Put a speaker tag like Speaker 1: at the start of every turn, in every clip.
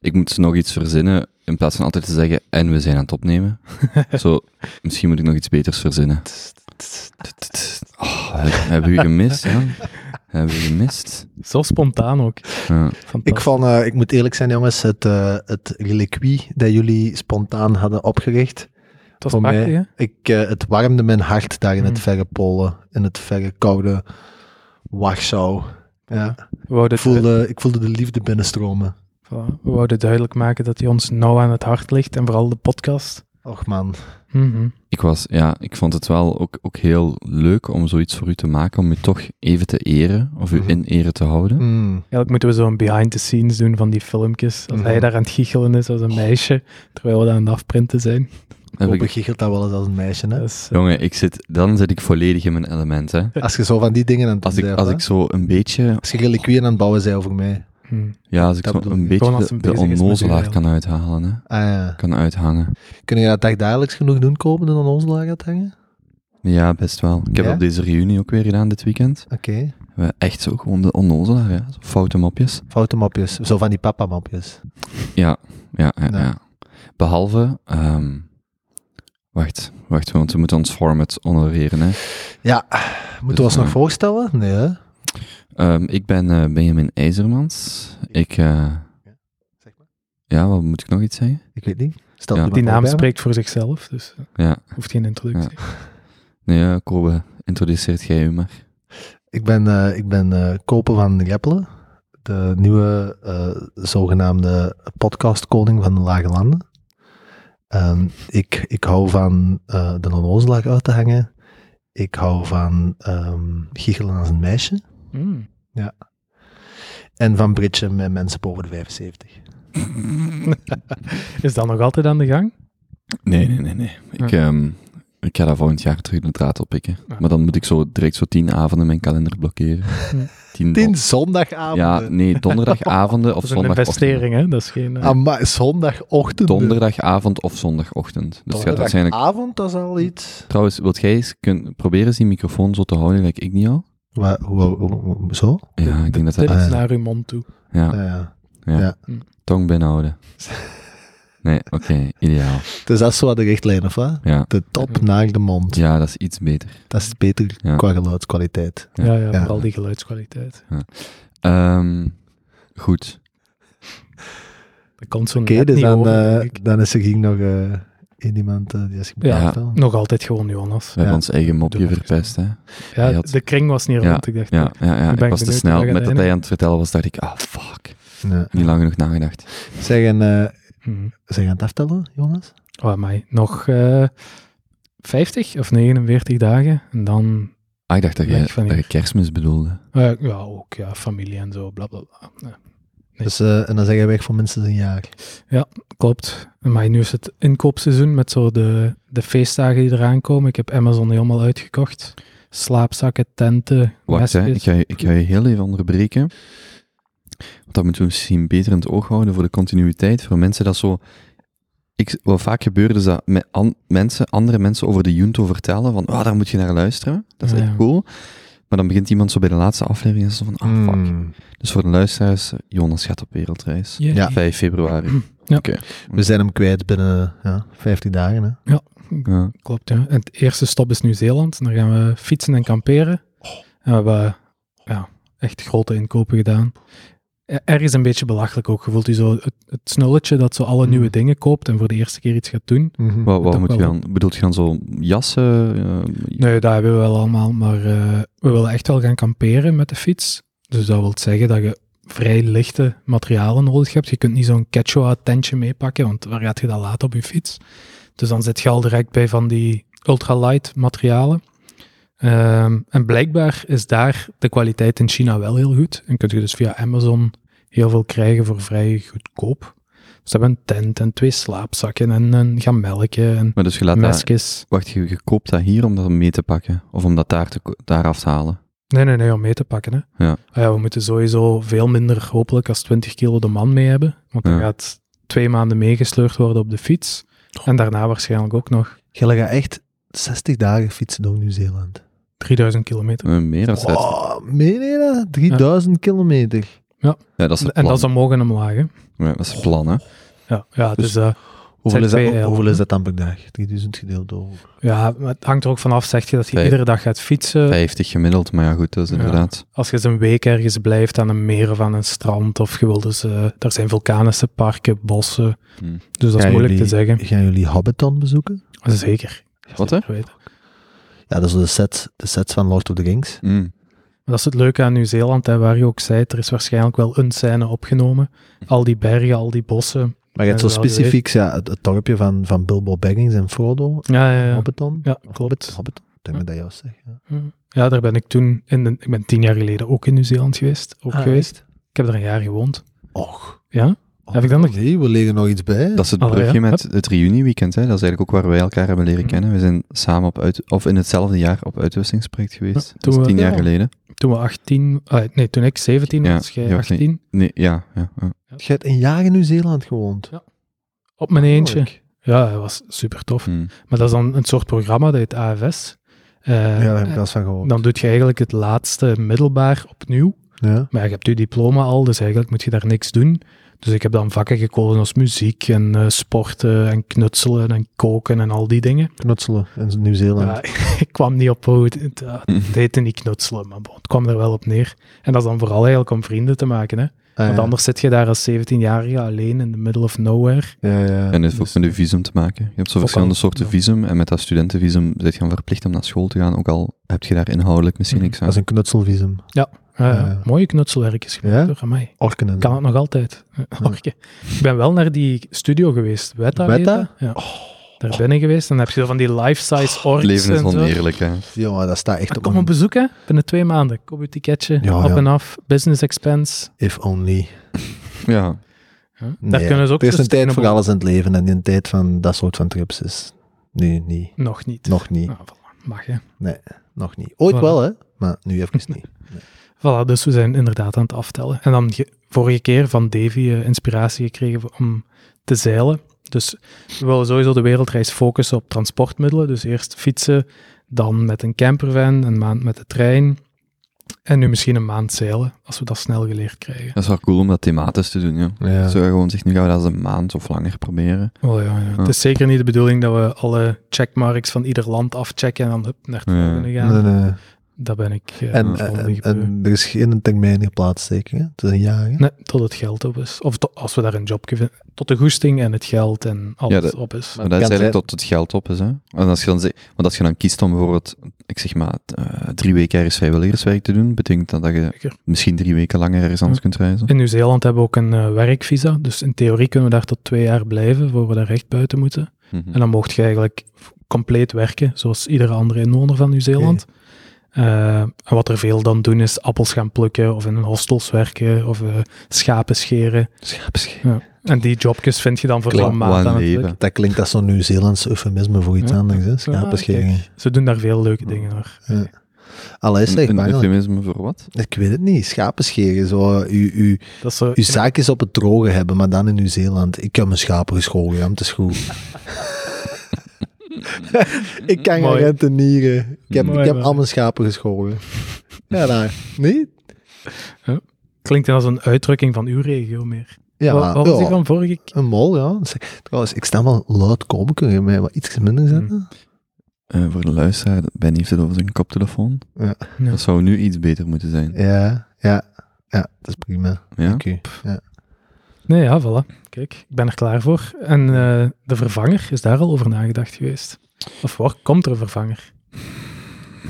Speaker 1: Ik moet nog iets verzinnen in plaats van altijd te zeggen en we zijn aan het opnemen. Zo, misschien moet ik nog iets beters verzinnen. Oh, heb- hebben we u gemist? Ja? Hebben we u gemist?
Speaker 2: Zo spontaan ook.
Speaker 1: Ja.
Speaker 3: Ik,
Speaker 2: Fantastisch.
Speaker 3: van, eh, ik moet eerlijk zijn, jongens, het, eh het reliquie dat jullie spontaan hadden opgericht.
Speaker 2: het was
Speaker 3: voor mij-
Speaker 2: prachtig, hè?
Speaker 3: Ik, eh, het warmde mijn hart daar in het
Speaker 2: Hmm.
Speaker 3: verre Polen, in het verre koude Warschau. Ja.
Speaker 1: Eh,
Speaker 2: We wouden,
Speaker 3: Ik, voelde, ik voelde de liefde binnenstromen.
Speaker 2: voilà. we wouden duidelijk maken dat hij ons nauw aan het hart ligt en vooral de podcast.
Speaker 3: Och man.
Speaker 2: Mhm.
Speaker 1: Ik, was, ja, ik vond het wel ook, ook heel leuk om zoiets voor u te maken, om u toch even te eren, of u
Speaker 3: Mhm.
Speaker 1: in ere te houden.
Speaker 3: Mm.
Speaker 2: Eigenlijk moeten we zo'n behind the scenes doen van die filmpjes. Als
Speaker 3: Mhm.
Speaker 2: hij daar aan het giechelen is als een meisje, terwijl we daar aan het afprinten zijn.
Speaker 1: Heb
Speaker 3: Kopen
Speaker 1: ik,
Speaker 3: giechelt dat wel eens als een meisje, hè?
Speaker 2: Dus, eh,
Speaker 1: jongen, ik zit, dan zit ik volledig in mijn element. Hè.
Speaker 3: Als je zo van die dingen aan het
Speaker 1: Eh, Als,
Speaker 3: doen
Speaker 1: ik,
Speaker 3: bent,
Speaker 1: als
Speaker 3: hè?
Speaker 1: ik zo een beetje,
Speaker 3: Als je reliquieën aan het bouwen zei over mij.
Speaker 2: hm.
Speaker 1: ja, als ik
Speaker 3: Dat
Speaker 1: zo
Speaker 3: bedoel ik.
Speaker 1: een beetje
Speaker 2: Gewoon als
Speaker 1: de,
Speaker 2: een
Speaker 1: de
Speaker 2: bezig is met u
Speaker 1: onnozelaar
Speaker 2: eigenlijk.
Speaker 1: kan uithalen, hè.
Speaker 3: Ah, ja.
Speaker 1: kan uithangen.
Speaker 3: Kun je dat echt dagelijks genoeg doen, kopen dan ons laag gaat hangen?
Speaker 1: Ja, best wel. Ik heb
Speaker 3: Ja?
Speaker 1: op deze reunie ook weer gedaan dit weekend.
Speaker 3: Oké.
Speaker 1: We hebben echt zo gewoon de onnozelaar, ja. Zo foute mopjes.
Speaker 3: Foute mapjes. Zo van die papa mapjes.
Speaker 1: Ja, ja,
Speaker 3: Ja.
Speaker 1: ja. Behalve, ehm, wacht, wacht, want we moeten ons format honoreren, hè.
Speaker 3: Ja, moeten we ons
Speaker 1: eh,
Speaker 3: nog voorstellen? Nee. hè?
Speaker 1: Ehm, ik ben eh Benjamin IJzermans. Ik, eh,
Speaker 3: Zeg maar.
Speaker 1: ja, wat moet ik nog iets zeggen?
Speaker 3: Ik weet niet. Stel
Speaker 1: Ja.
Speaker 3: je maar
Speaker 2: Die
Speaker 3: voor
Speaker 2: naam
Speaker 3: bij me.
Speaker 2: spreekt voor zichzelf, dus eh,
Speaker 1: Ja.
Speaker 2: hoeft geen introductie.
Speaker 1: Nee, ja, Kobe, introduceert jij u maar.
Speaker 3: Ik ben, eh, ik ben eh, Kopen van Reppelen, de nieuwe eh, zogenaamde podcastkoning van de Lage Landen. Ehm, ik, ik hou van eh, de onnozelaar uit te hangen. Ik hou van ehm giechelen als een meisje.
Speaker 2: Hm.
Speaker 3: En van britsen met mensen boven de 75.
Speaker 2: Is dat nog altijd aan de gang?
Speaker 1: Nee, nee, nee, nee. Ik, ehm, ik ga daar volgend jaar terug de draad op pikken.
Speaker 2: Ah.
Speaker 1: Maar dan moet ik zo direct zo tien avonden mijn kalender blokkeren.
Speaker 2: Hm.
Speaker 1: Tien,
Speaker 3: Tien
Speaker 1: Ja,
Speaker 3: zondagavonden.
Speaker 1: nee, donderdagavonden of
Speaker 2: Dat is een
Speaker 1: zondagochtend.
Speaker 2: investering, hè? Dat is geen... eh,
Speaker 3: Ama- zondagochtend.
Speaker 1: Donderdagavond of zondagochtend. Dus het gaat waarschijnlijk...
Speaker 3: Donderdagavond, dat is al iets.
Speaker 1: Trouwens, wilt jij eens kun... proberen eens die microfoon zo te houden, like ik niet al?
Speaker 3: Wa- hoe- hoe- hoe- zo?
Speaker 1: Ja, ik denk dat dat...
Speaker 2: Dit
Speaker 3: Ah,
Speaker 2: is
Speaker 3: ja.
Speaker 2: naar uw mond toe.
Speaker 1: Ja,
Speaker 3: Ja, ja.
Speaker 1: tong binnenhouden. Nee, oké, ideaal.
Speaker 3: Dus dat is zo de richtlijn, of wat?
Speaker 1: Ja.
Speaker 3: De top naar de mond.
Speaker 1: ja, dat is iets beter.
Speaker 3: Dat is beter
Speaker 1: Ja.
Speaker 3: qua geluidskwaliteit.
Speaker 1: Ja.
Speaker 2: Ja, ja,
Speaker 3: Ja.
Speaker 2: vooral die geluidskwaliteit.
Speaker 1: Ehm, goed.
Speaker 2: Dat komt zo
Speaker 3: Oké,
Speaker 2: net
Speaker 3: dus
Speaker 2: niet
Speaker 3: dan,
Speaker 2: over,
Speaker 3: eh,
Speaker 2: denk ik.
Speaker 3: dan is er hier nog eh, één iemand eh, die als ik moet
Speaker 2: Ja.
Speaker 3: aanvallen.
Speaker 2: Nog altijd gewoon Jonas.
Speaker 1: We hebben
Speaker 3: Ja.
Speaker 1: ons eigen mopje
Speaker 2: Doe maar.
Speaker 1: verpest, hè.
Speaker 2: Ja,
Speaker 1: Hij had-
Speaker 2: de kring was niet rond. Ik dacht,
Speaker 1: Ja, ja, ja.
Speaker 2: ben
Speaker 1: ik was te
Speaker 2: benieuwd
Speaker 1: snel.
Speaker 2: waar je
Speaker 1: Met dat
Speaker 2: uiteindelijk-
Speaker 1: hij aan het vertellen was, dacht ik, ah, fuck.
Speaker 3: Ja.
Speaker 1: Niet lang genoeg nagedacht.
Speaker 3: Zeg, en, eh,
Speaker 2: hm.
Speaker 3: zijn we aan het aftellen, Jonas?
Speaker 2: oh amai, nog eh 50 of 49 dagen. En dan,
Speaker 1: Ah, ik dacht dat
Speaker 2: Weg
Speaker 1: je,
Speaker 2: van
Speaker 1: dat
Speaker 2: hier.
Speaker 1: je kerstmis bedoelde.
Speaker 2: eh, ja, ook ja, familie en zo, bla bla bla. Ja, Nee.
Speaker 3: Dus, eh, en dan zeg je weg voor minstens een jaar.
Speaker 2: klopt. Maar nu is het inkoopseizoen met zo de, de feestdagen die eraan komen. Ik heb Amazon helemaal uitgekocht. Slaapzakken, tenten,
Speaker 1: Wacht, hè. Ik,
Speaker 2: mespjes.
Speaker 1: ga je, ik ga je heel even onderbreken. Want dat moeten we misschien beter in het oog houden voor de continuïteit. Voor mensen dat zo... Ik, wat vaak gebeurt is dat me- an- mensen, andere mensen over de Junto vertellen van ah, daar moet je naar luisteren. Dat is
Speaker 2: Ja.
Speaker 1: echt cool. Maar dan begint iemand zo bij de laatste aflevering en zo van ah, fuck.
Speaker 3: Hmm.
Speaker 1: Dus voor de luisteraars, Jonas gaat op wereldreis.
Speaker 2: Jee.
Speaker 3: Ja.
Speaker 1: 5 februari.
Speaker 3: We zijn hem kwijt binnen ja, 15 dagen. Hè?
Speaker 1: Ja.
Speaker 2: Klopt, ja. En het eerste stop is Nieuw-Zeeland. Dan gaan we fietsen en kamperen. En we hebben ja, echt grote inkopen gedaan. Er- Er is een beetje belachelijk ook. Je voelt je zo het, het snulletje dat zo alle
Speaker 3: Mm.
Speaker 2: nieuwe dingen koopt en voor de eerste keer iets gaat doen.
Speaker 3: Mhm.
Speaker 1: Wat, wat
Speaker 2: Toch
Speaker 1: moet je
Speaker 2: wel.
Speaker 1: dan? Bedoelt je dan zo jassen? eh,
Speaker 2: Nee, dat hebben we wel allemaal. Maar eh, we willen echt wel gaan kamperen met de fiets. Dus dat wil zeggen dat je vrij lichte materialen nodig hebt. Je kunt niet zo'n quechua tentje meepakken, want waar gaat je dat laten op je fiets? Dus dan zit je al direct bij van die ultralight materialen. Ehm, en blijkbaar is daar de kwaliteit in China wel heel goed. En kun je dus via Amazon heel veel krijgen voor vrij goedkoop. Dus ze hebben een tent en twee slaapzakken en een gamelkje en
Speaker 1: Maar dus je laat dat,
Speaker 2: meskjes.
Speaker 1: wacht, je, je koopt dat hier om dat mee te pakken? Of om dat daar, te, ko- daar af te halen?
Speaker 2: Nee, nee, nee, om mee te pakken. Hè.
Speaker 1: Ja.
Speaker 2: Ah ja, we moeten sowieso veel minder, hopelijk, als 20 kilo de man mee hebben. Want dan
Speaker 1: Ja.
Speaker 2: gaat twee maanden meegesleurd worden op de fiets. En daarna waarschijnlijk ook nog
Speaker 3: Gelle gaat echt 60 dagen fietsen door Nieuw-Zeeland.
Speaker 2: 3000 kilometer.
Speaker 1: Eh, meer dan 60.
Speaker 3: Oh, meen je dat? 3000 kilometer.
Speaker 2: Ja.
Speaker 1: Ja, dat is het
Speaker 2: En
Speaker 1: plan.
Speaker 2: dat is omhoog en omlaag. hè.
Speaker 1: Ja, dat is het plan, hè.
Speaker 2: Ja, ja, dus,
Speaker 3: Dus-
Speaker 2: eh,
Speaker 3: Hoeveel is,
Speaker 2: ZPL.
Speaker 3: dat, hoeveel is dat dan per dag? 3000 gedeeld door.
Speaker 2: ja, maar het hangt er ook vanaf, zeg je dat je
Speaker 1: Vijf-
Speaker 2: iedere dag gaat fietsen.
Speaker 1: 50 gemiddeld, maar ja, goed, dat is
Speaker 2: Ja.
Speaker 1: inderdaad...
Speaker 2: Als je eens een week ergens blijft aan een meer of aan een strand, of je wilt dus, eh, daar zijn vulkanische parken, bossen.
Speaker 1: Hm.
Speaker 2: Dus dat is
Speaker 3: Gaan
Speaker 2: moeilijk te
Speaker 3: jullie-
Speaker 2: zeggen.
Speaker 3: Gaan jullie Hobbiton bezoeken?
Speaker 2: Zeker.
Speaker 1: Wat, hè?
Speaker 2: zeker weten.
Speaker 3: Ja, dat is de set, de sets van Lord of the Rings.
Speaker 1: Hm.
Speaker 2: Maar dat is het leuke aan Nieuw-Zeeland, hè, waar je ook zei, er is waarschijnlijk wel een scène opgenomen. Al die bergen, al die bossen.
Speaker 3: Maar je hebt
Speaker 2: Ja,
Speaker 3: zo
Speaker 2: dat wel
Speaker 3: specifiek ja, het, het dorpje van, van Bilbo Baggins en Frodo.
Speaker 2: Ja, ja, ja.
Speaker 3: Hobbiton.
Speaker 2: ja
Speaker 3: Of Hobbit,
Speaker 2: klopt.
Speaker 3: Hobbiton. Ik denk
Speaker 2: Ja.
Speaker 3: dat dat juist zegt. Ja.
Speaker 2: Ja, daar ben ik toen, in de- ik ben tien jaar geleden ook in Nieuw-Zeeland geweest. Ook
Speaker 3: Ah,
Speaker 2: geweest. Ik heb er een jaar gewoond.
Speaker 3: Och.
Speaker 2: Ja? Heb ik dan nog-
Speaker 3: Nee, we leggen nog iets bij.
Speaker 1: Dat is het
Speaker 2: Allee,
Speaker 1: brugje
Speaker 2: ja.
Speaker 1: met het reunieweekend. Hè? Dat is eigenlijk ook waar wij elkaar hebben leren
Speaker 2: Mhm.
Speaker 1: kennen. We zijn samen op uit, of in hetzelfde jaar op uitwisselingsproject geweest.
Speaker 2: toen
Speaker 1: dat
Speaker 2: we-
Speaker 1: is tien jaar
Speaker 2: ja.
Speaker 1: geleden.
Speaker 2: Toen we 18, ah, nee, toen ik 17
Speaker 1: Ja,
Speaker 2: was, jij
Speaker 1: je was niet-
Speaker 2: 18.
Speaker 1: Nee, ja, ja, ja.
Speaker 3: Je hebt een jaar in Nieuw-Zeeland gewoond.
Speaker 2: Op mijn eentje.
Speaker 3: Oh, Leuk.
Speaker 2: Ja, dat was super tof.
Speaker 1: Hm.
Speaker 2: Maar dat is dan een soort programma, dat heet AFS. Eh,
Speaker 3: Ja, daar heb ik
Speaker 2: en
Speaker 3: wel eens van gehoord.
Speaker 2: dan doe je eigenlijk het laatste middelbaar opnieuw.
Speaker 3: Ja.
Speaker 2: Maar ja, je hebt je diploma al, dus eigenlijk moet je daar niks doen. Dus ik heb dan vakken gekozen als muziek en eh, sporten en knutselen en koken en al die dingen.
Speaker 3: Knutselen in Nieuw-Zeeland.
Speaker 2: Ja, ik kwam niet op hoe het, het, ja, het heette niet knutselen, maar bon, het kwam er wel op neer. En dat is dan vooral eigenlijk om vrienden te maken. Hè?
Speaker 3: Ah,
Speaker 2: Want
Speaker 3: ja.
Speaker 2: anders zit je daar als 17-jarige alleen in the middle of nowhere.
Speaker 3: Ja, ja.
Speaker 1: En het heeft
Speaker 3: Dus-
Speaker 1: ook met je visum te maken. Je hebt zo verschillende
Speaker 2: al,
Speaker 1: soorten
Speaker 2: ja.
Speaker 1: visum. En met dat studentenvisum ben je dan verplicht om naar school te gaan. Ook al heb je daar inhoudelijk misschien
Speaker 2: Mhm.
Speaker 1: niks
Speaker 3: Dat
Speaker 1: aan.
Speaker 3: is een knutselvisum.
Speaker 2: Ah, ja,
Speaker 3: Ja.
Speaker 2: Mooie knutselwerkjes gemaakt
Speaker 3: Ja?
Speaker 2: door mij.
Speaker 3: Orken en
Speaker 2: Kan het nog altijd. Eh, Orke. Ik ben wel naar die studio geweest. Weta? heet
Speaker 3: Weta?
Speaker 2: dat?
Speaker 3: Oh.
Speaker 2: Ja. Daar binnen geweest. En dan heb je zo van die life-size orks
Speaker 1: Het leven is
Speaker 2: en zo.
Speaker 1: oneerlijk, hè.
Speaker 3: Jongen, dat staat echt
Speaker 2: Maar
Speaker 3: op
Speaker 2: Ah, kom
Speaker 3: een-
Speaker 2: op bezoek, hè. Binnen twee maanden. Koop je ticketje,
Speaker 3: Ja,
Speaker 2: op
Speaker 3: ja.
Speaker 2: en af, business expense.
Speaker 3: If only.
Speaker 1: Ja.
Speaker 2: Hè? Daar
Speaker 3: Nee,
Speaker 2: kunnen ze ook
Speaker 3: er is een tijd voor
Speaker 2: sustainable-
Speaker 3: alles in het leven en die tijd van dat soort van trips is nu niet.
Speaker 2: Nog niet.
Speaker 3: Nog niet.
Speaker 2: Nou, voilà. Mag, hè.
Speaker 3: Nog niet. Ooit
Speaker 2: Voilà.
Speaker 3: wel, hè? Maar nu even niet.
Speaker 2: Voilà, dus we zijn inderdaad aan het aftellen. En dan ge- vorige keer van Davy eh, inspiratie gekregen om te zeilen. Dus we willen sowieso de wereldreis focussen op transportmiddelen. Dus eerst fietsen, dan met een campervan, een maand met de trein. En nu misschien een maand zeilen, als we dat snel geleerd krijgen.
Speaker 1: Dat is wel cool om dat thematisch te doen, ja.
Speaker 3: Ja.
Speaker 1: Zo gewoon zich nu gaan we dat eens een maand of langer proberen.
Speaker 2: Oh ja, ja. het is zeker niet de bedoeling dat we alle checkmarks van ieder land afchecken en dan hup, naar het
Speaker 1: Ja.
Speaker 2: volgende gaan.
Speaker 3: Nee, nee.
Speaker 2: Dat ben ik. eh,
Speaker 3: eh, En,
Speaker 2: van de
Speaker 3: en,
Speaker 2: gebeuren.
Speaker 3: en er is geen termijn geplaatst, zeker. Hè? Het is een jaar. Hè?
Speaker 2: Nee, tot het geld op is. Of to- als we daar een job vinden. Tot de goesting en het geld en alles
Speaker 1: Ja, dat-
Speaker 2: op is.
Speaker 1: Maar dat is
Speaker 3: kan
Speaker 1: eigenlijk
Speaker 3: zijn-
Speaker 1: tot het geld op is. Hè? En als je dan, ze- want als je dan kiest om bijvoorbeeld, ik zeg maar, t- eh, drie weken ergens vrijwilligerswerk te doen, betekent dat dat je
Speaker 2: Zeker.
Speaker 1: misschien drie weken langer ergens anders kunt reizen.
Speaker 2: In Nieuw-Zeeland hebben we ook een eh, werkvisa. Dus in theorie kunnen we daar tot twee jaar blijven voor we daar recht buiten moeten.
Speaker 1: Mhm.
Speaker 2: En dan mocht je eigenlijk f- compleet werken, zoals iedere andere inwoner van Nieuw-Zeeland. Eh, en wat er veel dan doen is appels gaan plukken of in hostels werken of eh, schapen scheren.
Speaker 3: Schaapsche-
Speaker 2: En die jobjes vind je dan voor
Speaker 1: Klinkt
Speaker 2: zo'n
Speaker 1: wel
Speaker 2: maand
Speaker 1: een
Speaker 2: aan het
Speaker 1: leven.
Speaker 2: werk.
Speaker 3: Dat klinkt als zo'n Nieuw-Zeelands eufemisme voor iets
Speaker 2: Ja.
Speaker 3: anders. Hè?
Speaker 2: Ah,
Speaker 3: Schapenschering.
Speaker 2: kijk, Ze doen daar veel leuke dingen hoor.
Speaker 3: Allee,
Speaker 1: Een-
Speaker 3: zeg
Speaker 1: een
Speaker 3: maar.
Speaker 1: eufemisme voor wat?
Speaker 3: Ik weet het niet. Schapenscheren. Zo, eh, u, u,
Speaker 2: Dat is zo,
Speaker 3: uw zaakjes op het droge hebben, maar dan in Nieuw-Zeeland. Ik heb mijn schapen geschoren, ja, het is goed. ik kan gaan
Speaker 2: Mooi.
Speaker 3: rentenieren. Ik heb,
Speaker 2: Mooi,
Speaker 3: ik heb
Speaker 2: mooi.
Speaker 3: al mijn schapen geschoren. Ja, daar. Niet?
Speaker 2: klinkt dan als een uitdrukking van uw regio meer.
Speaker 3: Ja,
Speaker 2: wat, wat was die
Speaker 3: ja,
Speaker 2: van vorige keer?
Speaker 3: Een mol, ja. Zeg, Trouwens, ik sta wel luid komen. Kun je mij wat iets
Speaker 1: Mm.
Speaker 3: minder zetten?
Speaker 1: Eh, voor de luisteraar, Ben heeft het over zijn koptelefoon.
Speaker 3: Ja.
Speaker 2: Ja.
Speaker 1: Dat zou nu iets beter moeten zijn.
Speaker 3: Ja, ja. Ja, dat is prima.
Speaker 1: Ja?
Speaker 3: Oké. Ja.
Speaker 2: Nee, ja, voilà. Kijk, ik ben er klaar voor. En eh, de vervanger, is daar al over nagedacht geweest? Of waar komt er een vervanger?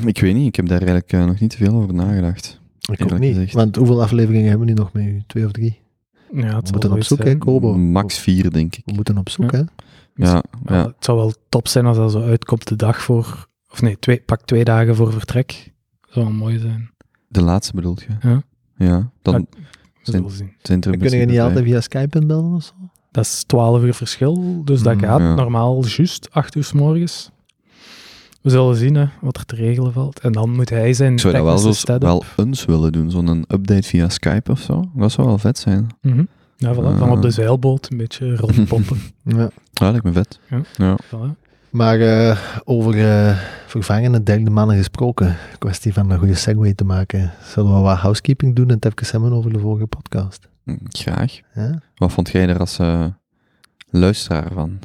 Speaker 1: Ik weet niet, ik heb daar eigenlijk eh, nog niet te veel over nagedacht.
Speaker 3: Ik ook
Speaker 1: Eerlijk
Speaker 3: niet.
Speaker 1: gezegd.
Speaker 3: Want hoeveel afleveringen hebben we nu nog met u? Twee of drie?
Speaker 2: Ja, het
Speaker 3: We
Speaker 2: zal
Speaker 3: moeten
Speaker 2: wel
Speaker 3: op
Speaker 2: iets
Speaker 3: zoek, hè,
Speaker 2: zijn.
Speaker 3: Kobo?
Speaker 1: Max 4, denk ik.
Speaker 3: We moeten op zoek,
Speaker 2: Ja.
Speaker 3: hè?
Speaker 1: Ja,
Speaker 2: Ja,
Speaker 1: ja.
Speaker 2: Het zou wel top zijn als dat zo uitkomt de dag voor... Of nee, twee, pak twee dagen voor vertrek. Zou wel mooi zijn.
Speaker 1: De laatste bedoelt je?
Speaker 2: Ja.
Speaker 1: Ja, dan
Speaker 2: Ja. We zullen zien.
Speaker 1: zijn er
Speaker 3: We kunnen je
Speaker 1: misschien
Speaker 3: niet
Speaker 1: bij.
Speaker 3: altijd via Skype inbellen of zo?
Speaker 2: Dat is 12 uur verschil, dus dat
Speaker 3: Mm,
Speaker 2: gaat
Speaker 1: ja.
Speaker 2: normaal juist 8 uur s morgens. We zullen zien hè, wat er te regelen valt. En dan moet hij zijn
Speaker 1: Ik zou dat wel,
Speaker 2: technische
Speaker 1: zoals,
Speaker 2: setup...
Speaker 1: wel eens willen doen, zo'n update via Skype of zo. Dat zou wel vet zijn.
Speaker 2: Mhm. Ja, voilà, van op de
Speaker 1: Ah.
Speaker 2: zeilboot een beetje rondpompen.
Speaker 3: Ja.
Speaker 1: Ja, lijkt me vet.
Speaker 2: Ja.
Speaker 1: Ja.
Speaker 2: voilà.
Speaker 3: Maar eh, over eh, vervangende derde mannen gesproken, kwestie van een goede segue te maken, zullen we wat housekeeping doen en het even hebben over de vorige podcast.
Speaker 1: Hm, Graag.
Speaker 3: Ja,
Speaker 1: Wat vond jij er als eh, luisteraar van?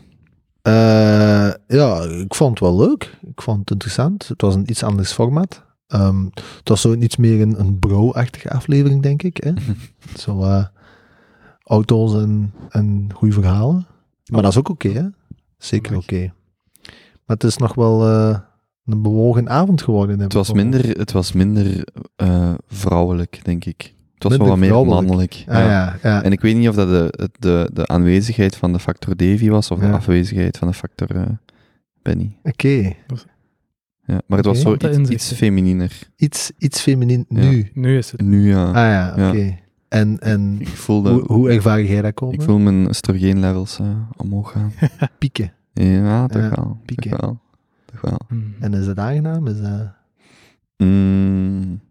Speaker 3: Eh, ja ik vond het wel leuk. Ik vond het interessant. Het was een iets anders format. Ehm, het was zo iets meer een, een bro-achtige aflevering, denk ik. Hè? zo eh, auto's en, en goede verhalen. Maar dat is ook oké, hè? Zeker
Speaker 2: Mag.
Speaker 3: oké. Maar het is nog wel eh, een bewogen avond geworden.
Speaker 1: Het was minder, het was minder eh, vrouwelijk, denk ik. Het was wel
Speaker 3: Minder
Speaker 1: wat meer
Speaker 3: vrouwelijk.
Speaker 1: mannelijk.
Speaker 3: Ah, ja. ja,
Speaker 1: En ik weet niet of dat de, de, de aanwezigheid van de factor Davy was of
Speaker 3: Ja.
Speaker 1: de afwezigheid van de factor eh, Benny.
Speaker 3: Oké.
Speaker 1: Ja, maar het was
Speaker 3: Oké.
Speaker 1: zo
Speaker 2: Interessante
Speaker 1: iets,
Speaker 2: inzichten.
Speaker 1: iets femininer.
Speaker 3: Iets, iets feminien
Speaker 1: Ja.
Speaker 3: nu.
Speaker 2: Nu is het.
Speaker 1: Nu ja.
Speaker 3: Ah ja, oké.
Speaker 1: Ja.
Speaker 3: En, en
Speaker 1: Ik voelde,
Speaker 3: hoe, hoe ervaar jij dat komen?
Speaker 1: ik voel mijn oestrogeen levels eh, omhoog gaan.
Speaker 3: Pieken.
Speaker 1: Ja, toch
Speaker 3: Ja,
Speaker 1: wel.
Speaker 3: pieken.
Speaker 1: Toch wel. Toch wel.
Speaker 2: Hmm.
Speaker 3: En is dat aangenaam? Is dat...
Speaker 1: Mm.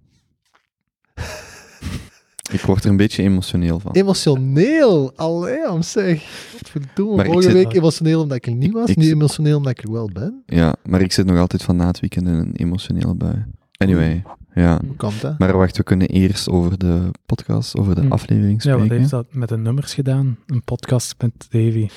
Speaker 1: ik word er een beetje emotioneel van.
Speaker 3: Emotioneel! Allee, om zeg. Wat
Speaker 1: Maar
Speaker 3: verdomme.
Speaker 1: ik
Speaker 3: Vorige
Speaker 1: zit-
Speaker 3: week emotioneel omdat ik er niet was,
Speaker 1: Ik-
Speaker 3: nu emotioneel omdat ik er wel ben.
Speaker 1: Ja, maar ik zit nog altijd van na het weekend in een emotionele bui. Anyway, ja.
Speaker 3: Hoe komt dat?
Speaker 1: Maar wacht, we kunnen eerst over de podcast, over de
Speaker 2: Hm.
Speaker 1: aflevering
Speaker 2: Ja,
Speaker 1: spreken.
Speaker 2: wat heeft dat met de nummers gedaan? Een podcast met Davy.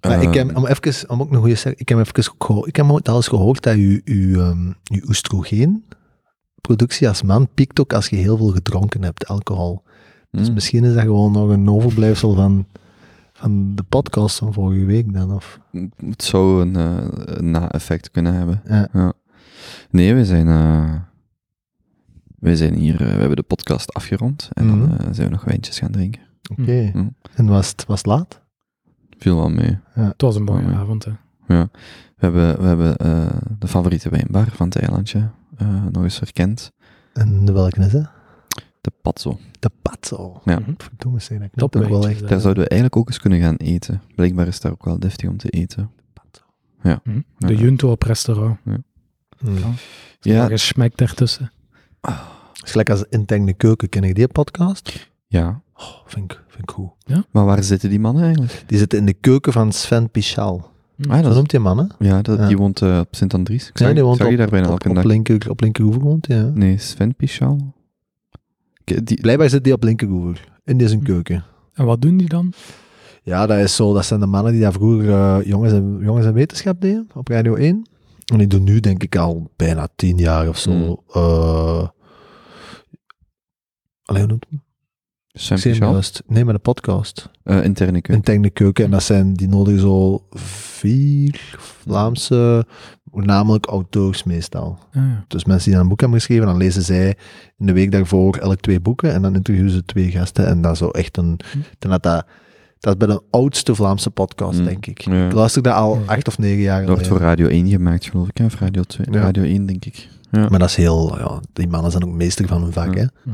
Speaker 3: Maar ik
Speaker 1: Ehm,
Speaker 3: heb, om, even, om ook een goede sec- ik heb even gehoord, ik heb ooit al eens gehoord dat je, je, ehm, je oestrogeenproductie als man piekt ook als je heel veel gedronken hebt, alcohol. Dus
Speaker 1: hm.
Speaker 3: misschien is dat gewoon nog een overblijfsel van, van de podcast van vorige week dan.
Speaker 1: Hmm.
Speaker 3: Of,
Speaker 1: het zou een eh, een na-effect kunnen hebben.
Speaker 3: Ja.
Speaker 1: Nee, we zijn, eh, wij zijn hier, eh, we hebben de podcast afgerond en dan
Speaker 3: Mhm.
Speaker 1: eh, zijn we nog wijntjes gaan drinken.
Speaker 3: Oké.
Speaker 2: Hmm.
Speaker 1: Hm.
Speaker 3: En was het was het laat?
Speaker 1: Viel wel mee.
Speaker 2: Het was een mooie
Speaker 1: Oh, ja.
Speaker 2: avond, hè.
Speaker 1: We hebben, we hebben eh, de favoriete wijnbar van het eilandje eh, nog eens herkend.
Speaker 3: En de welke is dat?
Speaker 1: De Patzo.
Speaker 3: De patso.
Speaker 1: Ja.
Speaker 2: Mhm.
Speaker 3: Verdomme, zeg dat
Speaker 2: Top
Speaker 3: klopt ook wel
Speaker 2: wijntjes,
Speaker 3: echt.
Speaker 2: hè.
Speaker 1: Daar zouden we eigenlijk ook eens kunnen gaan eten. Blijkbaar is daar ook wel deftig om te eten.
Speaker 2: Mhm.
Speaker 1: Ja.
Speaker 2: De Junto op restaurant.
Speaker 3: Mm.
Speaker 2: Ja.
Speaker 1: Ja,
Speaker 2: Een smack daartussen.
Speaker 3: Het is gelijk als interne keuken, ken ik die podcast?
Speaker 1: ja.
Speaker 3: Oh, vind, ik, vind ik goed.
Speaker 1: Maar waar zitten die mannen eigenlijk?
Speaker 3: Die zitten in de keuken van Sven Pichal.
Speaker 2: Hm.
Speaker 1: Ah,
Speaker 3: Dat
Speaker 1: dat
Speaker 3: noemt die man, hè?
Speaker 1: ja, dat,
Speaker 3: Ja.
Speaker 1: die woont eh, op Sint-Andries. Ik
Speaker 3: Ja,
Speaker 1: zag,
Speaker 3: die
Speaker 1: ik
Speaker 3: woont
Speaker 1: zag je daar bijna
Speaker 3: op,
Speaker 1: elke
Speaker 3: op,
Speaker 1: dag.
Speaker 3: linker, op linkeroever woont, ja.
Speaker 1: Nee, Sven Pichal. Ik- Die,
Speaker 3: Blijkbaar zit die op linkeroever, in
Speaker 1: Hm.
Speaker 3: deze keuken.
Speaker 2: En wat doen die dan?
Speaker 3: Ja, dat is zo. Dat zijn de mannen die daar vroeger eh, jongens, en, jongens en wetenschap deden, op Radio 1. En die doen nu, denk ik, al bijna tien jaar of zo.
Speaker 1: Mm.
Speaker 3: eh, Allee, hoe noemt het?
Speaker 1: Sven
Speaker 3: Ik zei hem
Speaker 1: Pichal?
Speaker 3: juist. Nee, maar de podcast.
Speaker 1: Eh, interne keuken.
Speaker 3: Interne keuken. En dat zijn, die nodigen zo vier Vlaamse, voornamelijk auteurs meestal.
Speaker 2: Ah, ja.
Speaker 3: Dus mensen die dan een boek hebben geschreven, dan lezen zij in de week daarvoor elk twee boeken en dan interviewen ze twee gasten. En dat is zo echt een...
Speaker 2: Hm.
Speaker 3: ik denk Dat, dat, dat is bij de oudste Vlaamse podcast,
Speaker 1: Hm.
Speaker 3: denk ik.
Speaker 1: Ja.
Speaker 3: Ik luister daar al
Speaker 2: Ja.
Speaker 3: acht of negen jaar
Speaker 1: Dat wordt voor
Speaker 3: geleden.
Speaker 1: Radio 1 gemaakt, geloof ik. Hè? Of Radio 2.
Speaker 3: Ja.
Speaker 1: Radio 1, denk ik.
Speaker 3: Maar dat is heel... Ja, die mannen zijn ook meester van hun vak,
Speaker 1: Ja.
Speaker 3: hè.
Speaker 2: Hm.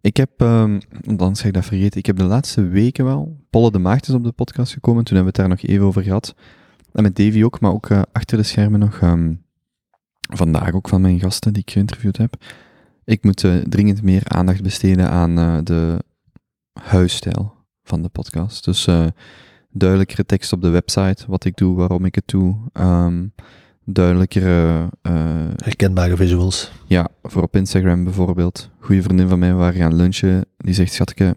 Speaker 1: Ik heb, ehm want anders ga ik dat vergeten, ik heb de laatste weken wel, Polle de Maagd is op de podcast gekomen, toen hebben we het daar nog even over gehad. En met Davy ook, maar ook eh, achter de schermen nog, ehm, vandaag ook van mijn gasten die ik geïnterviewd heb. Ik moet eh, dringend meer aandacht besteden aan eh, de huisstijl van de podcast. Dus eh, duidelijkere tekst op de website, wat ik doe, waarom ik het doe. ehm, duidelijkere eh,
Speaker 3: Herkenbare visuals.
Speaker 1: ja, voor op Instagram bijvoorbeeld. Goede vriendin van mij, we waren gaan lunchen. Die zegt, schatke,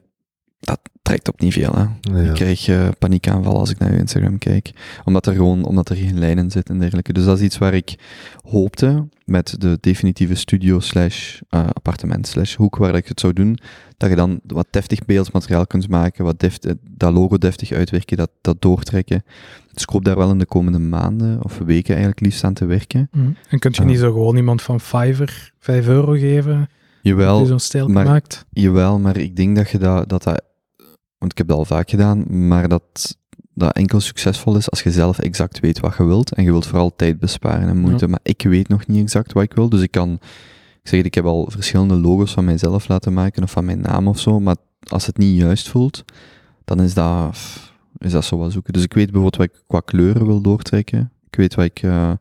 Speaker 1: dat trekt op niet veel. Hè? Ik krijg eh, paniekaanvallen als ik naar je Instagram kijk. Omdat er gewoon omdat er geen lijn in zit en dergelijke. Dus dat is iets waar ik hoopte met de definitieve studio slash eh, appartement slash hoek waar ik het zou doen. Dat je dan wat deftig beeldmateriaal kunt maken, wat deft, eh, dat logo deftig uitwerken, dat, dat doortrekken. Dus ik hoop daar wel in de komende maanden of weken eigenlijk liefst aan te werken.
Speaker 2: Mhm. En kun je
Speaker 1: Ah.
Speaker 2: niet zo gewoon iemand van Fiverr 5 euro geven
Speaker 1: Jawel,
Speaker 2: die zo'n stijl
Speaker 1: maar-
Speaker 2: maakt?
Speaker 1: Jawel, maar ik denk dat je dat, dat, dat- want ik heb dat al vaak gedaan, maar dat dat enkel succesvol is als je zelf exact weet wat je wilt. En je wilt vooral tijd besparen en moeite. Maar ik weet nog niet exact wat ik wil, dus ik kan... Ik zeg het, ik heb al verschillende logos van mijzelf laten maken of van mijn naam of zo, maar als het niet juist voelt, dan is dat, pff, is dat zo wat zoeken. Dus ik weet bijvoorbeeld wat ik qua kleuren wil doortrekken. Ik weet wat ik... eh,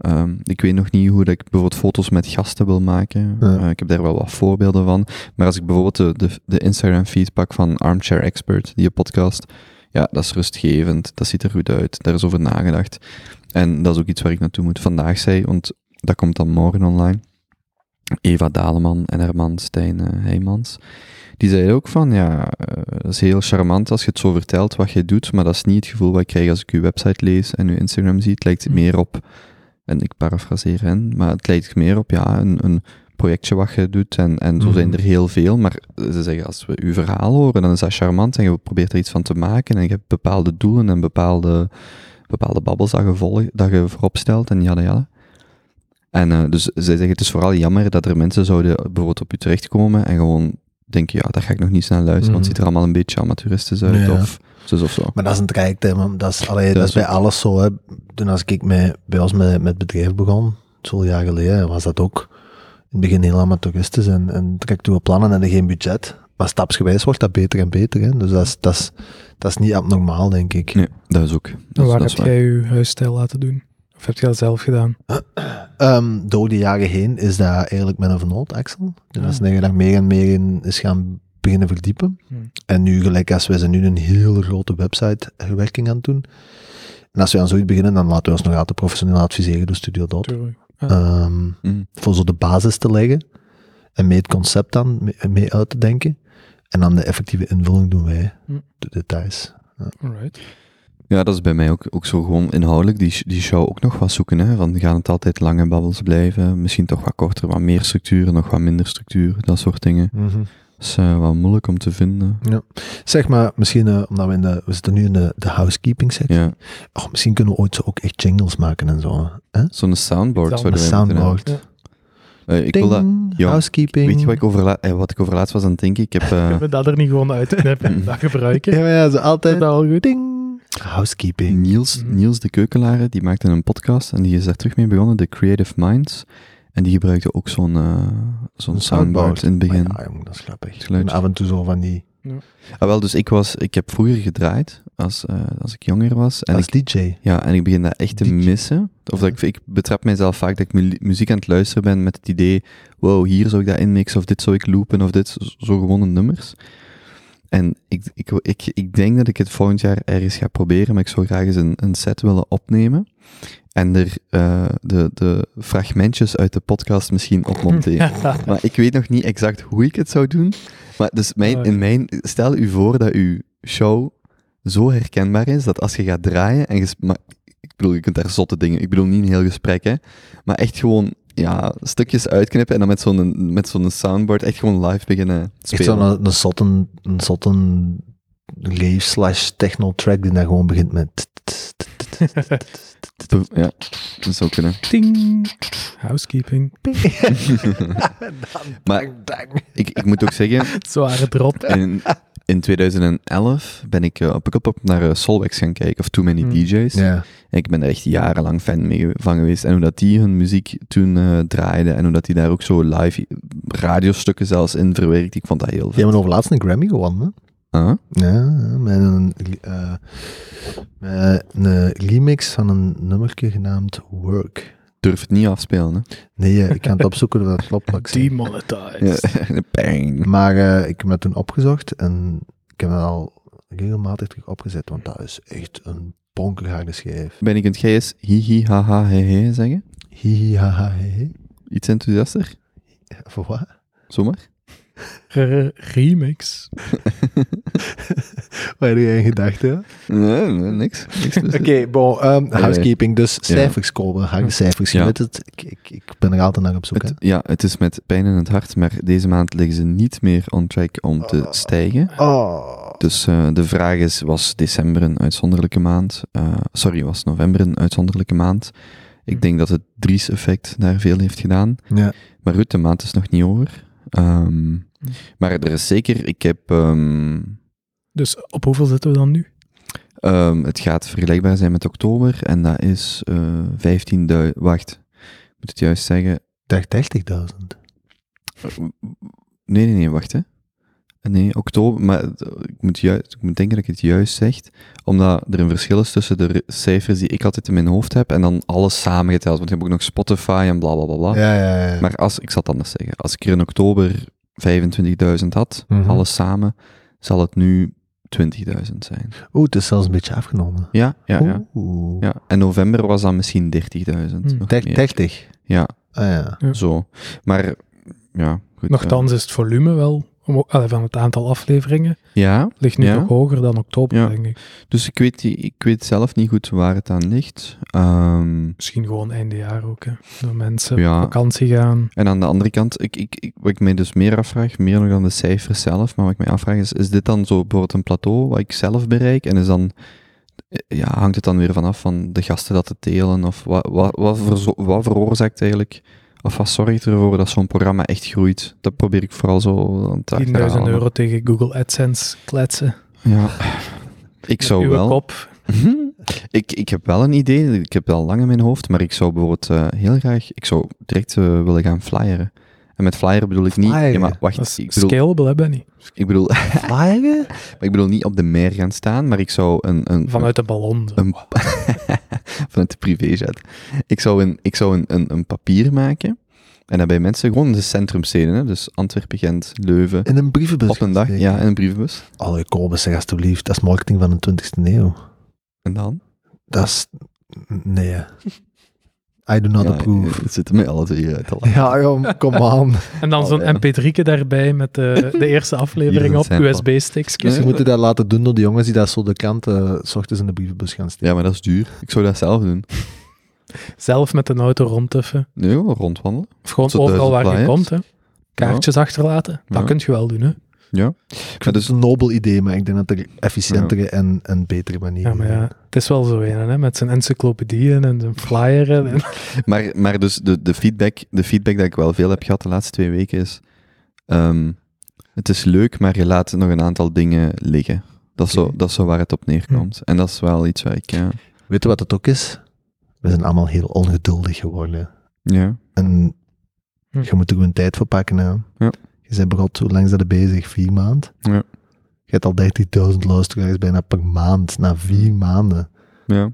Speaker 1: ehm, ik weet nog niet hoe dat ik bijvoorbeeld foto's met gasten wil maken.
Speaker 3: Ja.
Speaker 1: Eh, ik heb daar wel wat voorbeelden van. Maar als ik bijvoorbeeld de, de, de Instagram feed pak van Armchair Expert, die podcast, ja, dat is rustgevend, dat ziet er goed uit, daar is over nagedacht. En dat is ook iets waar ik naartoe moet. Vandaag zei, want dat komt dan morgen online, Eva Daleman en haar man Stijn eh, Heijmans. Die zei ook van, ja, eh, dat is heel charmant als je het zo vertelt wat je doet, maar dat is niet het gevoel wat ik krijg als ik uw website lees en uw Instagram zie. Het lijkt
Speaker 2: Hmm.
Speaker 1: meer op, en ik parafraseer hen, maar het lijkt meer op, ja, een, een projectje wat je doet en, en zo
Speaker 3: Mhm.
Speaker 1: zijn er heel veel, maar ze zeggen, als we uw verhaal horen, dan is dat charmant en je probeert er iets van te maken en je hebt bepaalde doelen en bepaalde, bepaalde babbels dat je, volg- dat je voorop stelt en ja, ja. En eh, dus zij zeggen, het is vooral jammer dat er mensen zouden bijvoorbeeld op u terechtkomen en gewoon denken, ja, daar ga ik nog niet snel luisteren, want het
Speaker 3: Mhm.
Speaker 1: ziet er allemaal een beetje amateuristisch uit,
Speaker 3: Ja.
Speaker 1: of zo of zo.
Speaker 3: Maar dat is een traject, hè, man. Dat is, allee,
Speaker 1: Dat
Speaker 3: dat
Speaker 1: is
Speaker 3: is bij alles zo. Hè. Toen als ik met, bij ons met, met bedrijf begon, zoveel jaar geleden, was dat ook in het begin heel amateuristisch en, en trekt uw plannen en geen budget. Maar stapsgewijs wordt dat beter en beter. Hè. Dus dat is, dat, is, dat is niet abnormaal, denk ik.
Speaker 1: Nee, dat is ook. Dat,
Speaker 2: En
Speaker 1: is-
Speaker 2: waar
Speaker 1: dat
Speaker 2: heb
Speaker 1: is waar.
Speaker 2: jij je huisstijl laten doen? Of heb je dat zelf gedaan?
Speaker 3: Ehm, door de jaren heen is dat eigenlijk mijn vernoot, Axel. Dus
Speaker 2: Ah.
Speaker 3: als je daar meer en meer in is gaan beginnen verdiepen.
Speaker 2: Hmm.
Speaker 3: En nu, gelijk als wij zijn nu een hele grote website-werking aan het doen. En als we aan zoiets beginnen, dan laten we ons nog altijd professioneel adviseren door Studio Dot.
Speaker 2: Tuurlijk.
Speaker 3: Ehm,
Speaker 1: Mhm.
Speaker 3: voor zo de basis te leggen en mee het concept dan mee, mee uit te denken. En dan de effectieve invulling doen wij,
Speaker 2: Hm.
Speaker 3: de details.
Speaker 2: Alright.
Speaker 1: Ja, dat is bij mij ook, ook zo gewoon inhoudelijk. Die, die show ook nog wat zoeken. Hè? Van gaan het altijd lange babbels blijven? Misschien toch wat korter, wat meer structuur, nog wat minder structuur, dat soort dingen. Dat is eh, wel moeilijk om te vinden.
Speaker 3: Zeg maar, misschien, eh, omdat we, in de, we zitten nu in de, de housekeeping sectie,
Speaker 1: Ja,
Speaker 3: oh, misschien kunnen we ooit zo ook echt jingles maken en zo. Hè?
Speaker 1: zo'n soundboard
Speaker 2: Sound-
Speaker 1: zouden
Speaker 3: Een
Speaker 1: wij moeten hebben.
Speaker 3: soundboard.
Speaker 2: Ja.
Speaker 1: Eh, ik wil
Speaker 3: Ding,
Speaker 1: dat, ja.
Speaker 3: housekeeping.
Speaker 1: weet je wat ik, overla- eh, wat ik overlaatst was aan het denken? Ik heb... eh,
Speaker 2: Kunnen we dat er niet gewoon uitknippen en dat gebruiken?
Speaker 3: Ja, maar ja, zo
Speaker 2: Is
Speaker 3: altijd.
Speaker 2: dat al goed?
Speaker 3: Ding. Housekeeping.
Speaker 1: Niels,
Speaker 2: Mhm.
Speaker 1: Niels de Keukelare, die maakte een podcast en die is daar terug mee begonnen, de Creative Minds. En die gebruikte ook zo'n eh, zo'n
Speaker 3: Een Ah,
Speaker 1: soundboard in het begin.
Speaker 3: Maar ja, jong, dat is grappig.
Speaker 1: Het geluid.
Speaker 3: En af en toe zo van die,
Speaker 1: Ah, wel, dus ik, was, ik heb vroeger gedraaid, als, eh, als ik jonger was. En
Speaker 3: als
Speaker 1: ik,
Speaker 3: DJ.
Speaker 1: ja, en ik begin dat echt te
Speaker 3: DJ.
Speaker 1: missen. Of dat ik, ik betrap mijzelf vaak dat ik mu- muziek aan het luisteren ben met het idee, wow, hier zou ik dat inmixen, of dit zou ik loopen, of dit, zo- zo gewone nummers. En ik, ik, ik, ik denk dat ik het volgend jaar ergens ga proberen, maar ik zou graag eens een, een set willen opnemen. En er eh, de, de fragmentjes uit de podcast misschien op monteren. maar ik weet nog niet exact hoe ik het zou doen. Maar dus mijn, in mijn, stel u voor dat uw show zo herkenbaar is dat als je gaat draaien en je, sp- maar, ik bedoel, je kunt daar zotte dingen. Ik bedoel niet een heel gesprek, hè, maar echt gewoon ja, stukjes uitknippen en dan met zo'n met zo'n soundboard echt gewoon live beginnen
Speaker 3: Echt
Speaker 1: spelen.
Speaker 3: zo'n een, een zotten, een zotten rave slash techno track die dan gewoon begint met... t- t- t- t- t-
Speaker 1: Ja, dat zou kunnen.
Speaker 2: Ting. Housekeeping.
Speaker 1: Maar
Speaker 3: Dang, dang.
Speaker 1: ik, ik moet ook zeggen,
Speaker 2: Zware drop.
Speaker 1: in, in 2011 ben ik eh, op een op naar eh, Solwax gaan kijken, of Too Many
Speaker 2: Hmm.
Speaker 1: DJs.
Speaker 3: Ja.
Speaker 1: En ik ben er echt jarenlang fan mee van geweest. En hoe dat die hun muziek toen eh draaiden en hoe dat die daar ook zo live radiostukken zelfs in verwerkt, ik vond dat heel
Speaker 3: Die
Speaker 1: vet.
Speaker 3: hebben over laatst een Grammy gewonnen.
Speaker 1: Huh?
Speaker 3: hè? Ja, met een, eh, met een remix van een nummertje genaamd Work.
Speaker 1: Durf het niet afspelen, hè?
Speaker 3: Nee, eh, ik kan het opzoeken of dat klopt. wat ik zeg.
Speaker 1: Ja,
Speaker 2: Demonetized.
Speaker 1: de pijn.
Speaker 3: Maar eh, ik heb dat toen opgezocht en ik heb dat al regelmatig terug opgezet, want dat is echt een bonkerharde schijf.
Speaker 1: Ben ik kunt jij eens hi hi ha ha he he zeggen?
Speaker 3: Hihi, haha, he, he.
Speaker 1: Iets enthousiaster?
Speaker 3: Voor wat?
Speaker 1: Zomaar?
Speaker 2: Re- Remix.
Speaker 3: Wat heb jij gedacht, hè? Oké,
Speaker 1: Nee, nee, niks. niks dus.
Speaker 3: bon, ehm,
Speaker 1: Eh,
Speaker 3: housekeeping, dus cijfers komen, harde cijfers, je
Speaker 1: Ja.
Speaker 3: weet het, ik, ik, ik ben er altijd naar op zoek, hè.
Speaker 1: Het- ja, het is met pijn in het hart, maar deze maand liggen ze niet meer on track om te
Speaker 3: Oh.
Speaker 1: stijgen.
Speaker 3: Oh,
Speaker 1: Dus eh, de vraag is, was december een uitzonderlijke maand? Eh, sorry, was november een uitzonderlijke maand? Ik
Speaker 2: Hm.
Speaker 1: denk dat het Dries-effect daar veel heeft gedaan.
Speaker 3: ja.
Speaker 1: Maar goed, de maand is nog niet over. Ehm, Maar er is zeker, ik heb... ehm,
Speaker 2: Dus op hoeveel zitten we dan nu?
Speaker 1: ehm, het gaat vergelijkbaar zijn met oktober en dat is eh 15.000... Wacht, ik moet het juist zeggen.
Speaker 3: Dag 30.000.
Speaker 1: Nee, nee, nee, wacht hè. Nee, oktober, maar het- ik moet, juist, ik moet denken dat ik het juist zeg, omdat er een verschil is tussen de re- cijfers die ik altijd in mijn hoofd heb en dan alles samengeteld, want je hebt ook nog Spotify en bla bla bla. bla.
Speaker 3: Ja, ja, ja.
Speaker 1: Maar als, ik zal het anders zeggen, als ik er in oktober 25.000 had,
Speaker 3: Mhm.
Speaker 1: alles samen, zal het nu 20.000 zijn.
Speaker 3: Oeh, het is zelfs een beetje afgenomen.
Speaker 1: Ja, ja, ja.
Speaker 3: Oeh. Hmm.
Speaker 1: ja. En november was dan misschien 30.000.
Speaker 2: Hm.
Speaker 1: nog
Speaker 3: Dert-
Speaker 1: meer.
Speaker 3: 30.
Speaker 1: Ja,
Speaker 3: Ah ja.
Speaker 2: Ja.
Speaker 1: zo. Maar, ja, goed.
Speaker 2: Nochtans is het volume wel, omho- allee, van het aantal afleveringen,
Speaker 1: ja. Ja,
Speaker 2: ligt nu
Speaker 1: Ja.
Speaker 2: nog hoger dan oktober,
Speaker 1: Ja.
Speaker 2: denk ik.
Speaker 1: dus ik weet, ik weet zelf niet goed waar het aan ligt. Ehm,
Speaker 2: Misschien gewoon einde jaar ook, hè. Door mensen
Speaker 1: Ja.
Speaker 2: op vakantie gaan.
Speaker 1: En aan de andere kant, ik, ik, ik- wat ik mij dus meer afvraag, meer nog dan de cijfers zelf, maar wat ik mij afvraag is, is dit dan zo bijvoorbeeld een plateau wat ik zelf bereik? En is dan, eh, ja, hangt het dan weer vanaf van de gasten dat het delen? Of wat, wat, wat, verzo- wat veroorzaakt eigenlijk, of wat zorgt ervoor dat zo'n programma echt groeit? Dat probeer ik vooral zo aan het
Speaker 2: 10.000
Speaker 1: achterhalen.
Speaker 2: euro tegen Google AdSense kletsen.
Speaker 1: Ja. Ik
Speaker 2: Met
Speaker 1: zou
Speaker 2: uw
Speaker 1: wel...
Speaker 2: kop.
Speaker 1: Mhm. ik, ik heb wel een idee, ik heb dat al lang in mijn hoofd, maar ik zou bijvoorbeeld eh, heel graag, ik zou direct eh, willen gaan flyeren. En met flyer bedoel ik niet...
Speaker 3: Flyeren?
Speaker 1: Ja, maar wacht,
Speaker 2: Dat is
Speaker 1: ik bedoel,
Speaker 2: scalable, hè, Benny?
Speaker 1: ik bedoel
Speaker 3: Vlagen?
Speaker 1: Maar ik bedoel niet op de meer gaan staan, maar ik zou een... een
Speaker 2: Vanuit een ballon. dus. zo.
Speaker 1: Een, vanuit de privéjet. Ik zou, een, ik zou een, een, een papier maken en daarbij mensen gewoon de centrumsteden, hè, dus Antwerpen, Gent, Leuven,
Speaker 3: In een brievenbus.
Speaker 1: op een dag,
Speaker 3: steken.
Speaker 1: ja, in een brievenbus.
Speaker 3: Allee, Kobus, zeg alsjeblieft. Dat is marketing van de 20e eeuw.
Speaker 1: En dan?
Speaker 3: Dat is... Nee. hè. I do not
Speaker 1: ja,
Speaker 3: approve.
Speaker 1: Het zit mij alle twee uit te lachen.
Speaker 3: Ja, jong, kom aan.
Speaker 2: En dan zo'n
Speaker 1: Oh, ja.
Speaker 2: mp3'tje daarbij met eh, de eerste
Speaker 1: Hier
Speaker 2: aflevering
Speaker 1: is
Speaker 2: op,
Speaker 1: een sample.
Speaker 2: USB-stickjes.
Speaker 3: Ze
Speaker 1: Nee.
Speaker 3: moeten dat laten doen door de jongens die dat zo de kant eh, s ochtends in de brievenbus gaan steken.
Speaker 1: Ja, maar dat is duur. Ik zou dat zelf doen.
Speaker 2: Zelf met een auto rondtuffen.
Speaker 1: Nee, gewoon rondwandelen.
Speaker 2: Of gewoon
Speaker 1: Zo'n
Speaker 2: overal
Speaker 1: duizend
Speaker 2: waar je
Speaker 1: flyers.
Speaker 2: komt, hè. Kaartjes achterlaten. Dat
Speaker 1: Ja.
Speaker 2: kun je wel doen, hè.
Speaker 1: Maar
Speaker 3: Dat
Speaker 1: dus,
Speaker 3: is een nobel idee, maar ik denk dat er efficiëntere en, en betere manieren
Speaker 2: Ja, maar
Speaker 3: zijn.
Speaker 2: ja, het is wel zo een, hè, met zijn encyclopedieën en zijn flyeren. En,
Speaker 1: maar, maar dus de, de, feedback, de feedback dat ik wel veel heb gehad de laatste twee weken is... ehm, het is leuk, maar je laat nog een aantal dingen liggen. Dat is, zo,
Speaker 3: Oké.
Speaker 1: dat is zo waar het op neerkomt. En dat is wel iets waar ik... Ja,
Speaker 3: Weet je wat het ook is? We zijn allemaal heel ongeduldig geworden.
Speaker 1: ja.
Speaker 3: En
Speaker 2: Hm.
Speaker 3: je moet er gewoon tijd voor pakken. Hè.
Speaker 1: Ja.
Speaker 3: Je bent begot, hoe lang is dat er bezig? Vier maanden?
Speaker 1: Ja.
Speaker 3: Je hebt al 30.000 luisteraars bijna per maand, na vier maanden.
Speaker 1: ja.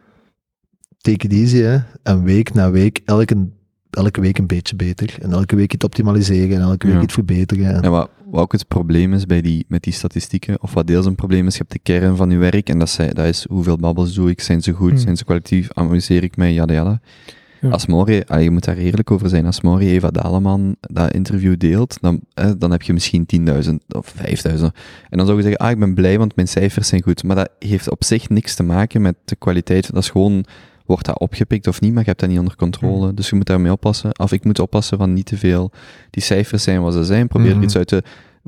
Speaker 3: Take it easy, hè. En week na week, elke, elke week een beetje beter. En elke week iets optimaliseren en elke week
Speaker 1: Ja.
Speaker 3: iets verbeteren. En
Speaker 1: En wat, wat ook het probleem is bij die, met die statistieken, of wat deels een probleem is, je hebt de kern van je werk, en dat, zij, dat is hoeveel babbels doe ik, zijn ze goed,
Speaker 2: Hmm.
Speaker 1: zijn ze kwalitatief, amuseer ik mij, jada jada.
Speaker 2: Ja.
Speaker 1: Als Maury, ah, je moet daar eerlijk over zijn, als Maury Eva Daleman dat interview deelt, dan, eh, dan heb je misschien 10.000 of 5.000. En dan zou je zeggen, ah, ik ben blij, want mijn cijfers zijn goed. Maar dat heeft op zich niks te maken met de kwaliteit. Dat is gewoon, wordt dat opgepikt of niet, maar je hebt dat niet onder controle. Dus je moet daarmee oppassen. Of ik moet oppassen van niet te veel. Die cijfers zijn wat ze zijn. Probeer er
Speaker 3: Mhm.
Speaker 1: iets uit te,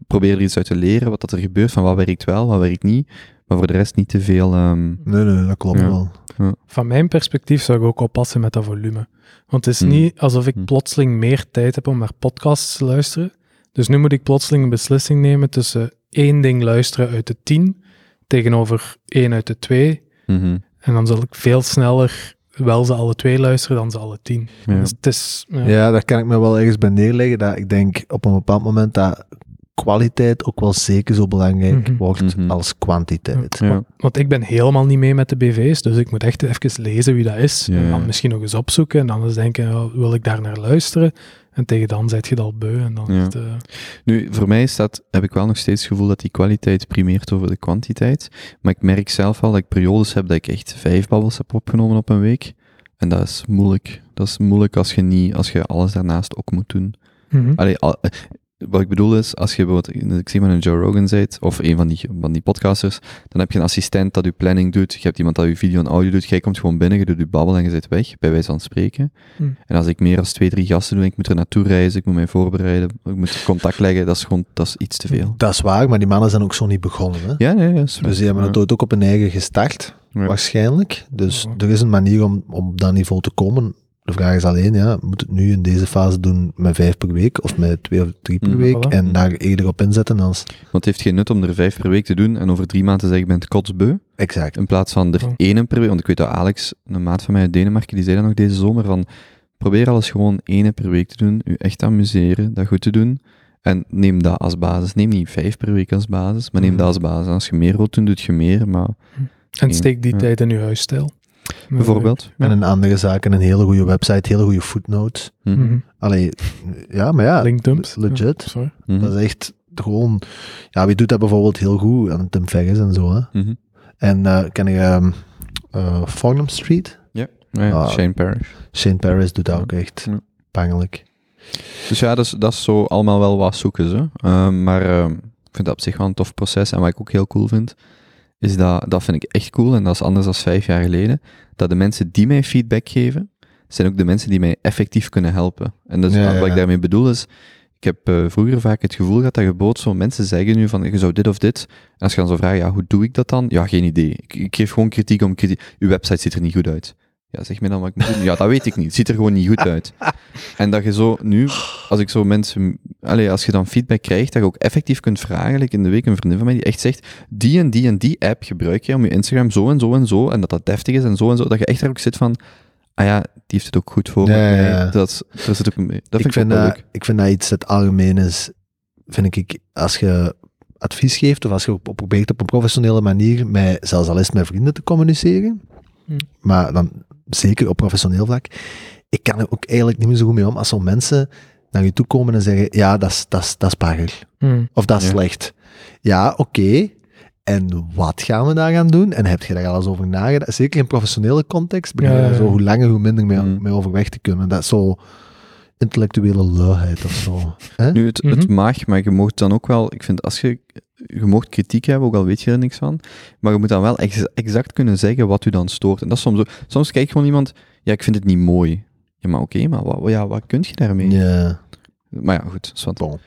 Speaker 1: probeer er iets uit te leren, wat dat er gebeurt, van wat werkt wel, wat werkt niet. Maar voor de rest niet te veel... ehm,
Speaker 3: Nee, nee, dat klopt
Speaker 1: Ja.
Speaker 3: wel.
Speaker 2: van mijn perspectief zou ik ook oppassen met dat volume. Want het is
Speaker 1: Hmm.
Speaker 2: niet alsof ik
Speaker 1: Hmm.
Speaker 2: plotseling meer tijd heb om naar podcasts te luisteren. Dus nu moet ik plotseling een beslissing nemen tussen één ding luisteren uit de tien tegenover één uit de twee.
Speaker 1: mhm.
Speaker 2: En dan zal ik veel sneller wel ze alle twee luisteren dan ze alle tien.
Speaker 1: Ja.
Speaker 2: Dus het is... ja.
Speaker 3: Ja, daar kan ik me wel ergens bij neerleggen. Dat ik denk op een bepaald moment dat kwaliteit ook wel zeker zo belangrijk
Speaker 2: Mhm.
Speaker 3: wordt
Speaker 1: Mhm.
Speaker 3: als kwantiteit.
Speaker 1: Ja.
Speaker 2: Want ik ben helemaal niet mee met de BV's, dus ik moet echt even lezen wie dat is.
Speaker 1: Ja,
Speaker 2: En dan
Speaker 1: ja.
Speaker 2: misschien nog eens opzoeken en dan eens denken, oh, wil ik daar naar luisteren? En tegen dan zet je het al beu en dan
Speaker 1: Ja.
Speaker 2: is het... eh,
Speaker 1: Nu, voor mij is dat, heb ik wel nog steeds het gevoel dat die kwaliteit primeert over de kwantiteit. Maar ik merk zelf wel dat ik periodes heb dat ik echt vijf babbels heb opgenomen op een week. En dat is moeilijk. Dat is moeilijk als je, niet, als je alles daarnaast ook moet doen.
Speaker 2: mhm.
Speaker 1: Allee, al- eh, wat ik bedoel is, als je bijvoorbeeld, ik zie maar een Joe Rogan bent, of een van die, van die podcasters, dan heb je een assistent dat je planning doet, je hebt iemand dat je video en audio doet, jij komt gewoon binnen, je doet je babbel en je zit weg, bij wijze van spreken.
Speaker 2: Hmm.
Speaker 1: En als ik meer dan twee, drie gasten doe, ik moet er naartoe reizen, ik moet mij voorbereiden, ik moet contact leggen, dat is gewoon, dat is iets te veel.
Speaker 3: Dat is waar, maar die mannen zijn ook zo niet begonnen. Hè?
Speaker 1: Ja, nee, dat is waar.
Speaker 3: Dus die hebben
Speaker 1: Ja.
Speaker 3: het ooit ook op hun eigen gestart,
Speaker 1: Ja.
Speaker 3: waarschijnlijk. Dus
Speaker 2: Ja.
Speaker 3: er is een manier om om op dat niveau te komen. De vraag is alleen, ja, moet het nu in deze fase doen met vijf per week of met twee of drie per
Speaker 1: Mhm.
Speaker 3: week
Speaker 2: Voilà.
Speaker 3: en daar eerder op inzetten als...
Speaker 1: Want het heeft geen nut om er vijf per week te doen en over drie maanden te zeggen, ik ben kotsbeu.
Speaker 3: Exact.
Speaker 1: In plaats van er
Speaker 2: Ja.
Speaker 1: één per week. Want ik weet dat Alex, een maat van mij uit Denemarken, die zei dat nog deze zomer: van probeer alles gewoon één per week te doen. U echt amuseren, dat goed te doen. En neem dat als basis. Neem niet vijf per week als basis, maar neem
Speaker 3: Mhm.
Speaker 1: dat als basis. En als je meer wilt doen, doet je meer. Maar
Speaker 2: En steek die
Speaker 1: Ja.
Speaker 2: tijd in je huisstijl.
Speaker 1: bijvoorbeeld.
Speaker 3: En in andere zaken een hele goede website, hele goede footnotes.
Speaker 1: Mhm.
Speaker 2: Mhm.
Speaker 3: Allee, ja, maar ja,
Speaker 1: Ah,
Speaker 2: Linkdumps.
Speaker 3: legit.
Speaker 2: Ja, sorry.
Speaker 1: Mhm.
Speaker 3: Dat is echt gewoon... Ja, wie doet dat bijvoorbeeld heel goed? En Tim Ferriss en zo, hè.
Speaker 1: Mhm.
Speaker 3: En eh, ken je ehm, eh, Farnham Street?
Speaker 1: Ja, ja,
Speaker 3: Ah.
Speaker 1: Shane Parrish.
Speaker 3: St. Paris doet dat ook echt
Speaker 1: Ja.
Speaker 3: pangelijk.
Speaker 1: Dus ja, dat is, dat is zo allemaal wel wat zoeken ze. Ehm, maar ehm, ik vind dat op zich wel een tof proces. En wat ik ook heel cool vind, is dat, dat vind ik echt cool, en dat is anders dan vijf jaar geleden, dat de mensen die mij feedback geven, zijn ook de mensen die mij effectief kunnen helpen. En dat is,
Speaker 3: Ja,
Speaker 1: wat
Speaker 3: ja,
Speaker 1: ik
Speaker 3: ja.
Speaker 1: daarmee bedoel is, ik heb eh, vroeger vaak het gevoel gehad dat je bood zo mensen zeggen nu van, je zou dit of dit. En als je dan zo vraagt, ja, hoe doe ik dat dan? Ja, geen idee. Ik, ik geef gewoon kritiek om kritiek. Uw website ziet er niet goed uit. Ja, zeg me dan wat ik moet doen. Ja, dat weet ik niet. Het ziet er gewoon niet goed uit. En dat je zo nu, als ik zo mensen, allee, als je dan feedback krijgt, dat je ook effectief kunt vragen. Like in de week een vriendin van mij die echt zegt, die en die en die app gebruik je om je Instagram zo en zo en zo, en dat dat deftig is en zo en zo, dat je echt daar ook zit van, ah ja, die heeft het ook goed voor
Speaker 3: Ja, ja,
Speaker 1: mij.
Speaker 3: ja.
Speaker 1: Dat, is- daar zit ook mee. Dat vind ik
Speaker 3: ik, vind
Speaker 1: wel
Speaker 3: dat,
Speaker 1: leuk.
Speaker 3: ik vind dat iets dat algemeen is. Vind ik, als je advies geeft of als je op- probeert op een professionele manier, met, zelfs al is het met vrienden te communiceren,
Speaker 2: Hm.
Speaker 3: maar dan zeker op professioneel vlak, ik kan er ook eigenlijk niet meer zo goed mee om als zo'n mensen naar je toe komen en zeggen, ja, dat is- dat is- dat is bagger.
Speaker 2: Hm.
Speaker 3: Of dat is
Speaker 1: Ja.
Speaker 3: slecht. Ja, oké. En wat gaan we daar aan doen? En heb je daar alles over nagedacht? Zeker in professionele context begin je
Speaker 2: Ja,
Speaker 3: daar
Speaker 2: ja,
Speaker 3: zo
Speaker 2: ja.
Speaker 3: hoe langer hoe minder mee,
Speaker 1: Mm.
Speaker 3: mee overweg te kunnen. Dat is zo intellectuele luiheid of zo. Hè?
Speaker 1: Nu, het, het
Speaker 2: Mhm.
Speaker 1: mag, maar je mocht dan ook wel, ik vind, als je, je mocht kritiek hebben, ook al weet je er niks van, maar je moet dan wel ex- exact kunnen zeggen wat u dan stoort. En dat is soms ook, soms kijkt gewoon iemand, ja, ik vind het niet mooi. Ja, maar oké, maar wat, ja, wat kun je daarmee?
Speaker 3: Ja.
Speaker 1: Maar ja, goed, Swant,
Speaker 3: Bon.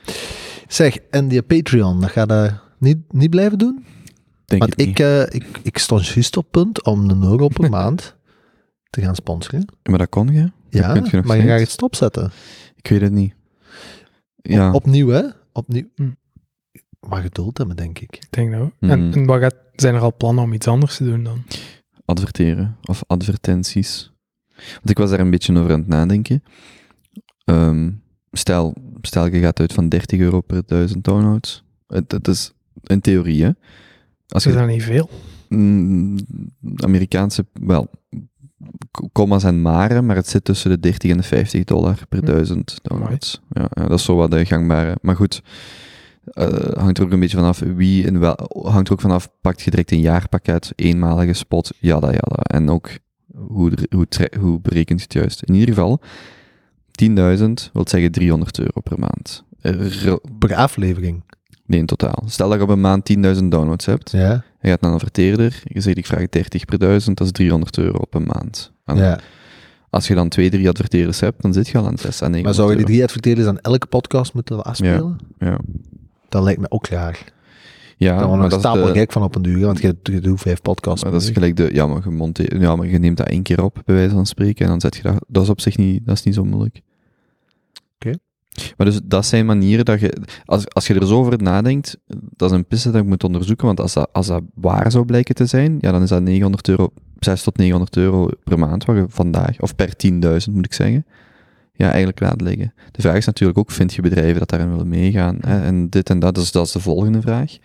Speaker 3: Zeg, en die Patreon, dat gaat dat niet, niet blijven doen?
Speaker 1: denk
Speaker 3: Want
Speaker 1: ik
Speaker 3: ik, eh, ik, ik stond juist op punt om een euro per maand te gaan sponsoren.
Speaker 1: Maar dat kon je?
Speaker 3: Ja,
Speaker 1: kunt je nog
Speaker 3: maar je gaat
Speaker 1: steeds.
Speaker 3: het stopzetten.
Speaker 1: Ik weet het niet. Ja,
Speaker 3: Opnieuw, hè? Opnieuw.
Speaker 2: Hm.
Speaker 3: Maar geduld hebben, denk ik.
Speaker 2: Ik denk dat ook.
Speaker 1: Hm.
Speaker 2: En, en wat gaat, zijn er al plannen om iets anders te doen dan?
Speaker 1: adverteren of advertenties. Want ik was daar een beetje over aan het nadenken. Ehm, stel, stel, je gaat uit van 30 euro per 1000 downloads. Het- Dat is in theorie, hè? Als
Speaker 2: Ze
Speaker 1: je
Speaker 2: zijn niet veel.
Speaker 1: Mm, Amerikaanse, wel, k- commas en maren, maar het zit tussen de 30 en de 50 dollar per
Speaker 2: Hm.
Speaker 1: duizend downloads. Ja, ja, dat is zo wat de gangbare. Maar goed, eh, hangt er ook een beetje vanaf wie en wel, hangt er ook vanaf, pakt je direct een jaarpakket, eenmalige spot, jada jada. En ook, hoe, er- hoe, tre- hoe berekent je het juist? In ieder geval, 10.000 wil zeggen 300 euro per maand. Er-
Speaker 3: Per aflevering.
Speaker 1: Nee, in totaal. Stel dat je op een maand 10.000 downloads hebt.
Speaker 3: Ja.
Speaker 1: Je gaat naar een verteerder, je zegt ik vraag 30 per duizend, dat is 300 euro op een maand. En
Speaker 3: ja.
Speaker 1: Als je dan twee, drie adverteerders hebt, dan zit je al aan 6 en 9
Speaker 3: Maar zou je die drie adverteerders aan elke podcast moeten afspelen?
Speaker 1: Ja.
Speaker 3: Dat lijkt me ook raar.
Speaker 1: Ja,
Speaker 3: Daar
Speaker 1: maar
Speaker 3: worden we
Speaker 1: dat,
Speaker 3: een
Speaker 1: is
Speaker 3: stapel
Speaker 1: de-
Speaker 3: gek van op een duur, want je, je doet vijf podcasts.
Speaker 1: maar dat is
Speaker 3: per
Speaker 1: gelijk de... Ja maar, je monte- ja, maar je neemt dat één keer op, bij wijze van spreken, en dan zet je dat... Dat is op zich niet, dat is niet zo moeilijk.
Speaker 3: Oké.
Speaker 1: Maar dus, dat zijn manieren dat je... Als, als je er zo over nadenkt, dat is een piste dat je moet onderzoeken, want als dat, als dat waar zou blijken te zijn, ja, dan is dat 900 euro, 6 tot 900 euro per maand, wat je vandaag... Of per 10.000, moet ik zeggen. ja, eigenlijk laat liggen. De vraag is natuurlijk ook, vind je bedrijven dat daarin willen meegaan? Hè? En dit en dat, dus dat is de volgende vraag.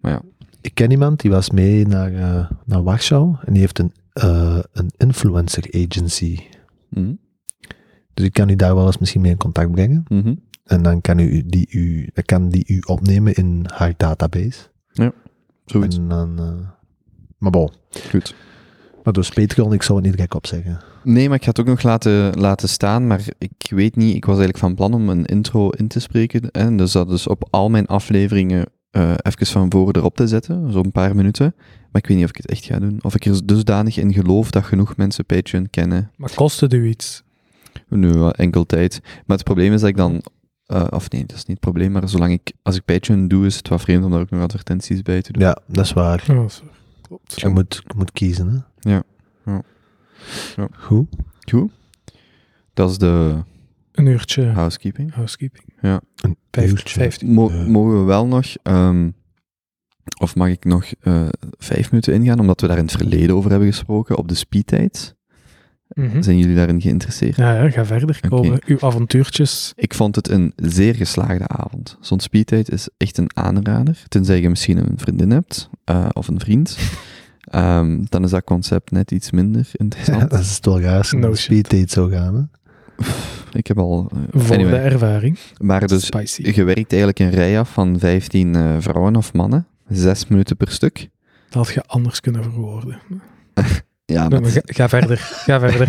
Speaker 3: week. Ik ken iemand die was mee naar, eh, naar Warschau en die heeft een, eh, een influencer agency.
Speaker 1: Mhm.
Speaker 3: Dus ik kan u daar wel eens misschien mee in contact brengen.
Speaker 1: Mhm.
Speaker 3: En dan kan, u die, u, dan kan die u opnemen in haar database.
Speaker 1: Zoiets,
Speaker 3: En dan, eh, maar bon.
Speaker 1: goed.
Speaker 3: Maar dus Patreon, ik zou het niet gek opzeggen.
Speaker 1: Nee, maar ik ga het ook nog laten, laten staan, maar ik weet niet, ik was eigenlijk van plan om een intro in te spreken, hè? dus dat is op al mijn afleveringen eh, even van voren erop te zetten, zo'n paar minuten. Maar ik weet niet of ik het echt ga doen. Of ik er dusdanig in geloof dat genoeg mensen Patreon kennen
Speaker 2: Maar kost het u iets?
Speaker 1: Nu, wel enkel tijd. Maar het probleem is dat ik dan... eh, of nee, dat is niet het probleem, maar zolang ik... Als ik Patreon doe, is het wel vreemd om daar ook nog advertenties bij te doen.
Speaker 3: Ja, dat is waar.
Speaker 2: Ja, dat is-
Speaker 3: Je moet, je moet kiezen, hè?
Speaker 1: Ja. Ja. Ja.
Speaker 3: Goed.
Speaker 1: Dat is de
Speaker 2: Een uurtje
Speaker 1: Ah. housekeeping.
Speaker 2: housekeeping.
Speaker 3: Een
Speaker 2: Vijf-
Speaker 3: uurtje.
Speaker 2: vijftien.
Speaker 1: Mo-
Speaker 3: Ja.
Speaker 1: Mogen we wel nog... ehm, of mag ik nog eh, vijf minuten ingaan, omdat we daar in het verleden over hebben gesproken, op de speedtijd?
Speaker 2: Mhm.
Speaker 1: Zijn jullie daarin geïnteresseerd?
Speaker 2: Ja, ja, ga verder komen. Uw avontuurtjes.
Speaker 1: Ik vond het een zeer geslaagde avond. Zo'n speedtijd is echt een aanrader. Tenzij je misschien een vriendin hebt eh, of een vriend. Ehm, dan is dat concept net iets minder
Speaker 3: Ja,
Speaker 1: interessant.
Speaker 3: dat is toch raar als
Speaker 2: No
Speaker 3: een
Speaker 2: shit.
Speaker 3: speeddate zou gaan. Hè?
Speaker 1: Ik heb al... eh,
Speaker 2: Voor
Speaker 1: anyway.
Speaker 2: de ervaring.
Speaker 1: Maar dus,
Speaker 2: Spicy.
Speaker 1: je werkt eigenlijk een rij af van 15 eh, vrouwen of mannen. Zes minuten per stuk.
Speaker 2: Dat had je anders kunnen verwoorden.
Speaker 1: Ah, Ja,
Speaker 2: Maar
Speaker 1: met-
Speaker 2: ga, ga verder, ga verder.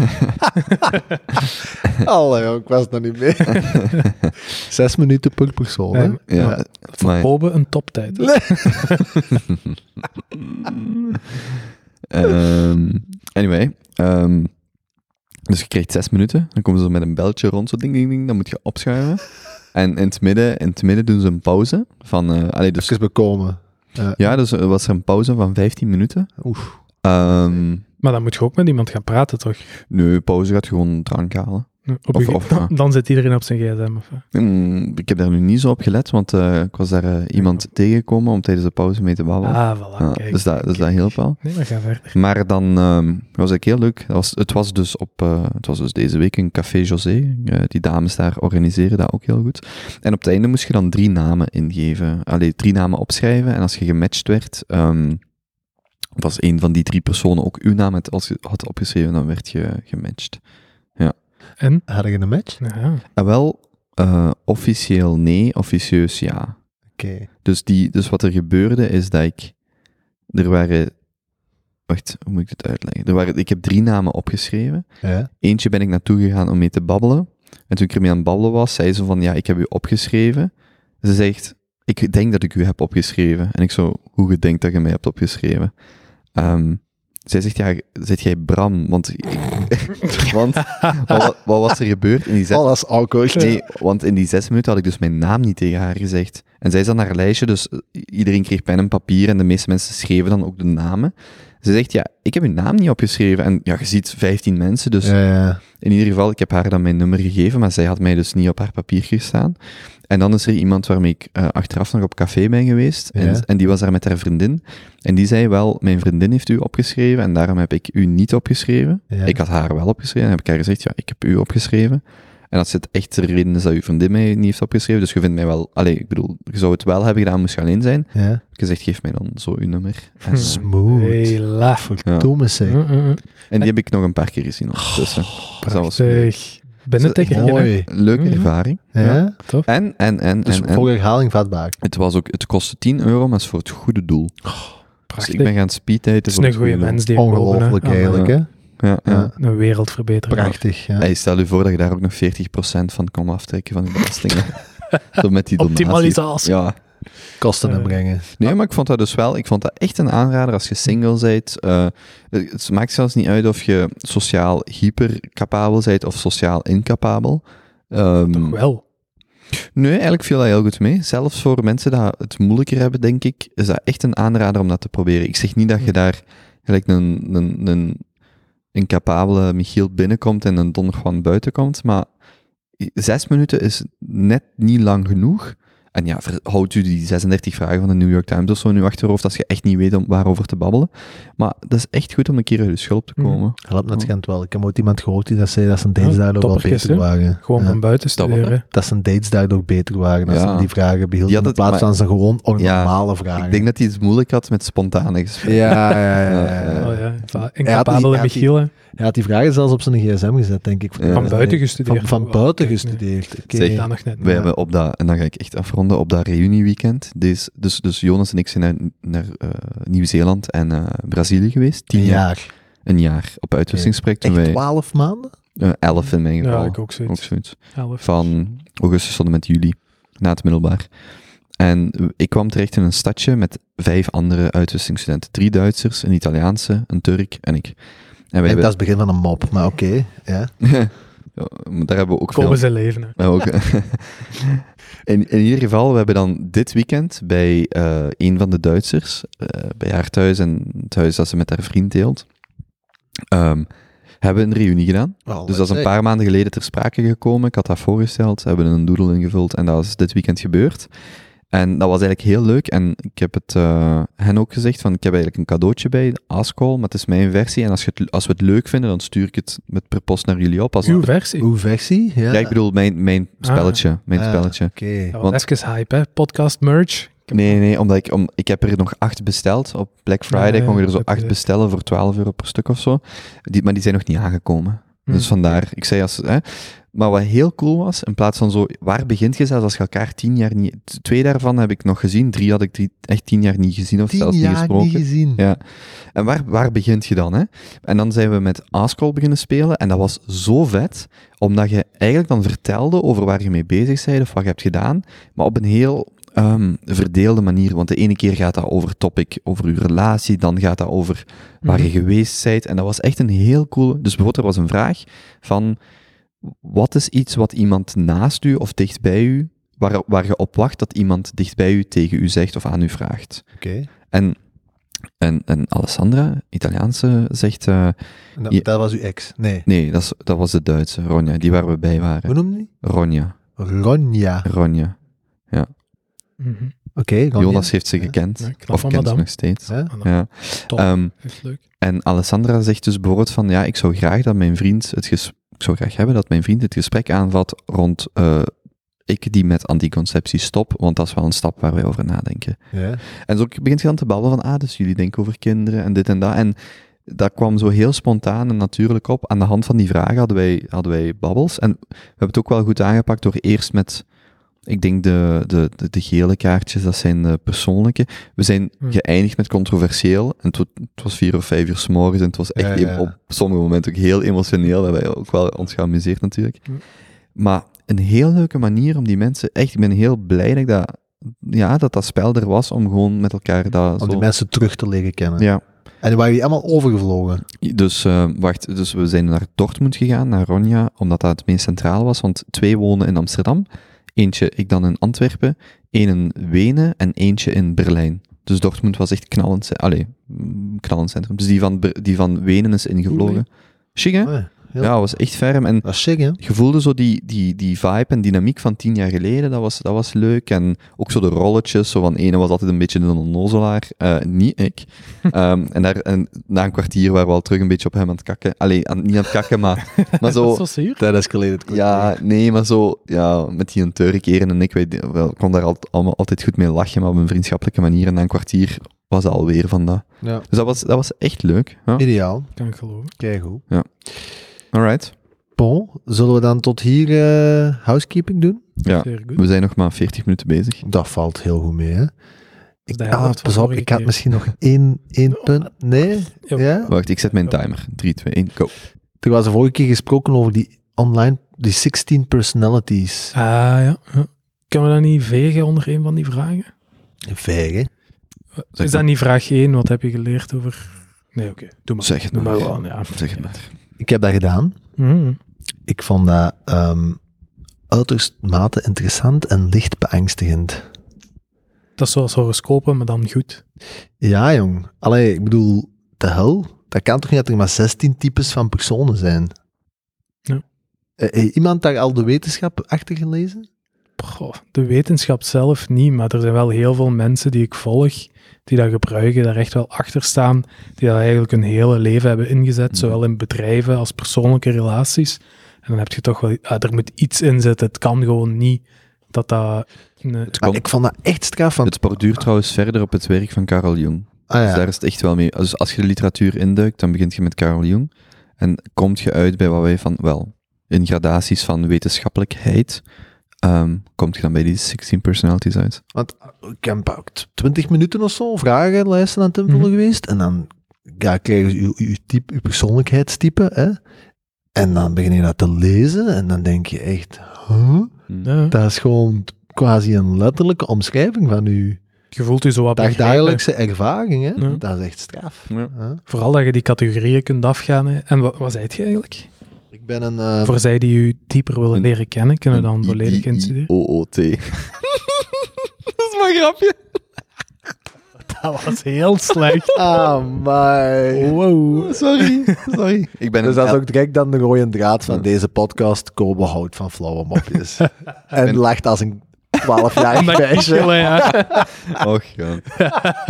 Speaker 3: Allee, ik was er niet mee. Zes minuten per persoon, hè?
Speaker 2: Ehm,
Speaker 1: ja,
Speaker 2: ja, voor
Speaker 1: maar-
Speaker 2: Kobe een toptijd.
Speaker 1: Ehm, anyway. ehm, dus je krijgt zes minuten. Dan komen ze met een beltje rond, zo ding, ding, ding. Dan moet je opschuiven. En in het midden, in het midden doen ze een pauze. Van, eh, allee, dus,
Speaker 3: Even bekomen.
Speaker 1: ja, dus er was er een pauze van 15 minuten.
Speaker 3: Oef.
Speaker 1: Ehm
Speaker 2: Maar dan moet je ook met iemand gaan praten, toch?
Speaker 1: nu, pauze gaat gewoon drank halen.
Speaker 2: Op
Speaker 1: Of-
Speaker 2: je-
Speaker 1: of,
Speaker 2: dan, dan zit iedereen op zijn gsm. Of, eh.
Speaker 1: Mm, ik heb daar nu niet zo op gelet, want eh, ik was daar eh, iemand tegengekomen om tijdens de pauze mee te babbelen.
Speaker 2: ah, voilà,
Speaker 1: Ja,
Speaker 2: kijk.
Speaker 1: dus, dat, dus dat hielp wel.
Speaker 2: Nee, maar ga verder.
Speaker 1: Maar dan ehm, was ik heel leuk. Dat was, het, was dus op, eh, het was dus deze week een Café José. Eh, die dames daar organiseren dat ook heel goed. En op het einde moest je dan drie namen ingeven. Allee, drie namen opschrijven. En als je gematcht werd, ehm, was een van die drie personen ook uw naam had, als je had opgeschreven, dan werd je gematcht.
Speaker 2: En?
Speaker 3: Had ik een match?
Speaker 2: Ja.
Speaker 1: En wel, eh, officieel nee, officieus ja.
Speaker 3: Oké.
Speaker 1: Dus, die, dus wat er gebeurde is dat ik. Er waren. Wacht, hoe moet ik dit uitleggen? Er waren, ik heb drie namen opgeschreven.
Speaker 3: Ja.
Speaker 1: Eentje ben ik naartoe gegaan om mee te babbelen. En toen ik ermee aan het babbelen was, zei ze van ja, ik heb u opgeschreven. Ze zegt, ik denk dat ik u heb opgeschreven. En ik zo, hoe je denkt dat je mij hebt opgeschreven. Ehm, zij zegt, ja, zit jij Bram? Want, want wat, wa- wat was er gebeurd in die zes
Speaker 3: Oh, dat is awkward.
Speaker 1: Nee, want in die zes minuten had ik dus mijn naam niet tegen haar gezegd. En zij zat naar haar lijstje, dus eh, iedereen kreeg pen en papier en de meeste mensen schreven dan ook de namen. Ze zegt, ja, ik heb uw naam niet opgeschreven. En ja, je ziet 15 mensen, dus
Speaker 3: Ja, ja.
Speaker 1: in ieder geval, ik heb haar dan mijn nummer gegeven, maar zij had mij dus niet op haar papiertje staan. En dan is er iemand waarmee ik eh, achteraf nog op café ben geweest,
Speaker 3: Ja.
Speaker 1: en, en die was daar met haar vriendin. En die zei wel, mijn vriendin heeft u opgeschreven, en daarom heb ik u niet opgeschreven.
Speaker 3: Ja.
Speaker 1: Ik had haar wel opgeschreven. En heb ik haar gezegd, ja, ik heb u opgeschreven. En als het echt de reden is dat uw vriendin mij niet heeft opgeschreven, dus je vindt mij wel... Allee, ik bedoel, je zou het wel hebben gedaan, moest je alleen zijn. Heb
Speaker 3: ja.
Speaker 1: ik gezegd, geef mij dan zo uw nummer. En, eh,
Speaker 3: Smooth.
Speaker 2: Hey, laf.
Speaker 1: ja.
Speaker 3: Domme zeg.
Speaker 2: Uh, uh, uh.
Speaker 1: en die heb ik nog een paar keer gezien ondertussen.
Speaker 3: Oh,
Speaker 1: Dus dat was een
Speaker 2: Zeg, binnentekker. hè?
Speaker 3: Mooi.
Speaker 1: leuke
Speaker 2: Mhm.
Speaker 1: ervaring.
Speaker 3: Ja?
Speaker 2: Tof.
Speaker 1: En, en, en,
Speaker 3: Dus
Speaker 1: en, en.
Speaker 3: voor herhaling vatbaar.
Speaker 1: Het, was ook, het kostte 10 euro, maar het is voor het goede doel. Dus
Speaker 2: Prachtig.
Speaker 1: ik ben gaan speeddaten voor
Speaker 2: Het is een
Speaker 1: het
Speaker 2: goede
Speaker 1: goede
Speaker 2: mens die
Speaker 3: Ongelooflijk
Speaker 2: kopen, hè.
Speaker 3: eigenlijk, hè?
Speaker 1: doel. Ja, ja.
Speaker 3: Ja.
Speaker 2: Een wereldverbeterer.
Speaker 3: Prachtig, ja.
Speaker 1: Hey, stel je voor dat je daar ook nog 40% van kon aftrekken van je belastingen. Zo met die donaties.
Speaker 2: Optimalisatie.
Speaker 1: Ja,
Speaker 3: Kosten
Speaker 2: Eh.
Speaker 3: inbrengen.
Speaker 1: Nee, maar ik vond dat dus wel. Ik vond dat echt een aanrader als je single bent. Eh, het maakt zelfs niet uit of je sociaal hypercapabel bent of sociaal incapabel. Ehm,
Speaker 2: Toch wel.
Speaker 1: nee, eigenlijk viel dat heel goed mee. Zelfs voor mensen die het moeilijker hebben, denk ik, is dat echt een aanrader om dat te proberen. Ik zeg niet dat je daar gelijk een, een, een incapabele Michiel binnenkomt en een Don Juan buiten komt, maar zes minuten is net niet lang genoeg. En ja, ver- houdt u die 36 vragen van de New York Times of zo in uw achterhoofd als je echt niet weet om waarover te babbelen. Maar dat is echt goed om een keer uit je schulp te
Speaker 2: Mhm.
Speaker 1: komen.
Speaker 3: Helpt net kent wel. Ik heb ooit iemand gehoord die dat zei dat zijn dates
Speaker 2: Ja,
Speaker 3: daardoor wel
Speaker 2: toppertjes,
Speaker 3: beter
Speaker 2: hè?
Speaker 3: waren.
Speaker 2: Gewoon
Speaker 3: Ja.
Speaker 2: van buiten
Speaker 1: Dat wel, hè?
Speaker 2: studeren.
Speaker 3: Dat zijn dates daardoor beter waren als
Speaker 1: Ja.
Speaker 3: ze die vragen
Speaker 1: Die
Speaker 3: behielden.
Speaker 1: had
Speaker 3: In
Speaker 1: het-
Speaker 3: plaats van ze gewoon normale
Speaker 1: Ik
Speaker 3: vragen.
Speaker 1: denk dat hij het moeilijk had met spontane
Speaker 3: Ja,
Speaker 1: gesprekken.
Speaker 3: ja, ja. ja, ja.
Speaker 1: Ja.
Speaker 2: Oh ja, va- incapabele
Speaker 3: hij had die-
Speaker 2: Michiel. hè.
Speaker 3: Hij had die vragen zelfs op zijn gsm gezet, denk ik.
Speaker 1: Ja.
Speaker 2: Van buiten gestudeerd.
Speaker 3: Van, van buiten gestudeerd. Oké.
Speaker 1: Zeg,
Speaker 2: Nee, dat nog net.
Speaker 1: We hebben op dat, en dan ga ik echt afronden, op dat reunieweekend. Deze, dus, dus Jonas en ik zijn naar, naar eh, Nieuw-Zeeland en eh, Brazilië geweest. Tien
Speaker 3: Een
Speaker 1: jaar.
Speaker 3: jaar.
Speaker 1: Een jaar op uitwisselingsproject. Toen
Speaker 3: Echt
Speaker 1: wij
Speaker 3: twaalf maanden?
Speaker 1: eh, elf in mijn geval.
Speaker 2: Ja, ik ook
Speaker 1: ook
Speaker 2: zoiets.
Speaker 1: zoiets.
Speaker 2: Elf.
Speaker 1: Van augustus tot en met juli, na het middelbaar. En ik kwam terecht in een stadje met vijf andere uitwisselingsstudenten. Drie Duitsers, een Italiaanse, een Turk en ik. En wij
Speaker 3: En dat
Speaker 1: hebben,
Speaker 3: is het begin van een mop, maar oké. Ja.
Speaker 1: Ja, daar hebben we ook veel
Speaker 2: Komen ze leven. hè.
Speaker 1: Maar ook, in, in ieder geval, we hebben dan dit weekend bij eh, een van de Duitsers, eh, bij haar thuis en het huis dat ze met haar vriend deelt, ehm, hebben een reunie gedaan.
Speaker 3: Wel,
Speaker 1: Dus dat is een
Speaker 3: zeg.
Speaker 1: paar maanden geleden ter sprake gekomen. Ik had dat voorgesteld, ze hebben een doodle ingevuld en dat is dit weekend gebeurd. En dat was eigenlijk heel leuk. En ik heb het eh, hen ook gezegd, van ik heb eigenlijk een cadeautje bij, de Ascall, maar het is mijn versie. En als, je het, als we het leuk vinden, dan stuur ik het met per post naar jullie op. Als
Speaker 2: Uw versie.
Speaker 3: Uw versie? Ja,
Speaker 1: ja, ik bedoel, mijn, mijn spelletje. Mijn
Speaker 3: Ah,
Speaker 1: spelletje.
Speaker 3: Oké.
Speaker 2: Dat was
Speaker 1: want-
Speaker 2: even hype, hè. Podcast merch. heb-
Speaker 1: Nee, nee, omdat ik, om, ik heb er nog acht besteld. Op Black Friday
Speaker 2: Ah, ja,
Speaker 1: kon je er
Speaker 2: ik
Speaker 1: zo
Speaker 2: heb
Speaker 1: acht
Speaker 2: het.
Speaker 1: bestellen voor 12 euro per stuk of zo. Die, maar die zijn nog niet aangekomen.
Speaker 2: Hmm.
Speaker 1: Dus
Speaker 2: Mm.
Speaker 1: vandaar, ik zei als... Hè, maar wat heel cool was, in plaats van zo, waar begint je zelfs als je elkaar tien jaar niet... t- Twee daarvan heb ik nog gezien, drie had ik drie- echt tien jaar niet gezien of
Speaker 3: Tien
Speaker 1: zelfs niet
Speaker 3: jaar
Speaker 1: gesproken.
Speaker 3: niet gezien.
Speaker 1: Ja. En waar, waar begint je dan? Hè? En dan zijn we met Ascol beginnen spelen en dat was zo vet, omdat je eigenlijk dan vertelde over waar je mee bezig bent of wat je hebt gedaan, maar op een heel ehm, verdeelde manier. Want de ene keer gaat dat over topic, over je relatie, dan gaat dat over waar je geweest bent. En dat was echt een heel cool... Dus bijvoorbeeld, er was een vraag van... Wat is iets wat iemand naast u of dicht bij u... Waar, waar je op wacht dat iemand dicht bij u tegen u zegt of aan u vraagt?
Speaker 3: Oké.
Speaker 1: En, en, en Alessandra, Italiaanse, zegt... eh,
Speaker 3: Dat,
Speaker 1: Ja.
Speaker 3: dat was uw ex. Nee.
Speaker 1: nee, dat, is- dat was de Duitse, Ronja, die waar we bij waren.
Speaker 3: Hoe noemde die?
Speaker 1: Ronja,
Speaker 3: Ronja.
Speaker 1: Ronja.
Speaker 2: Mhm.
Speaker 3: Oké, Ronja.
Speaker 1: Jonas heeft ze
Speaker 3: Ja.
Speaker 1: gekend,
Speaker 2: Ja, knap
Speaker 1: of
Speaker 2: van
Speaker 1: kent ze
Speaker 2: madame.
Speaker 1: nog steeds.
Speaker 3: Hè?
Speaker 2: Ah, nou,
Speaker 1: Ja.
Speaker 2: Top.
Speaker 1: Ehm,
Speaker 2: Echt leuk.
Speaker 1: En Alessandra zegt dus bijvoorbeeld van, ja, ik zou graag dat mijn vriend het ges- ik zou graag hebben dat mijn vriend het gesprek aanvat rond eh, ik die met anticonceptie stop, want dat is wel een stap waar wij over nadenken.
Speaker 3: Ja.
Speaker 1: En zo begint je dan te babbelen van, ah, dus jullie denken over kinderen en dit en dat. En dat kwam zo heel spontaan en natuurlijk op. Aan de hand van die vragen hadden wij, hadden wij babbels. En we hebben het ook wel goed aangepakt door eerst met, ik denk de, de, de, de gele kaartjes, dat zijn de persoonlijke. We zijn
Speaker 3: Hm.
Speaker 2: Hmm.
Speaker 1: geëindigd met controversieel. En het, wa- het was vier of vijf uur s morgens en het was echt
Speaker 3: Ja, ja, ja.
Speaker 1: op sommige momenten ook heel emotioneel. We hebben ook wel ons geamuseerd natuurlijk.
Speaker 3: Hm.
Speaker 2: Hmm.
Speaker 1: Maar een heel leuke manier om die mensen, echt, ik ben heel blij dat ik dat, ja, dat, dat spel er was om gewoon met elkaar dat
Speaker 3: Om
Speaker 1: zo...
Speaker 3: die mensen terug te leren kennen.
Speaker 1: Ja.
Speaker 3: En die waren die allemaal overgevlogen.
Speaker 1: Dus eh, wacht, dus we zijn naar Dortmund gegaan, naar Ronja, omdat dat het meest centraal was, want twee wonen in Amsterdam. Eentje, ik dan in Antwerpen, één in Wenen en eentje in Berlijn. Dus Dortmund was echt knallend, ce- allee, mm, knallend centrum. Dus die van, Ber- die van Wenen is ingevlogen. Chic, hè?
Speaker 3: Oh Ja. heel-
Speaker 1: Ja, was echt ferm. En
Speaker 3: Dat is chic, hè?
Speaker 1: je voelde zo die, die, die vibe en dynamiek van tien jaar geleden, dat was, dat was leuk. En ook zo de rolletjes, zo van ene was altijd een beetje een onnozelaar, eh, niet ik. Ehm, en, daar, en na een kwartier waren we al terug een beetje op hem aan het kakken. Allee, aan, niet aan het kakken, maar, maar zo...
Speaker 2: Dat is zo zuur.
Speaker 3: Dat escalated
Speaker 1: Ja, nee, maar zo, ja, met die Turkeren en ik, wij, wel, ik kon daar al, allemaal altijd goed mee lachen, maar op een vriendschappelijke manier. En na een kwartier was dat alweer van dat.
Speaker 3: Ja.
Speaker 1: Dus dat was, dat was echt leuk. Ja.
Speaker 3: Ideaal.
Speaker 2: Kan ik geloven.
Speaker 3: Kijk goed.
Speaker 1: Alright.
Speaker 3: Bon, zullen we dan tot hier eh, housekeeping doen?
Speaker 1: Ja,
Speaker 2: Zeer goed.
Speaker 1: we zijn nog maar 40 minuten bezig.
Speaker 3: Dat valt heel goed mee, hè? Ik,
Speaker 2: de
Speaker 3: ah,
Speaker 2: helft van
Speaker 3: pas op,
Speaker 2: vorige
Speaker 3: ik had
Speaker 2: keer.
Speaker 3: misschien nog één, één punt. Nee?
Speaker 2: Ja.
Speaker 3: Ja?
Speaker 1: Wacht, ik zet mijn timer. 3, 2, 1, go.
Speaker 3: Er was de vorige keer gesproken over die online, die 16 personalities.
Speaker 2: Ah ja. ja. Kunnen we dat niet vegen onder een van die vragen?
Speaker 3: Vijgen.
Speaker 1: Eh, Zeg
Speaker 2: is dat niet vraag 1? Wat heb je geleerd over... Nee, oké. Doe maar.
Speaker 1: Zeg het
Speaker 2: Doe maar
Speaker 1: maar.
Speaker 2: gewoon, ja.
Speaker 1: Zeg het maar.
Speaker 3: Ik heb dat gedaan.
Speaker 2: Mhm.
Speaker 3: Ik vond dat ehm uiterst mate interessant en licht beangstigend.
Speaker 2: Dat is zoals horoscopen, maar dan goed.
Speaker 3: Ja, jong. Allee, ik bedoel, de hel. Dat kan toch niet dat er maar 16 types van personen zijn?
Speaker 2: Ja.
Speaker 3: Eh, eh, iemand daar al de wetenschap achter gelezen?
Speaker 2: Goh, de wetenschap zelf niet, maar er zijn wel heel veel mensen die ik volg, die dat gebruiken, daar echt wel achter staan, die dat eigenlijk hun hele leven hebben
Speaker 1: Mhm.
Speaker 2: ingezet, zowel in bedrijven als persoonlijke relaties. En dan heb je toch wel, ah, er moet iets in zitten, het kan gewoon niet dat dat... Nee.
Speaker 1: Het,
Speaker 3: Ah,
Speaker 1: komt,
Speaker 3: ik vond dat echt straf. Want,
Speaker 1: het borduurt trouwens verder op het werk van Carl Jung.
Speaker 3: ah,
Speaker 1: Dus
Speaker 3: ja.
Speaker 1: daar is het echt wel mee. Dus als je de literatuur induikt, dan begint je met Carl Jung. En komt je uit bij wat wij van, wel, in gradaties van wetenschappelijkheid, ehm, komt je dan bij die 16 personalities uit.
Speaker 3: ik heb een paar- t- 20 minuten of zo vragenlijsten aan het invullen
Speaker 2: Mhm.
Speaker 3: geweest. En dan ja, krijg je uw, uw, type, uw persoonlijkheidstype. Hè? En dan begin je dat te lezen. En dan denk je echt, huh?
Speaker 2: Ja,
Speaker 3: dat is gewoon t- quasi een letterlijke omschrijving van uw
Speaker 2: je voelt je zo wat begrepen.
Speaker 3: dagdagelijkse ervaring. Hè?
Speaker 2: Ja.
Speaker 3: Dat is echt straf.
Speaker 1: Ja.
Speaker 3: hè.
Speaker 2: Vooral dat je die categorieën kunt afgaan. hè. En wat, wat zei je eigenlijk?
Speaker 3: Ik ben een... eh,
Speaker 2: Voor zij die je dieper willen
Speaker 1: een-
Speaker 2: leren kennen, kunnen dan
Speaker 1: Een
Speaker 2: volledig
Speaker 1: I- I-
Speaker 2: instuderen.
Speaker 1: OOT. Dat is mijn grapje.
Speaker 2: Dat was heel slecht.
Speaker 3: Ah, my.
Speaker 2: Wow.
Speaker 3: Sorry, sorry.
Speaker 1: Ik ben
Speaker 3: Dus
Speaker 1: een
Speaker 3: dat is ook direct dan de rode draad van deze podcast. Kobo houdt van flauwe mopjes. en lacht als een 12-jarig
Speaker 2: Dat is
Speaker 3: meisje.
Speaker 2: ja.
Speaker 1: elf. Och, ja.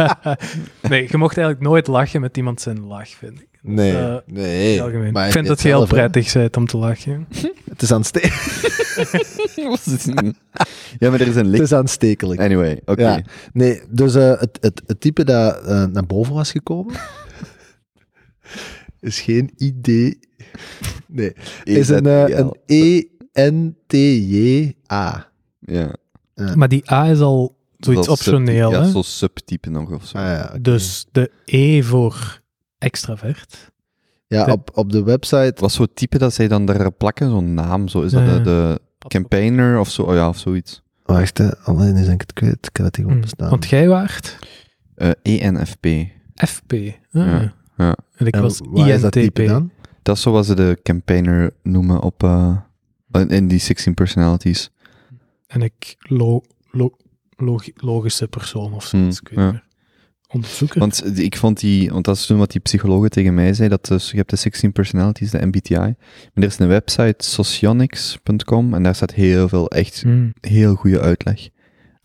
Speaker 2: Nee, je mocht eigenlijk nooit lachen met iemand zijn lach, vind ik.
Speaker 3: Nee,
Speaker 2: Eh,
Speaker 3: nee.
Speaker 2: Algemeen.
Speaker 3: Maar
Speaker 2: ik vind
Speaker 3: je
Speaker 2: dat je heel
Speaker 3: zelf, hè.
Speaker 2: prettig bent om te lachen.
Speaker 3: Het is, aanste-
Speaker 1: Was het niet? ja, maar er is een
Speaker 3: het
Speaker 1: licht.
Speaker 3: is aanstekelijk.
Speaker 1: Anyway, oké.
Speaker 3: Dus-
Speaker 1: E
Speaker 3: Ja. Nee, dus eh, het, het, het type dat eh, naar boven was gekomen, is geen idee Nee,
Speaker 2: E
Speaker 3: is een, eh, een E-N-T-J-A.
Speaker 1: Ja.
Speaker 2: Maar die A is al zoiets
Speaker 1: Dat is
Speaker 2: optioneel,
Speaker 1: subtype-
Speaker 2: hè?
Speaker 1: Ja, zo'n subtype nog of zo.
Speaker 3: Ah, ja, oké.
Speaker 2: Dus de E voor extravert.
Speaker 3: ja, op, op de website.
Speaker 1: Wat zo'n type dat zij dan daar plakken, zo'n naam, zo is dat
Speaker 2: Ja, ja.
Speaker 1: de, de campaigner of zo, oh ja, of zoiets.
Speaker 3: Wacht, hè, alleen is ik het kwijt. Ik heb het hier gewoon
Speaker 2: Hm.
Speaker 3: bestaan.
Speaker 2: Want jij waart
Speaker 1: Eh, ENFP.
Speaker 2: FP. Ah,
Speaker 1: Ja, ja.
Speaker 2: En ik
Speaker 3: En
Speaker 2: was
Speaker 3: waar is dat
Speaker 2: INTP.
Speaker 3: type dan?
Speaker 1: Dat is zoals ze de campaigner noemen op, eh, in- in die 16 personalities.
Speaker 2: En ik lo, lo- log- logische persoon of zo.
Speaker 1: Hmm,
Speaker 2: ik weet niet
Speaker 1: ja.
Speaker 2: meer. Onderzoeker.
Speaker 1: Want ik vond die, want dat is toen wat die psychologen tegen mij zei, dat dus, je hebt de 16 personalities, de MBTI, maar er is een website, socionics.com, en daar staat heel veel, echt
Speaker 2: Hmm,
Speaker 1: heel goede uitleg.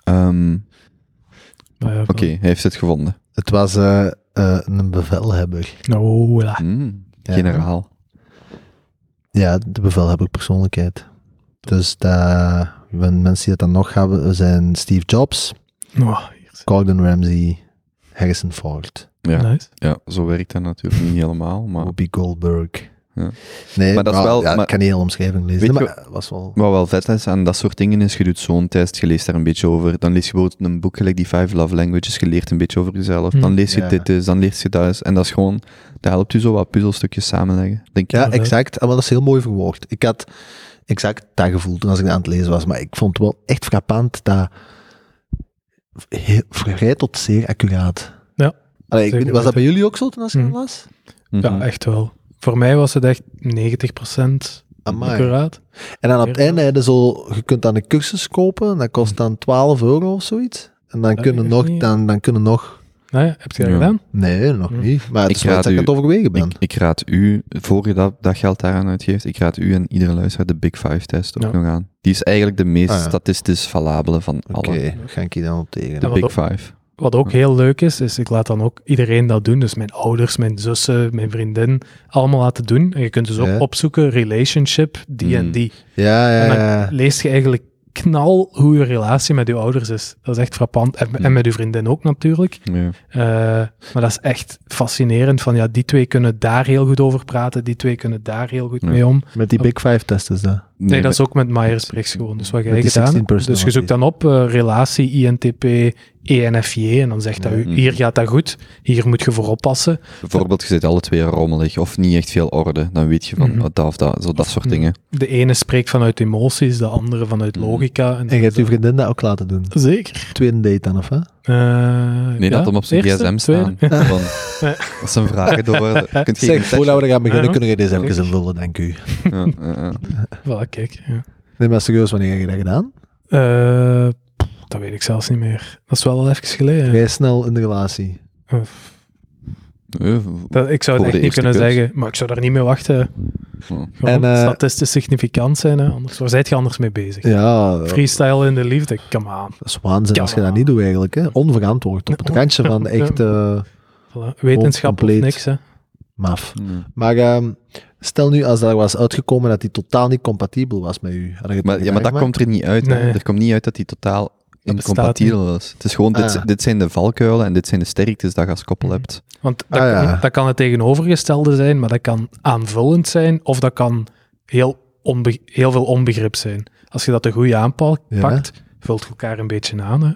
Speaker 1: Ehm,
Speaker 2: maar ja,
Speaker 1: Oké, hij heeft het gevonden.
Speaker 3: Het was eh, eh, een bevelhebber.
Speaker 2: Nou, voilà.
Speaker 1: Mm,
Speaker 3: Ja.
Speaker 1: Generaal.
Speaker 3: Ja, de bevelhebber persoonlijkheid. Dus dat- wen- mensen die dat dan nog hebben zijn Steve Jobs,
Speaker 2: Nou, hier is-
Speaker 3: Gordon Ramsay, Harrison Ford,
Speaker 1: Ja.
Speaker 2: nice.
Speaker 1: Ja, zo werkt dat natuurlijk niet helemaal, maar...
Speaker 3: Whoopi Goldberg.
Speaker 1: Ja.
Speaker 3: Nee,
Speaker 1: Maar dat is wel-
Speaker 3: ja,
Speaker 1: maar-
Speaker 3: ik kan niet heel omschrijving lezen,
Speaker 1: Weet
Speaker 3: maar
Speaker 1: je-
Speaker 3: eh, was wel...
Speaker 1: Wat wel vet is aan dat soort dingen is, je doet zo'n test, je leest daar een beetje over, dan lees je bijvoorbeeld een boek gelijk die Five Love Languages, je leert een beetje over jezelf,
Speaker 2: Hmm.
Speaker 1: dan lees je
Speaker 3: Ja.
Speaker 1: dit eens, dan lees je dat eens, en dat is gewoon, dat helpt je zo wat puzzelstukjes samenleggen. Denk,
Speaker 3: Ja,
Speaker 2: Inderdaad.
Speaker 3: exact. En wel, dat is heel mooi verwoord. Ik had exact dat gevoel toen als ik dat aan het lezen was. Maar ik vond het wel echt frappant dat heel, vrij tot zeer accuraat.
Speaker 2: Ja,
Speaker 3: Allee, ik
Speaker 2: zeker
Speaker 3: weet niet, was dat bij jullie ook zo toen als ik dat
Speaker 2: Mhm.
Speaker 3: las?
Speaker 1: Mhm.
Speaker 2: Ja, echt wel. Voor mij was het echt 90%
Speaker 3: Amai.
Speaker 2: accuraat.
Speaker 3: En dan op het
Speaker 2: Heel
Speaker 3: einde heb je zo, je kunt dan een cursus kopen, en dat kost dan 12 euro of zoiets. En dan
Speaker 2: Ja,
Speaker 3: kunnen
Speaker 2: ik
Speaker 3: nog,
Speaker 2: weet niet.
Speaker 3: dan, dan kunnen nog,
Speaker 2: Nou ja, heb je dat
Speaker 1: Ja.
Speaker 2: gedaan?
Speaker 3: nee, nog
Speaker 2: Hm.
Speaker 3: niet. Maar het
Speaker 1: Ik
Speaker 3: is wel
Speaker 1: raad
Speaker 3: iets
Speaker 1: u-
Speaker 3: dat ik aan het overwegen ben.
Speaker 1: Ik, ik raad u, voor je dat, dat geld daaraan uitgeeft, ik raad u en iedere luisteraar de Big Five test ook
Speaker 2: Ja.
Speaker 1: nog aan. Die is eigenlijk de meest
Speaker 3: Ah, ja.
Speaker 1: statistisch valabele van
Speaker 3: Oké,
Speaker 1: alle.
Speaker 3: ga ik je dan op
Speaker 1: De
Speaker 3: tegen.
Speaker 2: wat ook-
Speaker 1: Big Five.
Speaker 2: Wat ook heel leuk is, is ik laat dan ook iedereen dat doen. Dus mijn ouders, mijn zussen, mijn vriendin, allemaal laten doen. En je kunt dus ook
Speaker 3: Ja.
Speaker 2: opzoeken, relationship, die en
Speaker 1: Mm.
Speaker 2: die.
Speaker 3: Ja, ja,
Speaker 2: En dan
Speaker 3: ja.
Speaker 2: lees je eigenlijk knal hoe je relatie met je ouders is. Dat is echt frappant. En, en
Speaker 1: Mm.
Speaker 2: met je vriendin ook natuurlijk.
Speaker 1: Ja.
Speaker 2: Eh, maar dat is echt fascinerend. Van ja, die twee kunnen daar heel goed over praten. Die twee kunnen daar heel goed
Speaker 1: Ja.
Speaker 2: mee om.
Speaker 3: Met die Big Five test is dat.
Speaker 2: Nee, dat is ook met Myers-Briggs gewoon. Dus wat jij
Speaker 3: Met die
Speaker 2: gedaan
Speaker 3: 16
Speaker 2: hebt. Dus je zoekt dan op eh, relatie INTP, E ENFJ en dan zegt dat
Speaker 3: Ja.
Speaker 2: u,
Speaker 1: Mm-hmm.
Speaker 2: hier gaat dat goed, hier moet je voor oppassen.
Speaker 1: Bijvoorbeeld, je zit alle twee rommelig of niet echt veel orde, dan weet je van
Speaker 2: Mhm.
Speaker 1: oh, dat of dat, zo dat soort
Speaker 2: Mhm.
Speaker 1: dingen.
Speaker 2: De ene spreekt vanuit emoties, de andere vanuit
Speaker 1: Mhm.
Speaker 2: logica. En,
Speaker 3: En je hebt
Speaker 2: zo.
Speaker 3: uw vriendin dat ook laten doen.
Speaker 2: Zeker.
Speaker 3: Tweede date dan, of hè?
Speaker 2: Eh,
Speaker 1: Nee,
Speaker 2: ja,
Speaker 1: dat hem op zijn
Speaker 2: eerste,
Speaker 1: gsm
Speaker 2: tweede.
Speaker 1: staan. Van, dat is een vraag door. eh, Kunt je
Speaker 3: Zeg,
Speaker 1: geen
Speaker 3: voordat we er gaan beginnen,
Speaker 2: Ah, Ja.
Speaker 3: kunnen we deze even
Speaker 2: Zeker.
Speaker 3: invullen, denk u.
Speaker 1: tekst- Ja, ja, ja.
Speaker 2: Voilà, kijk. Ja.
Speaker 3: Nee, maar serieus, wanneer heb je dat gedaan?
Speaker 2: Eh, pff, dat weet ik zelfs niet meer. Dat is wel al even geleden.
Speaker 3: Vrij snel in de relatie.
Speaker 2: Eh,
Speaker 1: Eh,
Speaker 2: dat- ik zou
Speaker 1: Voor de
Speaker 2: het echt niet
Speaker 1: eerste
Speaker 2: kunnen
Speaker 1: keus.
Speaker 2: zeggen, maar ik zou daar niet mee wachten.
Speaker 1: Oh.
Speaker 2: Gewoon
Speaker 3: En, eh,
Speaker 2: statistisch significant zijn, hè? anders waar zijt je anders mee bezig?
Speaker 3: Ja,
Speaker 2: Freestyle in de liefde, come on.
Speaker 3: dat is waanzin als je
Speaker 2: Ja.
Speaker 3: dat niet doet eigenlijk. Hè. Onverantwoord, op het randje van echt eh,
Speaker 2: Voilà. Wetenschap of
Speaker 3: compleet.
Speaker 2: niks, hè.
Speaker 3: maf.
Speaker 1: Ja.
Speaker 3: Maar ehm, stel nu als daar was uitgekomen dat die totaal niet compatibel was met u. Had je het
Speaker 1: Maar, ja, maar dat
Speaker 3: gemaakt?
Speaker 1: komt er niet uit. hè.
Speaker 2: Nee.
Speaker 1: Er komt niet uit dat die totaal
Speaker 2: bestaat
Speaker 1: incompatibel was. Het is gewoon, dit,
Speaker 3: Ah.
Speaker 1: dit zijn de valkuilen en dit zijn de sterktes dat je als koppel hebt.
Speaker 2: Want
Speaker 3: Ah,
Speaker 2: dat, kan-
Speaker 3: ja.
Speaker 2: dat kan het tegenovergestelde zijn, maar dat kan aanvullend zijn of dat kan heel, onbe- heel veel onbegrip zijn. Als je dat de goede aanpakt,
Speaker 3: Ja.
Speaker 2: pakt, vult je elkaar een beetje aan. Hè?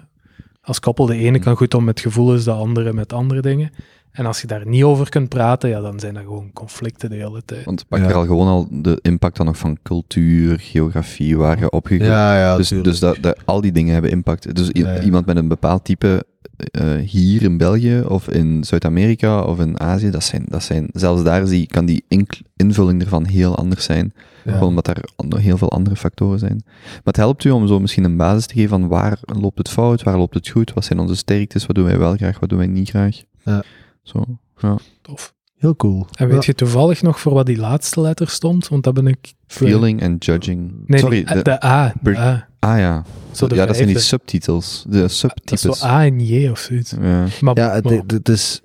Speaker 2: Als koppel, de
Speaker 3: Hm.
Speaker 2: ene kan goed om met gevoelens, de andere met andere dingen. En als je daar niet over kunt praten, ja, dan zijn dat gewoon conflicten de hele tijd.
Speaker 1: Want pak
Speaker 3: Ja.
Speaker 1: er al gewoon al de impact dan nog van cultuur, geografie, waar je opgegroeid
Speaker 3: Ja, ja,
Speaker 1: Dus,
Speaker 3: tuurlijk.
Speaker 1: dus dat, dat, al die dingen hebben impact. Dus i-
Speaker 3: Ja, ja.
Speaker 1: iemand met een bepaald type eh, hier in België of in Zuid-Amerika of in Azië, dat zijn, dat zijn, zelfs daar zie, kan die ink- invulling ervan heel anders zijn.
Speaker 3: Ja.
Speaker 1: Gewoon omdat er an- nog heel veel andere factoren zijn. Maar het helpt u om zo misschien een basis te geven van waar loopt het fout, waar loopt het goed, wat zijn onze sterktes, wat doen wij wel graag, wat doen wij niet graag.
Speaker 3: Ja.
Speaker 1: Zo.
Speaker 3: Hm.
Speaker 2: Tof.
Speaker 3: Heel cool.
Speaker 2: En weet
Speaker 3: Ja.
Speaker 2: je toevallig nog voor wat die laatste letter stond? Want dat ben ik...
Speaker 1: Feeling en judging.
Speaker 2: Nee, eh,
Speaker 1: Sorry,
Speaker 2: die-
Speaker 1: de-
Speaker 2: de A. De
Speaker 1: Bur-
Speaker 2: A.
Speaker 1: ah ja.
Speaker 2: Zo de
Speaker 1: ja, dat zijn die
Speaker 2: vijfde.
Speaker 1: subtitels. De
Speaker 2: Dat
Speaker 1: subtypes.
Speaker 2: is zo A en J of zoiets.
Speaker 1: ja.
Speaker 2: Maar,
Speaker 3: Ja, het,
Speaker 2: maar-
Speaker 3: het- het is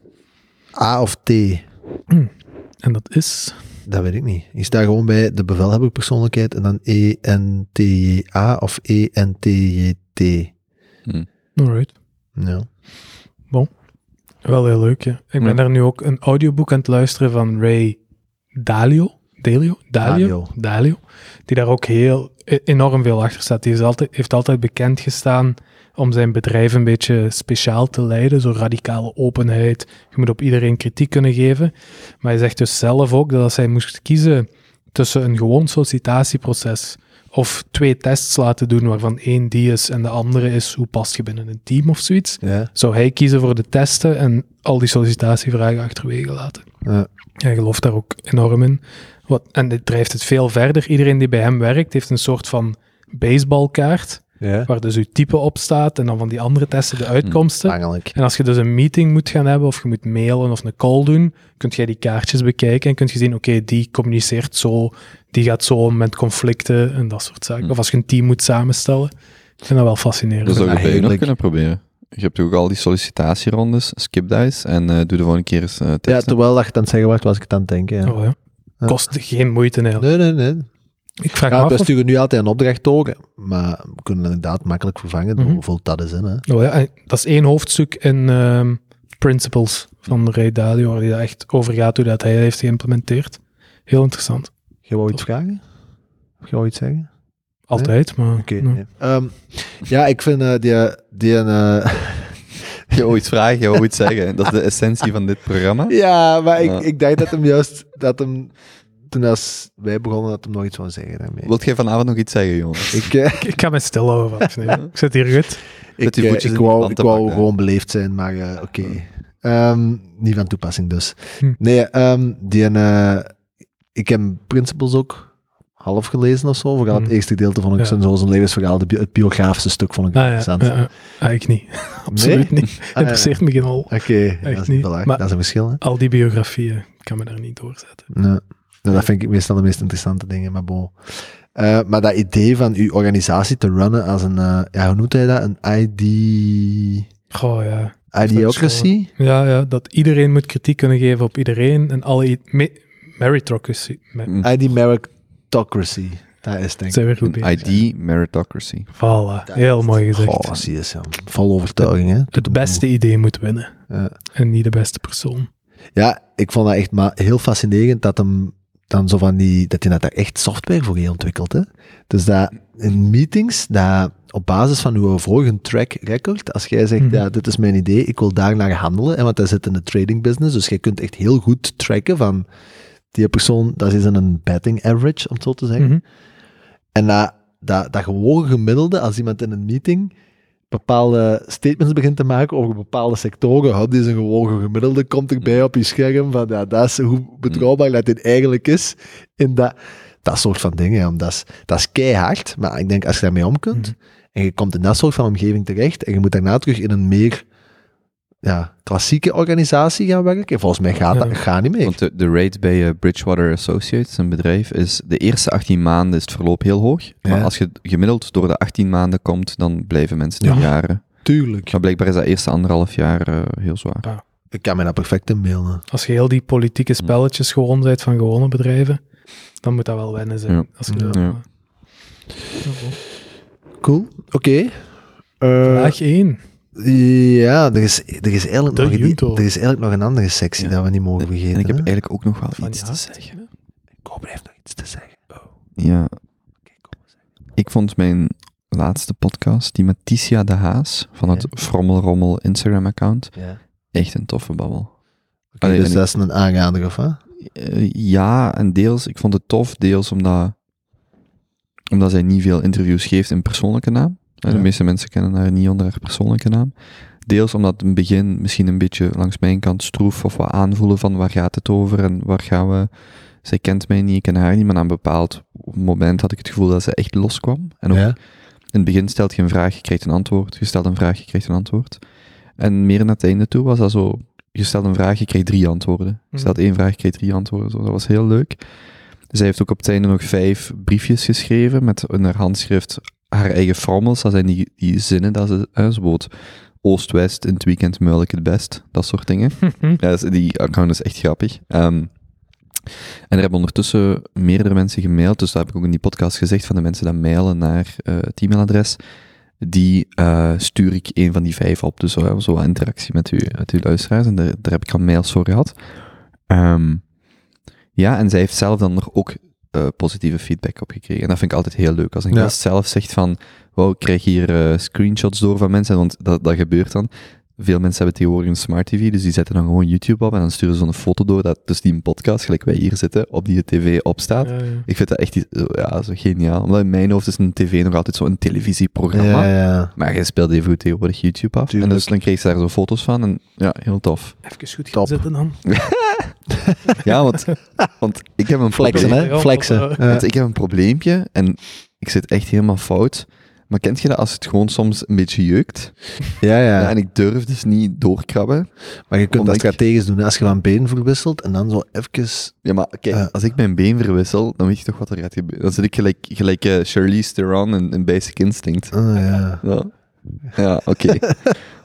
Speaker 3: A of T.
Speaker 2: en dat is...
Speaker 3: Dat weet ik niet. Ik sta gewoon bij de bevelhebber persoonlijkheid en dan E E-N-T-J-A of E E-N-T-J-T.
Speaker 2: Alright.
Speaker 3: Ja.
Speaker 2: Wel heel leuk, ja. Ik ben
Speaker 1: Ja.
Speaker 2: daar nu ook een audioboek aan het luisteren van Ray Dalio. Delio, Dalio,
Speaker 3: Dalio.
Speaker 2: Dalio, die daar ook heel e- enorm veel achter staat. Die is altijd, heeft altijd bekend gestaan om zijn bedrijf een beetje speciaal te leiden, zo radicale openheid. Je moet op iedereen kritiek kunnen geven. Maar hij zegt dus zelf ook dat als hij moest kiezen tussen een gewoon sollicitatieproces of twee tests laten doen waarvan één die is en de andere is hoe past je binnen een team of zoiets,
Speaker 3: Ja.
Speaker 2: zou hij kiezen voor de testen en al die sollicitatievragen achterwege laten.
Speaker 3: Ja.
Speaker 2: Hij gelooft daar ook enorm in. Wat, en dit drijft het veel verder. Iedereen die bij hem werkt, heeft een soort van baseballkaart,
Speaker 3: Ja.
Speaker 2: waar dus uw type op staat en dan van die andere testen de uitkomsten.
Speaker 3: Eigenlijk.
Speaker 2: En als je dus een meeting moet gaan hebben, of je moet mailen of een call doen, kun jij die kaartjes bekijken en kun je zien, oké, die communiceert zo, die gaat zo om met conflicten en dat soort zaken.
Speaker 1: Hm.
Speaker 2: Of als je een team moet samenstellen. Ik vind dat wel fascinerend.
Speaker 1: Dat zou je
Speaker 3: maar
Speaker 1: bij u nog
Speaker 3: heerlijk.
Speaker 1: kunnen proberen. Je hebt ook al die sollicitatierondes, skip dice, en eh, doe de volgende keer eens eh
Speaker 3: Ja,
Speaker 1: testen.
Speaker 3: terwijl dat je het aan het zeggen was, was ik het aan het denken. Ja.
Speaker 2: Oh, ja.
Speaker 3: Ja.
Speaker 2: Kost geen moeite, eigenlijk.
Speaker 3: Nee, nee, nee.
Speaker 2: Ik vraag
Speaker 3: Ja,
Speaker 2: me
Speaker 3: we
Speaker 2: af. of-
Speaker 3: sturen nu altijd een opdracht door, maar we kunnen het inderdaad makkelijk vervangen door
Speaker 2: Mhm.
Speaker 3: hoeveel dat is in. Hè.
Speaker 2: Oh ja, en dat is één hoofdstuk in ehm, Principles van
Speaker 3: Hm.
Speaker 2: Ray Dalio, waar die daar echt over gaat hoe dat hij dat heeft geïmplementeerd. Heel interessant.
Speaker 3: Ga je iets vragen? Of ga je iets zeggen?
Speaker 2: Altijd, maar...
Speaker 3: Oké.
Speaker 2: nou.
Speaker 3: ja. Ehm, ja, ik vind eh, die... die eh,
Speaker 1: Je ooit vragen, je ooit zeggen. Dat is de essentie van dit programma.
Speaker 3: ja, maar
Speaker 1: Ja.
Speaker 3: ik, ik denk dat hem juist... Dat hem, toen als wij begonnen, dat hem nog iets wou zeggen daarmee.
Speaker 1: Wilt jij vanavond nog iets zeggen, jongen?
Speaker 3: Ik, eh,
Speaker 2: Ik, ik ga mij stilhouden. Van. Nee, ik zit hier goed.
Speaker 1: Met
Speaker 3: ik,
Speaker 1: uw
Speaker 3: eh,
Speaker 1: voetjes
Speaker 3: ik
Speaker 1: in die
Speaker 3: wou, ik
Speaker 1: planten
Speaker 3: wou
Speaker 1: bakken.
Speaker 3: gewoon beleefd zijn, maar eh, oké.
Speaker 1: Ja.
Speaker 3: Ehm, niet van toepassing dus.
Speaker 2: Hm.
Speaker 3: Nee, ehm, die, eh, ik heb Principles ook half gelezen of zo. Vooral het
Speaker 2: Hm.
Speaker 3: eerste gedeelte vond ik
Speaker 2: Ja.
Speaker 3: zijn, zoals een levensverhaal, de bi- het biografische stuk vond ik
Speaker 2: Ah, ja,
Speaker 3: interessant.
Speaker 2: ja, ja. Ah, ik niet. Absoluut niet.
Speaker 3: Ah, ja.
Speaker 2: Interesseert me geen hol.
Speaker 3: Oké, dat, is,
Speaker 2: niet.
Speaker 3: voilà,
Speaker 2: Maar-
Speaker 3: dat is een verschil. Hè?
Speaker 2: Al die biografieën ik kan me daar niet doorzetten.
Speaker 3: Ja. Nou, dat vind ik meestal de meest interessante dingen, maar bon. Eh, maar dat idee van uw organisatie te runnen als een, eh, ja, hoe noemt hij dat? Een ID...
Speaker 2: Goh, ja.
Speaker 3: Ideocracy?
Speaker 2: Ja, ja, dat iedereen moet kritiek kunnen geven op iedereen en alle... i- Me meritocracy. Me-
Speaker 1: Mm.
Speaker 3: ID meritocracy. Dat is denk ik.
Speaker 2: Zijn weer goed
Speaker 1: Een
Speaker 2: bezig.
Speaker 1: ID meritocracy.
Speaker 2: Voilà. Heel mooi gezegd.
Speaker 3: Goh, Oh, zie je, Sam. Vol overtuiging, hè? Tot
Speaker 2: Het
Speaker 3: de
Speaker 2: beste idee moet winnen.
Speaker 3: boel. Ja.
Speaker 2: En niet de beste persoon.
Speaker 3: Ja, ik vond dat echt maar heel fascinerend dat hem dan zo van die, dat hij dat daar echt software voor heeft ontwikkeld. Hè? Dus dat in meetings, dat op basis van uw vorige track record, als jij zegt,
Speaker 2: Mhm.
Speaker 3: ja, dit is mijn idee, ik wil daar naar handelen, en want hij zit in de trading business, dus jij kunt echt heel goed tracken van die persoon, dat is in een betting average, om het zo te zeggen.
Speaker 2: Mhm.
Speaker 3: En dat, dat, dat gewoon gemiddelde, als iemand in een meeting bepaalde statements begint te maken over bepaalde sectoren, hop, die is een gewoon gemiddelde, komt erbij op je scherm, van ja, dat is hoe betrouwbaar dat dit eigenlijk is. In dat, dat soort van dingen, ja, want dat is, dat is keihard, maar ik denk als je daarmee om kunt,
Speaker 2: Mhm.
Speaker 3: en je komt in dat soort van omgeving terecht, en je moet daarna terug in een meer ja, klassieke organisatie gaan werken, volgens mij gaat
Speaker 2: Ja.
Speaker 3: dat gaat niet meer.
Speaker 1: Want de, de rate bij eh, Bridgewater Associates, een bedrijf, is de eerste 18 maanden is het verloop heel hoog. Maar
Speaker 3: Ja.
Speaker 1: als je gemiddeld door de 18 maanden komt, dan blijven mensen er
Speaker 2: Ja.
Speaker 1: jaren.
Speaker 3: Tuurlijk.
Speaker 1: Maar blijkbaar is dat eerste anderhalf jaar eh, heel zwaar.
Speaker 3: Ik kan me dat perfect inbeelden.
Speaker 2: Als je heel die politieke spelletjes gewoon bent van gewone bedrijven, dan moet dat wel wennen zijn.
Speaker 1: Ja.
Speaker 2: Als je dat-
Speaker 1: Ja.
Speaker 2: Ja, wel.
Speaker 3: Cool, oké. Eh,
Speaker 2: Vraag 1.
Speaker 3: Ja, er is, er, is eigenlijk
Speaker 2: De
Speaker 3: nog een,
Speaker 2: Junto.
Speaker 3: er is eigenlijk nog een andere sectie
Speaker 1: Ja.
Speaker 3: dat we niet mogen
Speaker 1: En
Speaker 3: vergeten.
Speaker 1: ik heb
Speaker 3: hè?
Speaker 1: eigenlijk ook nog wel
Speaker 2: Van
Speaker 1: iets
Speaker 2: ja.
Speaker 1: te zeggen.
Speaker 3: Koop heeft nog iets te zeggen.
Speaker 1: Ja. Ik vond mijn laatste podcast, die met Ticia de Haas, van het
Speaker 3: Ja.
Speaker 1: Frommelrommel Instagram-account,
Speaker 3: Ja.
Speaker 1: echt een toffe babbel.
Speaker 3: Oké,
Speaker 1: Allee,
Speaker 3: dus
Speaker 1: en
Speaker 3: dat is een aanrader, of wat?
Speaker 1: Eh, ja, en deels, ik vond het tof, deels omdat, omdat zij niet veel interviews geeft in persoonlijke naam. Eh,
Speaker 3: Ja.
Speaker 1: De meeste mensen kennen haar niet onder haar persoonlijke naam. Deels omdat het in het begin misschien een beetje langs mijn kant stroef of wat aanvoelen van waar gaat het over en waar gaan we. Zij kent mij niet, ik ken haar niet, maar aan een bepaald moment had ik het gevoel dat ze echt loskwam. En ook
Speaker 3: Ja.
Speaker 1: in het begin stelt je een vraag, je krijgt een antwoord. Je stelt een vraag, je krijgt een antwoord. En meer naar het einde toe was dat zo... Je stelt een vraag, je kreeg drie antwoorden. Je
Speaker 2: Mhm.
Speaker 1: stelt één vraag, je kreeg drie antwoorden. Zo, dat was heel leuk. Zij heeft ook op het einde nog vijf briefjes geschreven met in haar handschrift haar eigen frommels. Dat zijn die, die zinnen dat ze... Hè, zo bijvoorbeeld Oost-West, in het weekend muil ik het best. Dat soort dingen. Ja, dat is- die account is echt grappig. Ehm, en er hebben ondertussen meerdere mensen gemaild, dus dat heb ik ook in die podcast gezegd, van de mensen die mailen naar eh, het e-mailadres, die eh, stuur ik een van die vijf op. Dus eh, zo wat interactie met, u, met uw luisteraars, en daar, daar heb ik al mails voor gehad. Ehm, Ja, en zij heeft zelf dan nog ook eh, positieve feedback op gekregen. En dat vind ik altijd heel leuk. Als een
Speaker 3: Ja.
Speaker 1: gast zelf zegt van, wow, ik krijg hier eh, screenshots door van mensen, want dat, dat gebeurt dan. Veel mensen hebben tegenwoordig een smart tv, dus die zetten dan gewoon YouTube op en dan sturen ze een foto door dat dus die podcast, gelijk wij hier zitten, op die tv opstaat.
Speaker 2: Ja, ja.
Speaker 1: Ik vind dat echt iets- eh, ja, zo geniaal. Omdat in mijn hoofd is een tv nog altijd zo'n televisieprogramma.
Speaker 3: Ja, ja.
Speaker 1: Maar je speelt even goed tegenwoordig YouTube af.
Speaker 3: Tuurlijk.
Speaker 1: En dus dan kreeg ze daar zo foto's van. En ja, heel tof.
Speaker 2: Even goed gaan
Speaker 3: Top.
Speaker 2: zitten dan.
Speaker 1: Ja, want, want ik heb een
Speaker 3: Flexen,
Speaker 1: probleem-
Speaker 2: Ja,
Speaker 3: hè? Flexen.
Speaker 2: want,
Speaker 3: Ja.
Speaker 1: Want eh, ik heb een probleempje en ik zit echt helemaal fout. Maar kent je dat als het gewoon soms een beetje jeukt?
Speaker 3: ja, ja.
Speaker 1: Ja, en ik durf dus niet doorkrabben.
Speaker 3: Maar je kunt
Speaker 1: Omdat
Speaker 3: dat
Speaker 1: ik-
Speaker 3: strategisch doen. hè. Als je van been verwisselt en dan zo even...
Speaker 1: Ja, maar kijk,
Speaker 3: Ja.
Speaker 1: als ik mijn been verwissel, dan weet je toch wat er gaat gebeuren. Dan zit ik gelijk, gelijk eh, Charlize Theron in, in Basic Instinct.
Speaker 3: Ah, ja.
Speaker 1: Ja, ja oké.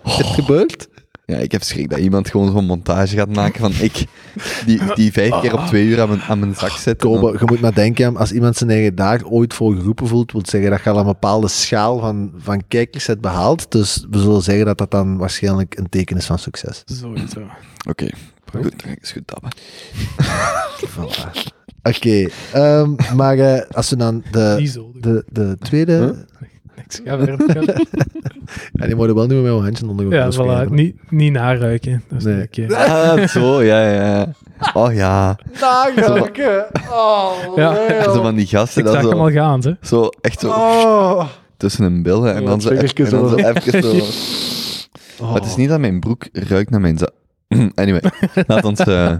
Speaker 3: Het gebeurt.
Speaker 1: Ja, ik heb schrik dat iemand gewoon zo'n montage gaat maken van ik, die, die vijf keer op twee uur aan mijn, aan mijn zak zit.
Speaker 3: Kobe, je moet maar denken, hè, als iemand zijn eigen daar ooit voor geroepen voelt, wil zeggen dat je al een bepaalde schaal van, van kijkers hebt behaald. Dus we zullen zeggen dat dat dan waarschijnlijk een teken is van succes.
Speaker 2: Sowieso.
Speaker 1: Oké, goed, is goed dabben.
Speaker 3: Voilà. Oké, ehm, maar eh, als we dan
Speaker 2: Niet
Speaker 3: de,
Speaker 2: zo. doe.
Speaker 3: de, de tweede...
Speaker 2: Niks. Ga verder. ga verder.
Speaker 3: Ja, die worden wel nu met mijn handje onder
Speaker 2: Ja,
Speaker 3: elkaar
Speaker 2: voilà.
Speaker 3: spelen.
Speaker 2: Niet, niet naruiken. Dat is
Speaker 3: Nee.
Speaker 2: niet oké.
Speaker 1: Ah, zo, ja, ja. Oh ja,
Speaker 3: Nagelke. Oh,
Speaker 2: Ja.
Speaker 3: leel.
Speaker 1: zo van die gasten,
Speaker 2: Ik
Speaker 1: dat
Speaker 2: zag hem
Speaker 1: zo,
Speaker 2: al gaan, hè.
Speaker 1: zo echt zo
Speaker 3: Oh.
Speaker 1: tussen hun billen en
Speaker 3: Ja,
Speaker 1: dan zo
Speaker 3: dat
Speaker 1: even, en dan zo
Speaker 3: vingertje
Speaker 1: even zo. Maar het is niet dat mijn broek ruikt naar mijn zak. Anyway, laat ons eh,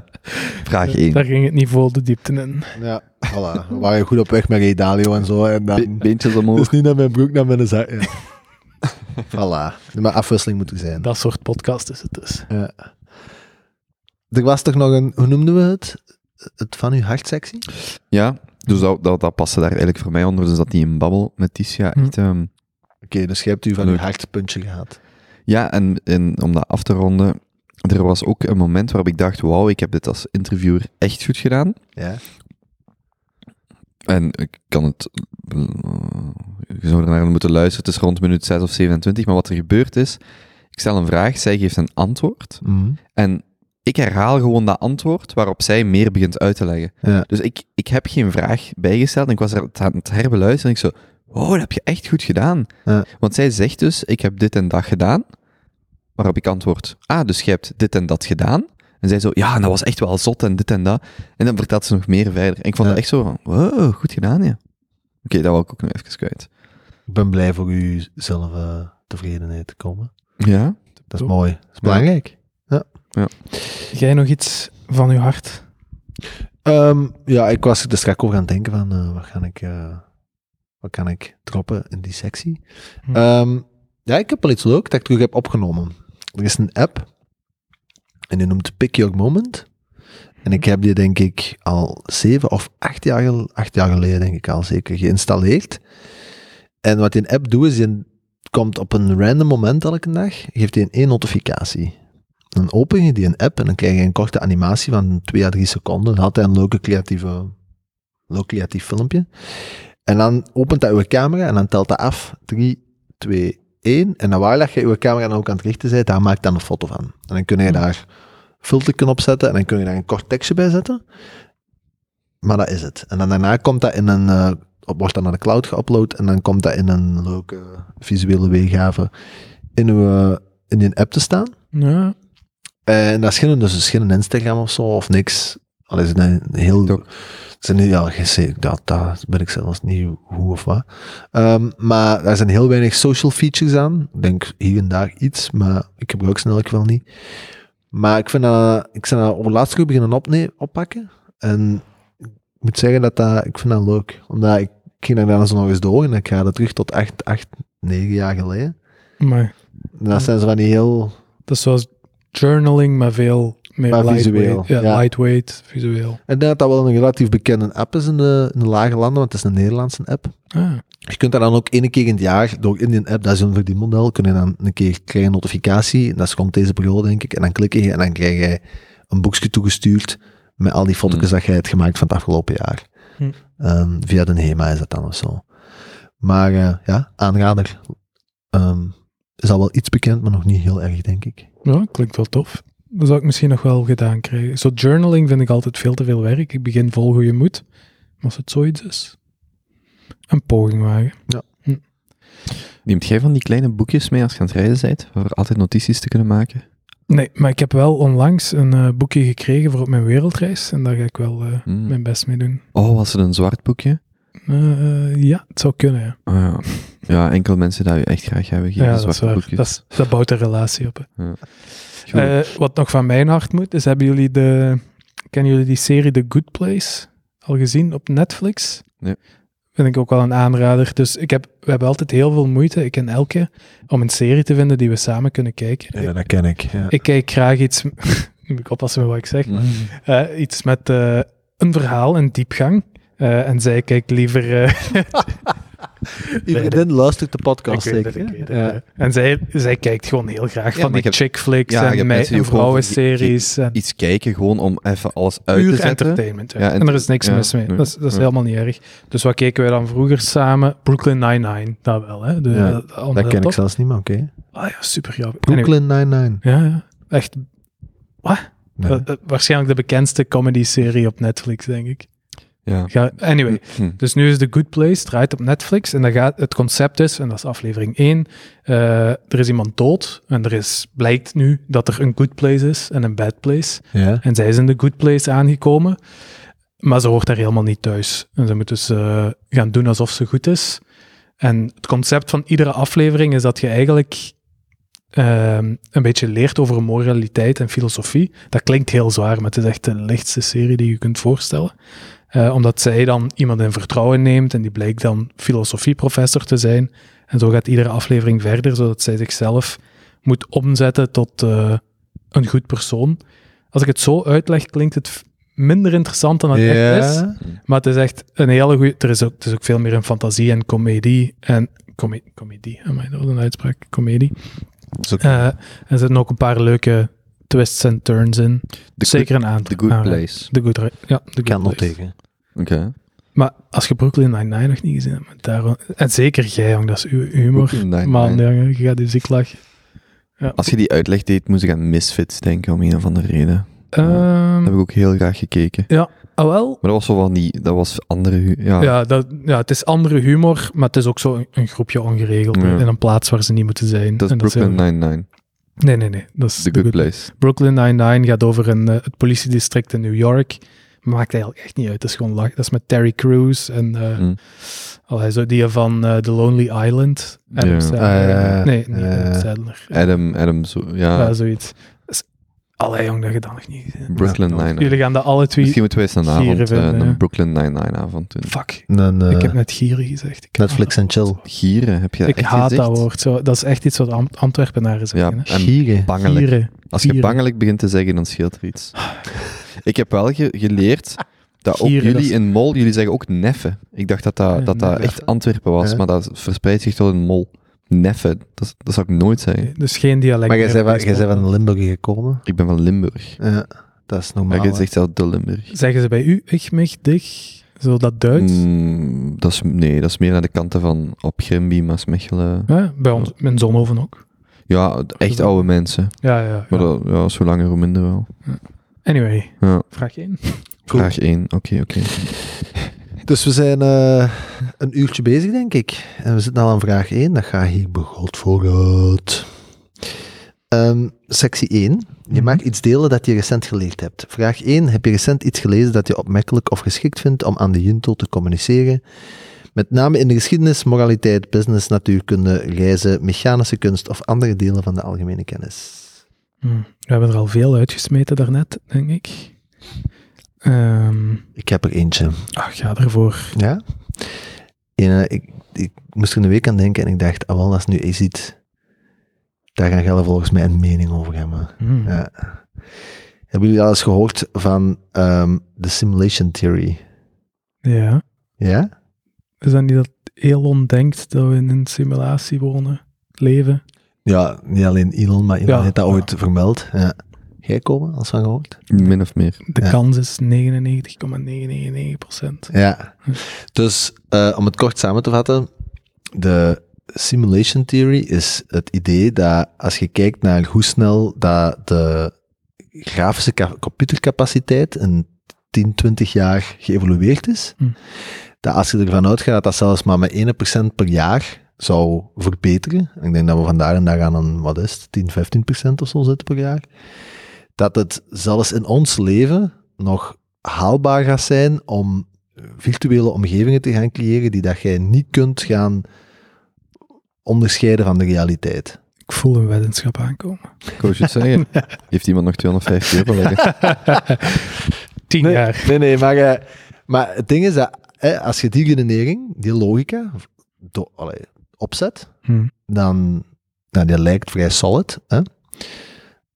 Speaker 1: vraag 1.
Speaker 2: Daar ging het niet vol de diepte in.
Speaker 3: Ja, voilà. We waren goed op weg met Redalio en zo. En dan...
Speaker 1: Beentjes
Speaker 3: Het is
Speaker 1: omhoog.
Speaker 3: niet naar mijn broek, naar mijn zak. Ja. voilà. Maar afwisseling moet er zijn.
Speaker 2: Dat soort podcast is het dus.
Speaker 3: Ja. Er was toch nog een, hoe noemden we het? Het van uw hartsectie?
Speaker 1: Ja, dus dat, dat, dat paste daar eigenlijk voor mij onder. Dus dat die een babbel met Ticia
Speaker 2: Hm.
Speaker 1: echt... ehm,
Speaker 3: Oké, dus jij hebt u van uw
Speaker 1: Leuk.
Speaker 3: hartpuntje gehad.
Speaker 1: Ja, en, en om dat af te ronden, er was ook een moment waarop ik dacht, wauw, ik heb dit als interviewer echt goed gedaan.
Speaker 3: Ja.
Speaker 1: En ik kan het... eh, Je zou ernaar moeten luisteren, het is rond minuut 6 of 27, maar wat er gebeurd is, ik stel een vraag, zij geeft een antwoord,
Speaker 3: Mhm.
Speaker 1: en ik herhaal gewoon dat antwoord waarop zij meer begint uit te leggen.
Speaker 3: ja.
Speaker 1: Dus ik, ik heb geen vraag bijgesteld en ik was er het aan het herbeluisteren en ik zo, wow, dat heb je echt goed gedaan.
Speaker 3: Ja.
Speaker 1: Want zij zegt dus, ik heb dit en dat gedaan, waarop ik antwoord, ah, dus je hebt dit en dat gedaan. En zij zo, ja, en dat was echt wel zot en dit en dat. En dan vertelt ze nog meer verder. En ik vond
Speaker 3: Ja.
Speaker 1: dat echt zo van, wow, goed gedaan, ja. Oké, dat wil ik ook nog even kwijt.
Speaker 3: Ik ben blij voor uw zelf eh, tevredenheid te komen.
Speaker 1: Ja?
Speaker 3: Dat is
Speaker 2: Top.
Speaker 3: mooi. Dat is belangrijk.
Speaker 2: Jij nog iets van je hart?
Speaker 3: Ehm, ja, ik was er straks over aan het denken van eh, wat, kan ik, eh, wat kan ik droppen in die sectie.
Speaker 2: Hm.
Speaker 3: Ehm, ja, ik heb wel iets leuk dat ik terug heb opgenomen. Er is een app en die noemt Pick Your Moment. En ik heb die denk ik al zeven of acht jaar, gel- acht jaar geleden denk ik al zeker geïnstalleerd. En wat die app doet is, die komt op een random moment elke dag, geeft die één notificatie. Dan open je die een app en dan krijg je een korte animatie van 2 à 3 seconden. Dan had hij een leuke creatieve, leuk creatief filmpje. En dan opent dat uw camera en dan telt dat af. 3, 2, 1. En dan waar dat je uw camera dan ook aan het richten bent, daar maak je dan een foto van. En dan kun je daar filterken op zetten en dan kun je daar een kort tekstje bij zetten. Maar dat is het. En dan daarna komt dat in een, eh, op wordt dat naar de cloud geüpload en dan komt dat in een leuke visuele weergave in, uw, eh, in die app te staan.
Speaker 2: Ja.
Speaker 3: En dat is geen, dus is geen Instagram of zo, of niks. Al is het een heel...
Speaker 1: TikTok.
Speaker 3: Zijn, ja, je zegt dat, dat ben ik zelfs niet hoe of wat. Ehm, maar daar zijn heel weinig social features aan. Ik denk hier en daar iets, maar ik gebruik ze eigenlijk wel niet. Maar ik vind dat... Ik ben dat op het laatste uur beginnen opne- oppakken. En ik moet zeggen dat dat... Ik vind dat leuk. Omdat ik, ik ging daar dan zo nog eens door en ik ga dat terug tot 8, 8, 9 jaar geleden.
Speaker 2: Maar
Speaker 3: En dat zijn ze van die heel...
Speaker 2: dat is zoals journaling, maar veel meer
Speaker 3: Maar
Speaker 2: lightweight.
Speaker 3: visueel,
Speaker 2: Ja,
Speaker 3: ja.
Speaker 2: lightweight, visueel.
Speaker 3: Ik denk dat dat wel een relatief bekende app is in de, in de lage landen, want het is een Nederlandse app.
Speaker 2: Ah,
Speaker 3: Je kunt dat dan ook één keer in het jaar, door in die app, dat is een verdienmodel, kun je dan een keer krijgen een notificatie, en dat is rond deze periode denk ik, en dan klik je en dan krijg je een boekje toegestuurd met al die foto's
Speaker 1: Hmm.
Speaker 3: dat jij hebt gemaakt van het afgelopen jaar.
Speaker 2: Hmm.
Speaker 3: Ehm, via de HEMA is dat dan of zo. Maar eh, ja, aanrader. Ehm, is al wel iets bekend, maar nog niet heel erg, denk ik.
Speaker 2: ja, klinkt wel tof. dat zou ik misschien nog wel gedaan krijgen. Zo journaling vind ik altijd veel te veel werk. Ik begin vol goede moed. Maar als het zoiets is, een poging wagen.
Speaker 1: Neemt jij van die kleine boekjes mee als je aan het rijden bent, voor altijd notities te kunnen maken?
Speaker 2: Nee, maar ik heb wel onlangs een eh, boekje gekregen voor op mijn wereldreis. En daar ga ik wel eh,
Speaker 1: Hmm.
Speaker 2: mijn best mee doen.
Speaker 1: Oh, was het een zwart boekje?
Speaker 2: Eh, eh, ja, het zou kunnen, ja.
Speaker 1: Ah, ja. ja, enkel mensen die je echt graag hebben, geven
Speaker 2: Ja, dat is
Speaker 1: zwarte
Speaker 2: waar.
Speaker 1: boekjes.
Speaker 2: Dat, is- dat bouwt een relatie op. hè.
Speaker 1: Ja.
Speaker 2: Eh, wat nog van mijn hart moet, is hebben jullie de... Kennen jullie die serie The Good Place al gezien op Netflix?
Speaker 1: Nee.
Speaker 2: Vind ik ook wel een aanrader. Dus ik heb, we hebben altijd heel veel moeite, ik en Elke, om een serie te vinden die we samen kunnen kijken.
Speaker 3: Ja, dat ken ik. Ja.
Speaker 2: Ik kijk graag iets... nu moet ik oppassen met wat ik zeg.
Speaker 1: Mm.
Speaker 2: Eh, iets met eh, een verhaal, een diepgang. Eh, en zij kijkt liever... eh,
Speaker 3: Uw vriendin luistert de podcast
Speaker 2: Ik weet het,
Speaker 3: zeker.
Speaker 2: ik weet het,
Speaker 3: ja.
Speaker 2: ja. En zij, zij kijkt gewoon heel graag
Speaker 1: Ja,
Speaker 2: van
Speaker 1: maar
Speaker 2: die
Speaker 1: ik heb-
Speaker 2: chick flicks
Speaker 1: ja, ik heb
Speaker 2: en, mei-
Speaker 1: mensen die
Speaker 2: en
Speaker 1: ook gewoon
Speaker 2: vrouwenseries. En
Speaker 1: Iets kijken, gewoon om even alles uit
Speaker 2: puur
Speaker 1: te zetten.
Speaker 2: entertainment. Ja.
Speaker 1: Ja,
Speaker 2: en,
Speaker 1: en-
Speaker 2: er is niks
Speaker 1: ja,
Speaker 2: mis mee.
Speaker 1: ja,
Speaker 2: dat is, dat is
Speaker 1: ja.
Speaker 2: helemaal niet erg. Dus wat keken wij dan vroeger samen? Brooklyn Nine-Nine, dat wel. Hè? Dus,
Speaker 3: Ja,
Speaker 2: eh, allemaal
Speaker 3: Dat ken ik
Speaker 2: top.
Speaker 3: zelfs niet, maar oké.
Speaker 2: Ah ja, super grappig. Anyway,
Speaker 3: Brooklyn Nine-Nine.
Speaker 2: ja, ja, echt
Speaker 3: Nee.
Speaker 2: eh, eh, waarschijnlijk de bekendste comedy-serie op Netflix, denk ik.
Speaker 1: Ja.
Speaker 2: Ga, anyway,
Speaker 1: Hm.
Speaker 2: Dus nu is The Good Place, draait op Netflix. En dat gaat, het concept is, en dat is aflevering 1, eh, er is iemand dood. En er is, blijkt nu dat er een good place is en een bad place.
Speaker 3: Ja.
Speaker 2: En zij is in de good place aangekomen. Maar ze hoort daar helemaal niet thuis. En ze moet dus eh, gaan doen alsof ze goed is. En het concept van iedere aflevering is dat je eigenlijk ehm, een beetje leert over moraliteit en filosofie. Dat klinkt heel zwaar, maar het is echt de lichtste serie die je kunt voorstellen. Eh, omdat zij dan iemand in vertrouwen neemt en die blijkt dan filosofieprofessor te zijn. En zo gaat iedere aflevering verder, zodat zij zichzelf moet omzetten tot eh, een goed persoon. Als ik het zo uitleg, klinkt het f- minder interessant dan het echt is.
Speaker 3: Ja.
Speaker 2: Maar het is echt een hele goede. Er is ook, het is ook veel meer een fantasie en comedie. En come- comedie, amai, dat was nou een uitspraak. Comedie.
Speaker 1: is ook-
Speaker 2: Eh, er zitten ook een paar leuke twists en turns in.
Speaker 1: The
Speaker 2: Zeker een aantal. Ah,
Speaker 1: Good, the good Place.
Speaker 2: The Good Ra- Ja, The
Speaker 3: Ik kan
Speaker 2: Good
Speaker 3: het
Speaker 2: Place.
Speaker 3: nog tegen.
Speaker 1: Oké.
Speaker 2: Maar als je Brooklyn Nine-Nine nog niet gezien hebt, maar daarom, en zeker jij, jong, dat is uw humor.
Speaker 1: Brooklyn Nine-Nine.
Speaker 2: Man, jongen, je gaat je ziek lachen. Ja.
Speaker 1: Als je die uitleg deed, moest ik aan Misfits denken, om een of andere reden.
Speaker 2: Ehm,
Speaker 1: Dat heb ik ook heel graag gekeken.
Speaker 2: ah, wel,
Speaker 1: Maar dat was zo van die... Dat was andere... hu- Ja.
Speaker 2: Ja, dat, ja, het is andere humor, maar het is ook zo een, een groepje ongeregelden
Speaker 1: Ja.
Speaker 2: in een plaats waar ze niet moeten zijn.
Speaker 1: Dat is
Speaker 2: En
Speaker 1: Brooklyn
Speaker 2: heel-
Speaker 1: Nine-Nine.
Speaker 2: Nee, nee, nee. Dat is
Speaker 1: The
Speaker 2: de
Speaker 1: Good, Place.
Speaker 2: Brooklyn Nine-Nine gaat over een, eh, het politiedistrict in New York. Maakt eigenlijk echt niet uit. Dat is gewoon lach. Dat is met Terry Crews en eh
Speaker 1: Mm.
Speaker 2: allee, zo die van eh, The Lonely Island. Adam
Speaker 1: Ja.
Speaker 2: Sandler.
Speaker 3: Eh,
Speaker 2: nee, niet Adam
Speaker 3: eh,
Speaker 2: Sandler.
Speaker 1: Adam, Adam, zo...
Speaker 2: Ja,
Speaker 1: Ja,
Speaker 2: zoiets. Dat is- Allee, jong, dat je dat nog niet gezien hebt.
Speaker 1: Brooklyn
Speaker 3: Ja.
Speaker 1: Nine-Nine.
Speaker 2: Jullie gaan dat alle twee...
Speaker 1: Misschien moeten we eens een
Speaker 2: gieren
Speaker 1: avond, eh,
Speaker 2: vinden,
Speaker 1: een
Speaker 2: ja.
Speaker 1: Brooklyn Nine-Nine avond doen.
Speaker 2: Fuck.
Speaker 3: Dan, eh,
Speaker 2: ik heb net gieren gezegd. Ik haat
Speaker 3: Netflix
Speaker 2: dat
Speaker 3: en chill.
Speaker 2: woord.
Speaker 1: Gieren, heb je dat
Speaker 2: Ik
Speaker 1: echt
Speaker 2: haat
Speaker 1: gezegd?
Speaker 2: dat woord. Zo, dat is echt iets wat Am- Antwerpenaren zeggen. hè.
Speaker 1: en
Speaker 3: Gieren.
Speaker 1: Bangelijk.
Speaker 2: Gieren.
Speaker 1: Als je
Speaker 2: gieren.
Speaker 1: bangelijk begint te zeggen, dan scheelt er iets. Ik heb wel ge- geleerd dat ook
Speaker 2: Gieren, dat
Speaker 1: jullie
Speaker 2: is-
Speaker 1: in mol, jullie zeggen ook neffen. Ik dacht dat dat,
Speaker 2: Ja,
Speaker 1: dat, dat
Speaker 2: neffen.
Speaker 1: echt Antwerpen was,
Speaker 3: Ja.
Speaker 1: maar dat verspreidt zich tot in mol. Neffen, dat, dat zou ik nooit zeggen.
Speaker 2: Dus geen dialect.
Speaker 3: Maar jij
Speaker 2: meer
Speaker 3: zei
Speaker 2: op
Speaker 3: van-
Speaker 2: deze
Speaker 3: jij zei
Speaker 2: podcast.
Speaker 3: van Limburg gekomen.
Speaker 1: Ik ben van Limburg.
Speaker 3: Ja, dat is normaal.
Speaker 1: Maar je
Speaker 3: hè.
Speaker 1: zegt zelf de Limburg.
Speaker 2: Zeggen ze bij u ich, mich, dich? Zo dat Duits?
Speaker 1: Mm, dat is, nee, dat is meer naar de kanten van op Grimby, Maasmechelen.
Speaker 2: Hè? bij ons, mijn zonhoven ook.
Speaker 1: Ja, echt oude mensen.
Speaker 2: Ja, ja. ja.
Speaker 1: Maar dat, ja, zo langer hoe minder wel.
Speaker 2: Anyway,
Speaker 1: Ja,
Speaker 2: vraag 1.
Speaker 3: Cool.
Speaker 1: vraag 1. Oké, oké.
Speaker 3: Dus we zijn eh, een uurtje bezig, denk ik. En we zitten al aan vraag 1. Dat gaat hier begot vooruit. Ehm, sectie 1. Je mag iets delen dat je recent geleerd hebt. Vraag 1. Heb je recent iets gelezen dat je opmerkelijk of geschikt vindt om aan de junto te communiceren? Met name in de geschiedenis, moraliteit, business, natuurkunde, reizen, mechanische kunst of andere delen van de algemene kennis.
Speaker 2: Hmm. We hebben er al veel uitgesmeten daarnet, denk ik. Ehm
Speaker 3: Ik heb er eentje.
Speaker 2: ach, ga ervoor.
Speaker 3: Ja. En, eh, ik, ik moest er een week aan denken en ik dacht, ah wel, dat is nu is iets. Daar gaan jullie volgens mij een mening over hebben.
Speaker 2: Hmm.
Speaker 3: Ja. Hebben jullie al eens gehoord van ehm, de simulation theory?
Speaker 2: Ja.
Speaker 3: Ja?
Speaker 2: Is dat niet dat Elon denkt dat we in een simulatie wonen, leven?
Speaker 3: Ja, niet alleen Elon, maar Elon
Speaker 2: Ja.
Speaker 3: heeft dat ooit vermeld. Ja. Jij komen, als van gehoord?
Speaker 1: Min of meer.
Speaker 2: De
Speaker 3: Ja.
Speaker 2: kans is 99,999 procent.
Speaker 3: Ja. Dus eh, om het kort samen te vatten, de simulation theory is het idee dat als je kijkt naar hoe snel dat de grafische ca- computercapaciteit in 10, 20 jaar geëvolueerd is.
Speaker 2: Hm.
Speaker 3: Dat als je ervan uitgaat dat zelfs maar met 1% per jaar zou verbeteren. Ik denk dat we vandaag en daar aan een, wat is het, 10, 15% of zo zitten per jaar. Dat het zelfs in ons leven nog haalbaar gaat zijn om virtuele omgevingen te gaan creëren die dat jij niet kunt gaan onderscheiden van de realiteit.
Speaker 2: Ik voel een weddenschap aankomen.
Speaker 1: Ik wou het zeggen. Heeft iemand nog 250 euro liggen?
Speaker 2: Tien
Speaker 3: nee,
Speaker 2: jaar.
Speaker 3: Nee, nee, maar, eh, maar het ding is dat eh, als je die redenering, die logica, do- allee, opzet,
Speaker 2: Hm.
Speaker 3: dan nou, die lijkt vrij solid. Hè?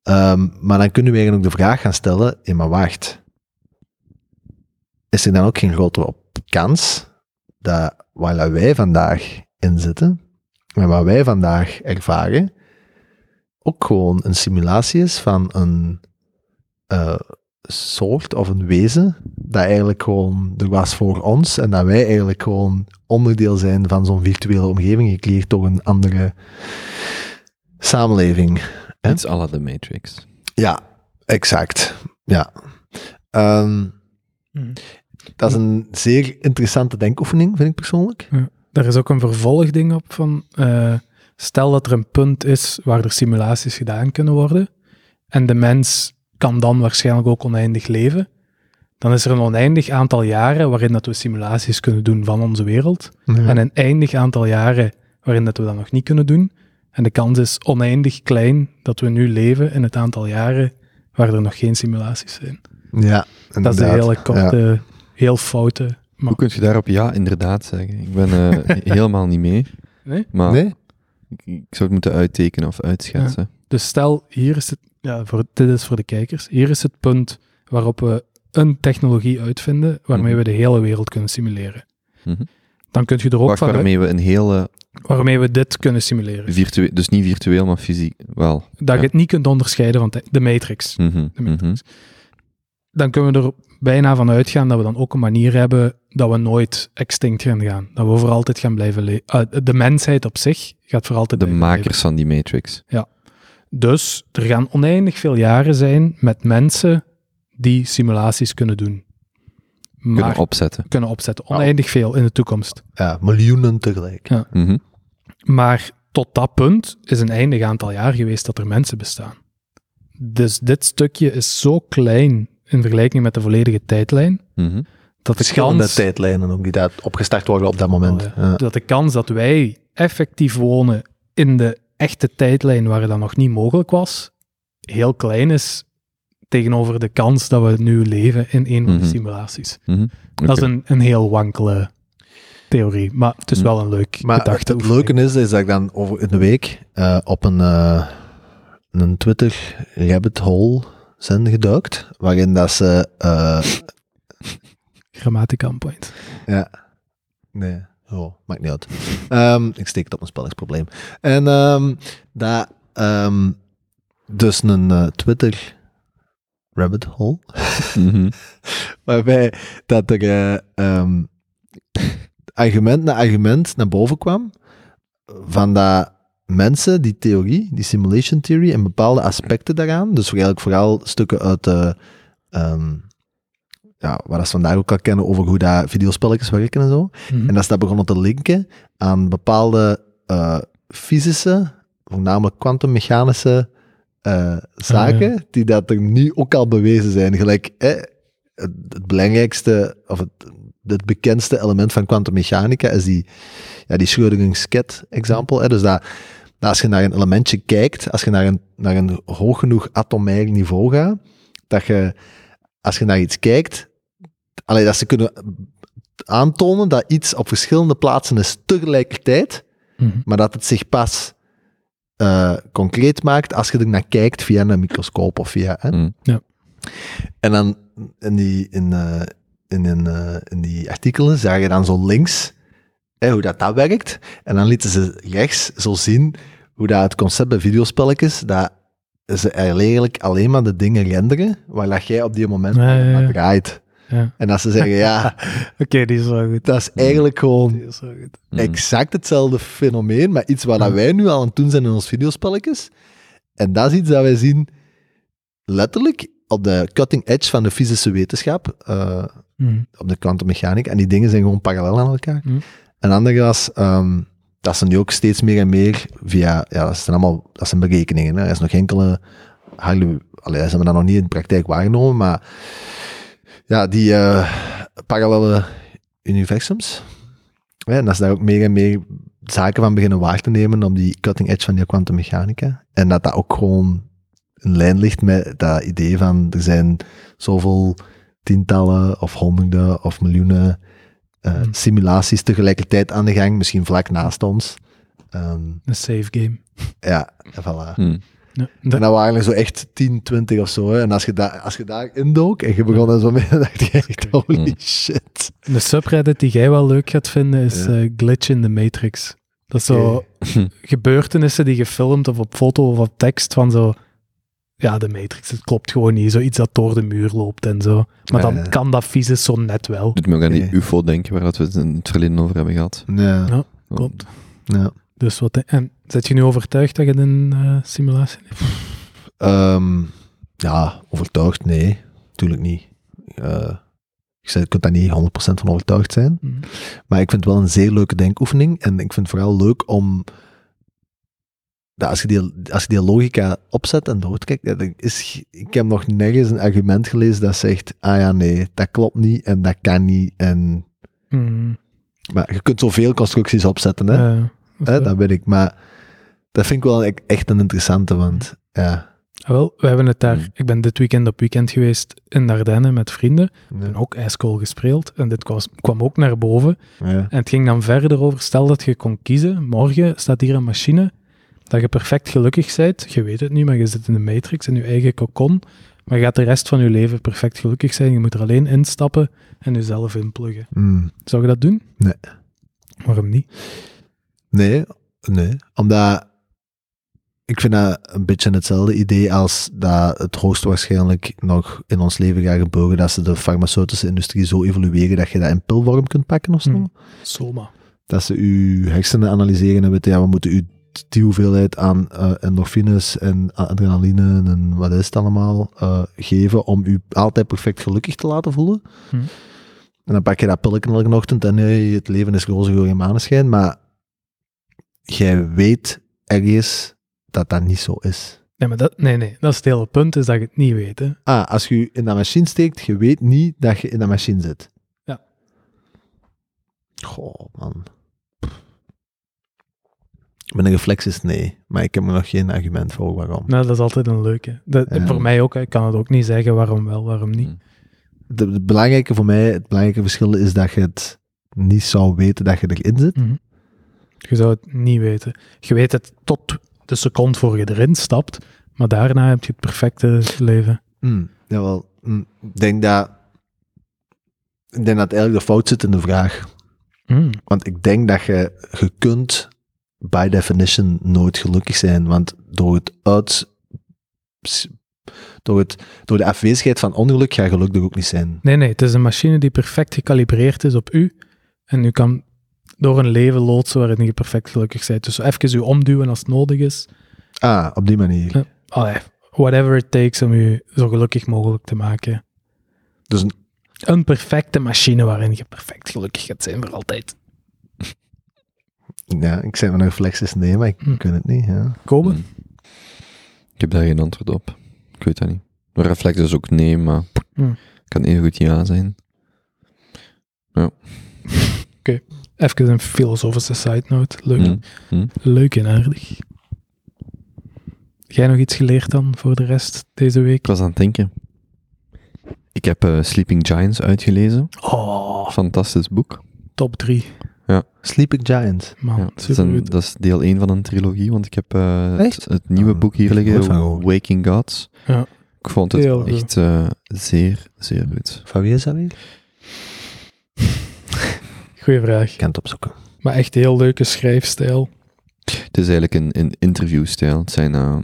Speaker 3: Ehm, maar dan kunnen we eigenlijk ook de vraag gaan stellen, ja, maar wacht, is er dan ook geen grotere op- kans dat waar dat wij vandaag in zitten, en wat wij vandaag ervaren, ook gewoon een simulatie is van een eh, soort of een wezen dat eigenlijk gewoon er was voor ons en dat wij eigenlijk gewoon onderdeel zijn van zo'n virtuele omgeving, gecreëerd door een andere samenleving. Hè?
Speaker 1: Iets à la The Matrix.
Speaker 3: Ja, exact. Ja. Ehm,
Speaker 2: Hmm.
Speaker 3: Dat is een zeer interessante denkoefening, vind ik persoonlijk.
Speaker 2: Er is ook een vervolgding op van, eh, stel dat er een punt is waar er simulaties gedaan kunnen worden en de mens kan dan waarschijnlijk ook oneindig leven, dan is er een oneindig aantal jaren waarin dat we simulaties kunnen doen van onze wereld en een eindig aantal jaren waarin dat we dat nog niet kunnen doen. En de kans is oneindig klein dat we nu leven in het aantal jaren waar er nog geen simulaties zijn.
Speaker 3: Ja,
Speaker 2: Dat is
Speaker 3: inderdaad.
Speaker 2: een hele korte, heel foute... Maar,
Speaker 1: Hoe kun je daarop ja inderdaad zeggen? Ik ben eh, helemaal niet mee.
Speaker 2: Nee?
Speaker 1: Maar
Speaker 3: Nee?
Speaker 1: ik, ik zou het moeten uittekenen of uitschetsen.
Speaker 2: Dus stel, hier is het, ja, voor, dit is voor de kijkers, hier is het punt waarop we een technologie uitvinden waarmee we de hele wereld kunnen simuleren.
Speaker 1: Mhm.
Speaker 2: Dan kun je er ook
Speaker 1: Wacht,
Speaker 2: van,
Speaker 1: waarmee we een hele...
Speaker 2: waarmee we dit kunnen simuleren.
Speaker 1: Virtueel, dus niet virtueel, maar fysiek wel.
Speaker 2: Dat je het niet kunt onderscheiden van te- de matrix.
Speaker 1: Mhm,
Speaker 2: De
Speaker 1: mhm.
Speaker 2: matrix. Dan kunnen we er bijna van uitgaan dat we dan ook een manier hebben dat we nooit extinct gaan gaan. Dat we voor altijd gaan blijven leven. de mensheid op zich gaat voor altijd
Speaker 1: De
Speaker 2: blijven leven.
Speaker 1: makers van die Matrix.
Speaker 2: Dus er gaan oneindig veel jaren zijn met mensen die simulaties kunnen doen. Maar
Speaker 1: Kunnen Oh.
Speaker 2: kunnen,
Speaker 1: opzetten.
Speaker 2: opzetten. Oneindig veel in de toekomst.
Speaker 3: Ja, miljoenen tegelijk.
Speaker 2: Ja.
Speaker 1: Mhm.
Speaker 2: Maar tot dat punt is een eindig aantal jaar geweest dat er mensen bestaan. Dus dit stukje is zo klein in vergelijking met de volledige tijdlijn,
Speaker 1: Mhm.
Speaker 2: dat de
Speaker 3: Verschillende
Speaker 2: kans...
Speaker 3: tijdlijnen ook die daar opgestart worden op dat moment.
Speaker 2: Oh,
Speaker 3: Ja.
Speaker 2: dat de kans dat wij effectief wonen in de echte tijdlijn waar dat nog niet mogelijk was, heel klein is tegenover de kans dat we nu leven in een van
Speaker 1: Mhm.
Speaker 2: de simulaties.
Speaker 1: Mhm.
Speaker 2: Dat is
Speaker 1: Oké.
Speaker 2: een, een heel wankele theorie, maar het is wel een leuk
Speaker 3: Maar het,
Speaker 2: gedachte.
Speaker 3: het leuke is, is dat ik dan over in de week eh, op een, eh, een Twitter rabbit hole zijn geduikt, waarin dat ze... eh,
Speaker 2: Grammatica on point.
Speaker 3: Nee. Oh, maakt niet uit. Ehm, ik steek het op een spellingsprobleem. En ehm dat, ehm, dus een eh, Twitter rabbit hole,
Speaker 1: Mhm.
Speaker 3: waarbij dat er eh, ehm, argument na argument naar boven kwam van dat mensen die theorie, die simulation theory en bepaalde aspecten daaraan, dus eigenlijk vooral stukken uit de, ehm, ja, wat ze vandaag ook al kennen over hoe dat videospelletjes werken en zo,
Speaker 2: Mhm.
Speaker 3: en dat ze dat begonnen te linken aan bepaalde eh, fysische, voornamelijk kwantummechanische eh, zaken, die dat er nu ook al bewezen zijn. Gelijk, eh, het, het belangrijkste, of het, het bekendste element van kwantummechanica is die, ja, die Schrödinger's cat example. hè. Dus dat, dat als je naar een elementje kijkt, als je naar een, naar een hoog genoeg atomair niveau gaat, dat je, als je naar iets kijkt, alleen dat ze kunnen aantonen dat iets op verschillende plaatsen is tegelijkertijd,
Speaker 2: Mhm.
Speaker 3: maar dat het zich pas eh, concreet maakt als je er naar kijkt via een microscoop of via. Hè?
Speaker 1: Mm.
Speaker 2: Ja.
Speaker 3: En dan in die, in, eh, in, in, eh, in die artikelen zag je dan zo links hè, hoe dat, dat werkt. En dan lieten ze rechts zo zien hoe dat het concept bij videospelletjes, dat ze eigenlijk alleen maar de dingen renderen waar dat jij op die moment
Speaker 2: Ja, ja, ja.
Speaker 3: aan draait.
Speaker 2: Ja.
Speaker 3: En dat ze zeggen, ja,
Speaker 2: Eh, Oké, die is wel goed.
Speaker 3: dat is eigenlijk gewoon
Speaker 2: Die is wel goed.
Speaker 1: Mhm.
Speaker 3: exact hetzelfde fenomeen, maar iets wat dat wij nu al aan het doen zijn in ons videospelletjes. En dat is iets dat wij zien letterlijk op de cutting edge van de fysische wetenschap, eh,
Speaker 2: Mhm.
Speaker 3: op de kwantummechanica. En die dingen zijn gewoon parallel aan elkaar.
Speaker 2: Mm.
Speaker 3: En andergas, ehm, dat ze nu ook steeds meer en meer via, ja, dat zijn allemaal, dat zijn berekeningen. Hè. Er is nog enkele, Harley, allee, ze hebben dat nog niet in de praktijk waargenomen, maar ja, die eh, parallele universums. Ja, en dat ze daar ook meer en meer zaken van beginnen waar te nemen op die cutting edge van die kwantummechanica. En dat dat ook gewoon in lijn ligt met dat idee van er zijn zoveel tientallen of honderden of miljoenen eh,
Speaker 2: Hmm.
Speaker 3: simulaties tegelijkertijd aan de gang, misschien vlak naast ons. Ehm,
Speaker 2: Een safe game.
Speaker 3: ja, en voilà.
Speaker 1: Hm.
Speaker 2: Ja,
Speaker 3: En
Speaker 2: Hmm. dat-
Speaker 3: dat waren er zo echt 10, 20 of zo. Hè. En als je, daar als je daar indook en je begon daar zo mee, dan dacht je echt,
Speaker 2: Oké.
Speaker 3: holy
Speaker 1: Hmm.
Speaker 3: shit.
Speaker 2: de subreddit die jij wel leuk gaat vinden is
Speaker 3: Ja.
Speaker 2: eh, Glitch in the Matrix. Dat is zo
Speaker 3: Oké.
Speaker 2: gebeurtenissen die gefilmd of op foto of op tekst van zo... Ja, de Matrix, het klopt gewoon niet. Zoiets dat door de muur loopt en zo. Maar
Speaker 1: Ja,
Speaker 2: dan
Speaker 3: ja.
Speaker 2: kan dat vieze zo net wel.
Speaker 1: Doet me ook aan die
Speaker 3: Oké.
Speaker 1: UFO denken waar dat we het in het verleden over hebben gehad.
Speaker 3: Ja,
Speaker 2: Ja. Klopt.
Speaker 3: ja.
Speaker 2: Dus wat... En zet je nu overtuigd dat je een eh, simulatie hebt?
Speaker 3: Ehm, ja, overtuigd? Nee, natuurlijk niet. Eh, ik zei, je kunt daar niet 100% van overtuigd zijn.
Speaker 2: Mhm.
Speaker 3: Maar ik vind het wel een zeer leuke denkoefening. En ik vind het vooral leuk om. dat als, je die, als je die logica opzet en doortrekt. ja, dat is, ik heb nog nergens een argument gelezen dat zegt: ah ja, nee, dat klopt niet en dat kan niet. En,
Speaker 2: Mhm.
Speaker 3: maar je kunt zoveel constructies opzetten, hè?
Speaker 2: Eh,
Speaker 3: hè
Speaker 2: zo.
Speaker 3: dat weet ik. Maar dat vind ik wel e- echt een interessante. Want ja.
Speaker 2: Ah, Wel, we hebben het daar.
Speaker 1: Mm.
Speaker 2: Ik ben dit weekend op weekend geweest in Dardenne met vrienden. En
Speaker 3: ja,
Speaker 2: ook ijskool gespeeld. En dit kwam, kwam ook naar boven.
Speaker 3: ja.
Speaker 2: En het ging dan verder over: stel dat je kon kiezen. Morgen staat hier een machine. Dat je perfect gelukkig bent. Je weet het niet, maar je zit in de matrix, in je eigen cocon. Maar je gaat de rest van je leven perfect gelukkig zijn. Je moet er alleen instappen en jezelf inpluggen.
Speaker 3: Mm.
Speaker 2: Zou je dat doen?
Speaker 3: Nee.
Speaker 2: Waarom niet?
Speaker 3: Nee, nee. Omdat ik vind dat een beetje hetzelfde idee als dat het hoogstwaarschijnlijk nog in ons leven gaat gebeuren dat ze de farmaceutische industrie zo evolueren dat je dat in pilvorm kunt pakken of zo.
Speaker 2: Mm. Soma.
Speaker 3: Dat ze uw hersenen analyseren en weten, ja, we moeten u die hoeveelheid aan eh, endorfines en adrenaline en wat is het allemaal eh, geven om u altijd perfect gelukkig te laten voelen.
Speaker 2: Hm.
Speaker 3: En dan pak je dat pilletje elke ochtend en hey, het leven is roze geur en maneschijn, maar jij weet ergens dat dat niet zo is.
Speaker 2: Nee, maar dat, nee, nee, dat is het hele punt, is dat je het niet weet. Hè.
Speaker 3: Ah, als je je in dat machine steekt, je weet niet dat je in dat machine zit.
Speaker 2: Ja.
Speaker 3: Goh, man. Mijn reflex is nee, maar ik heb er nog geen argument voor waarom.
Speaker 2: Nou, dat is altijd een leuke. Dat,
Speaker 3: Ja.
Speaker 2: Voor mij ook. hè. Ik kan het ook niet zeggen waarom wel, waarom niet.
Speaker 3: De, de belangrijke voor mij, het belangrijke verschil is dat je het niet zou weten dat je erin zit.
Speaker 2: Mhm. Je zou het niet weten. Je weet het tot de seconde voor je erin stapt, maar daarna heb je het perfecte leven.
Speaker 3: Mm, jawel. Mm, ik denk dat... Ik denk dat eigenlijk de fout zit in de vraag. Want ik denk dat je, je kunt by definition nooit gelukkig zijn. Want door het uit... Door, het, door de afwezigheid van ongeluk ga je gelukkig ook niet zijn.
Speaker 2: Nee, nee, het is een machine die perfect gecalibreerd is op u. En u kan door een leven loodsen waarin je perfect gelukkig bent. Dus zo even u omduwen als het nodig is.
Speaker 3: Ah, op die manier.
Speaker 2: Ja. Allee, whatever it takes om u zo gelukkig mogelijk te maken.
Speaker 3: Dus een-
Speaker 2: Een perfecte machine waarin je perfect gelukkig gaat zijn voor altijd.
Speaker 3: ja, ik zei mijn reflex is nee, maar ik
Speaker 2: Mm.
Speaker 3: kan het niet. Ja.
Speaker 2: Komen?
Speaker 1: Ik heb daar geen antwoord op. Ik weet dat niet. Mijn reflex is ook nee, maar
Speaker 2: Hm.
Speaker 1: kan even goed ja zijn.
Speaker 2: Even een filosofische side note. Leuk.
Speaker 1: Hm.
Speaker 2: Leuk en aardig. Jij nog iets geleerd dan voor de rest deze week?
Speaker 1: Ik was aan het denken. Ik heb eh, Sleeping Giants uitgelezen.
Speaker 2: Oh,
Speaker 1: Fantastisch boek.
Speaker 2: top 3.
Speaker 3: Sleeping Giant.
Speaker 2: Man,
Speaker 1: Ja, dat, is een-
Speaker 2: Oh, supergoed.
Speaker 1: dat is deel 1 van een trilogie, want ik heb eh,
Speaker 3: Echt?
Speaker 1: het, het nieuwe
Speaker 3: Ah,
Speaker 1: boek hier
Speaker 3: ik heb nooit
Speaker 1: liggen,
Speaker 3: van gehoord.
Speaker 1: Waking Gods.
Speaker 2: Ja.
Speaker 1: Ik vond het
Speaker 2: Heel goed.
Speaker 1: echt eh, zeer, zeer goed.
Speaker 3: Van wie is dat weer?
Speaker 2: Goeie vraag.
Speaker 3: Ik kan het opzoeken.
Speaker 2: Maar echt heel leuke schrijfstijl.
Speaker 1: Het is eigenlijk een, een interviewstijl. Het, zijn, ehm,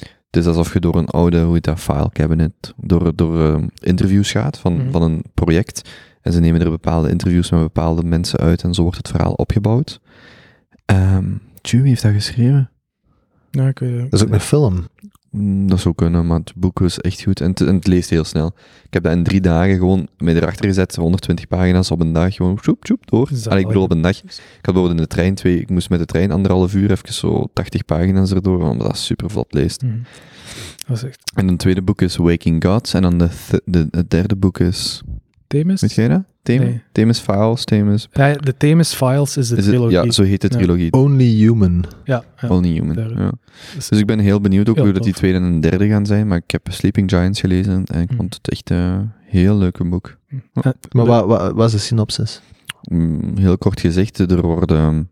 Speaker 1: het is alsof je door een oude, hoe heet dat, file cabinet, door, door ehm, interviews gaat van,
Speaker 2: Mhm.
Speaker 1: van een project. En ze nemen er bepaalde interviews met bepaalde mensen uit en zo wordt het verhaal opgebouwd. Ehm Chewie heeft dat geschreven.
Speaker 2: Ja, ik weet het ook.
Speaker 1: eh,
Speaker 3: Dat is ook een film.
Speaker 1: Mm, Dat zou kunnen, maar het boek was echt goed en het, en het leest heel snel. Ik heb dat in drie dagen gewoon mee erachter gezet, 120 pagina's op een dag, gewoon tjoep, tjoep, door.
Speaker 2: Zalig.
Speaker 1: Allee, ik bedoel op een dag. Ik had bijvoorbeeld in de trein twee, ik moest met de trein anderhalf uur even zo 80 pagina's erdoor, omdat dat super vlot leest.
Speaker 2: Mhm. Dat is echt
Speaker 1: En een tweede boek is Waking Gods en dan de th- de, het derde boek is,
Speaker 2: Themis.
Speaker 1: weet jij dat? Themis?
Speaker 2: Nee.
Speaker 1: Themis Files, Themis...
Speaker 2: Ja, de Themis Files is de
Speaker 1: Is het,
Speaker 2: trilogie.
Speaker 1: ja, zo heet de
Speaker 2: Ja.
Speaker 1: trilogie.
Speaker 3: Only Human.
Speaker 2: ja, ja.
Speaker 1: Only Human,
Speaker 2: daar-
Speaker 1: ja.
Speaker 2: Dus-
Speaker 1: Dus ik ben heel benieuwd ook
Speaker 2: Heel
Speaker 1: hoe dat die
Speaker 2: tof.
Speaker 1: tweede en een derde gaan zijn. Maar ik heb Sleeping Giants gelezen en ik
Speaker 2: Mm.
Speaker 1: vond het echt eh, een heel leuke boek.
Speaker 2: Eh,
Speaker 3: Maar
Speaker 2: de-
Speaker 3: wat, wat, wat is de synopsis?
Speaker 1: Mm, heel kort gezegd, er worden...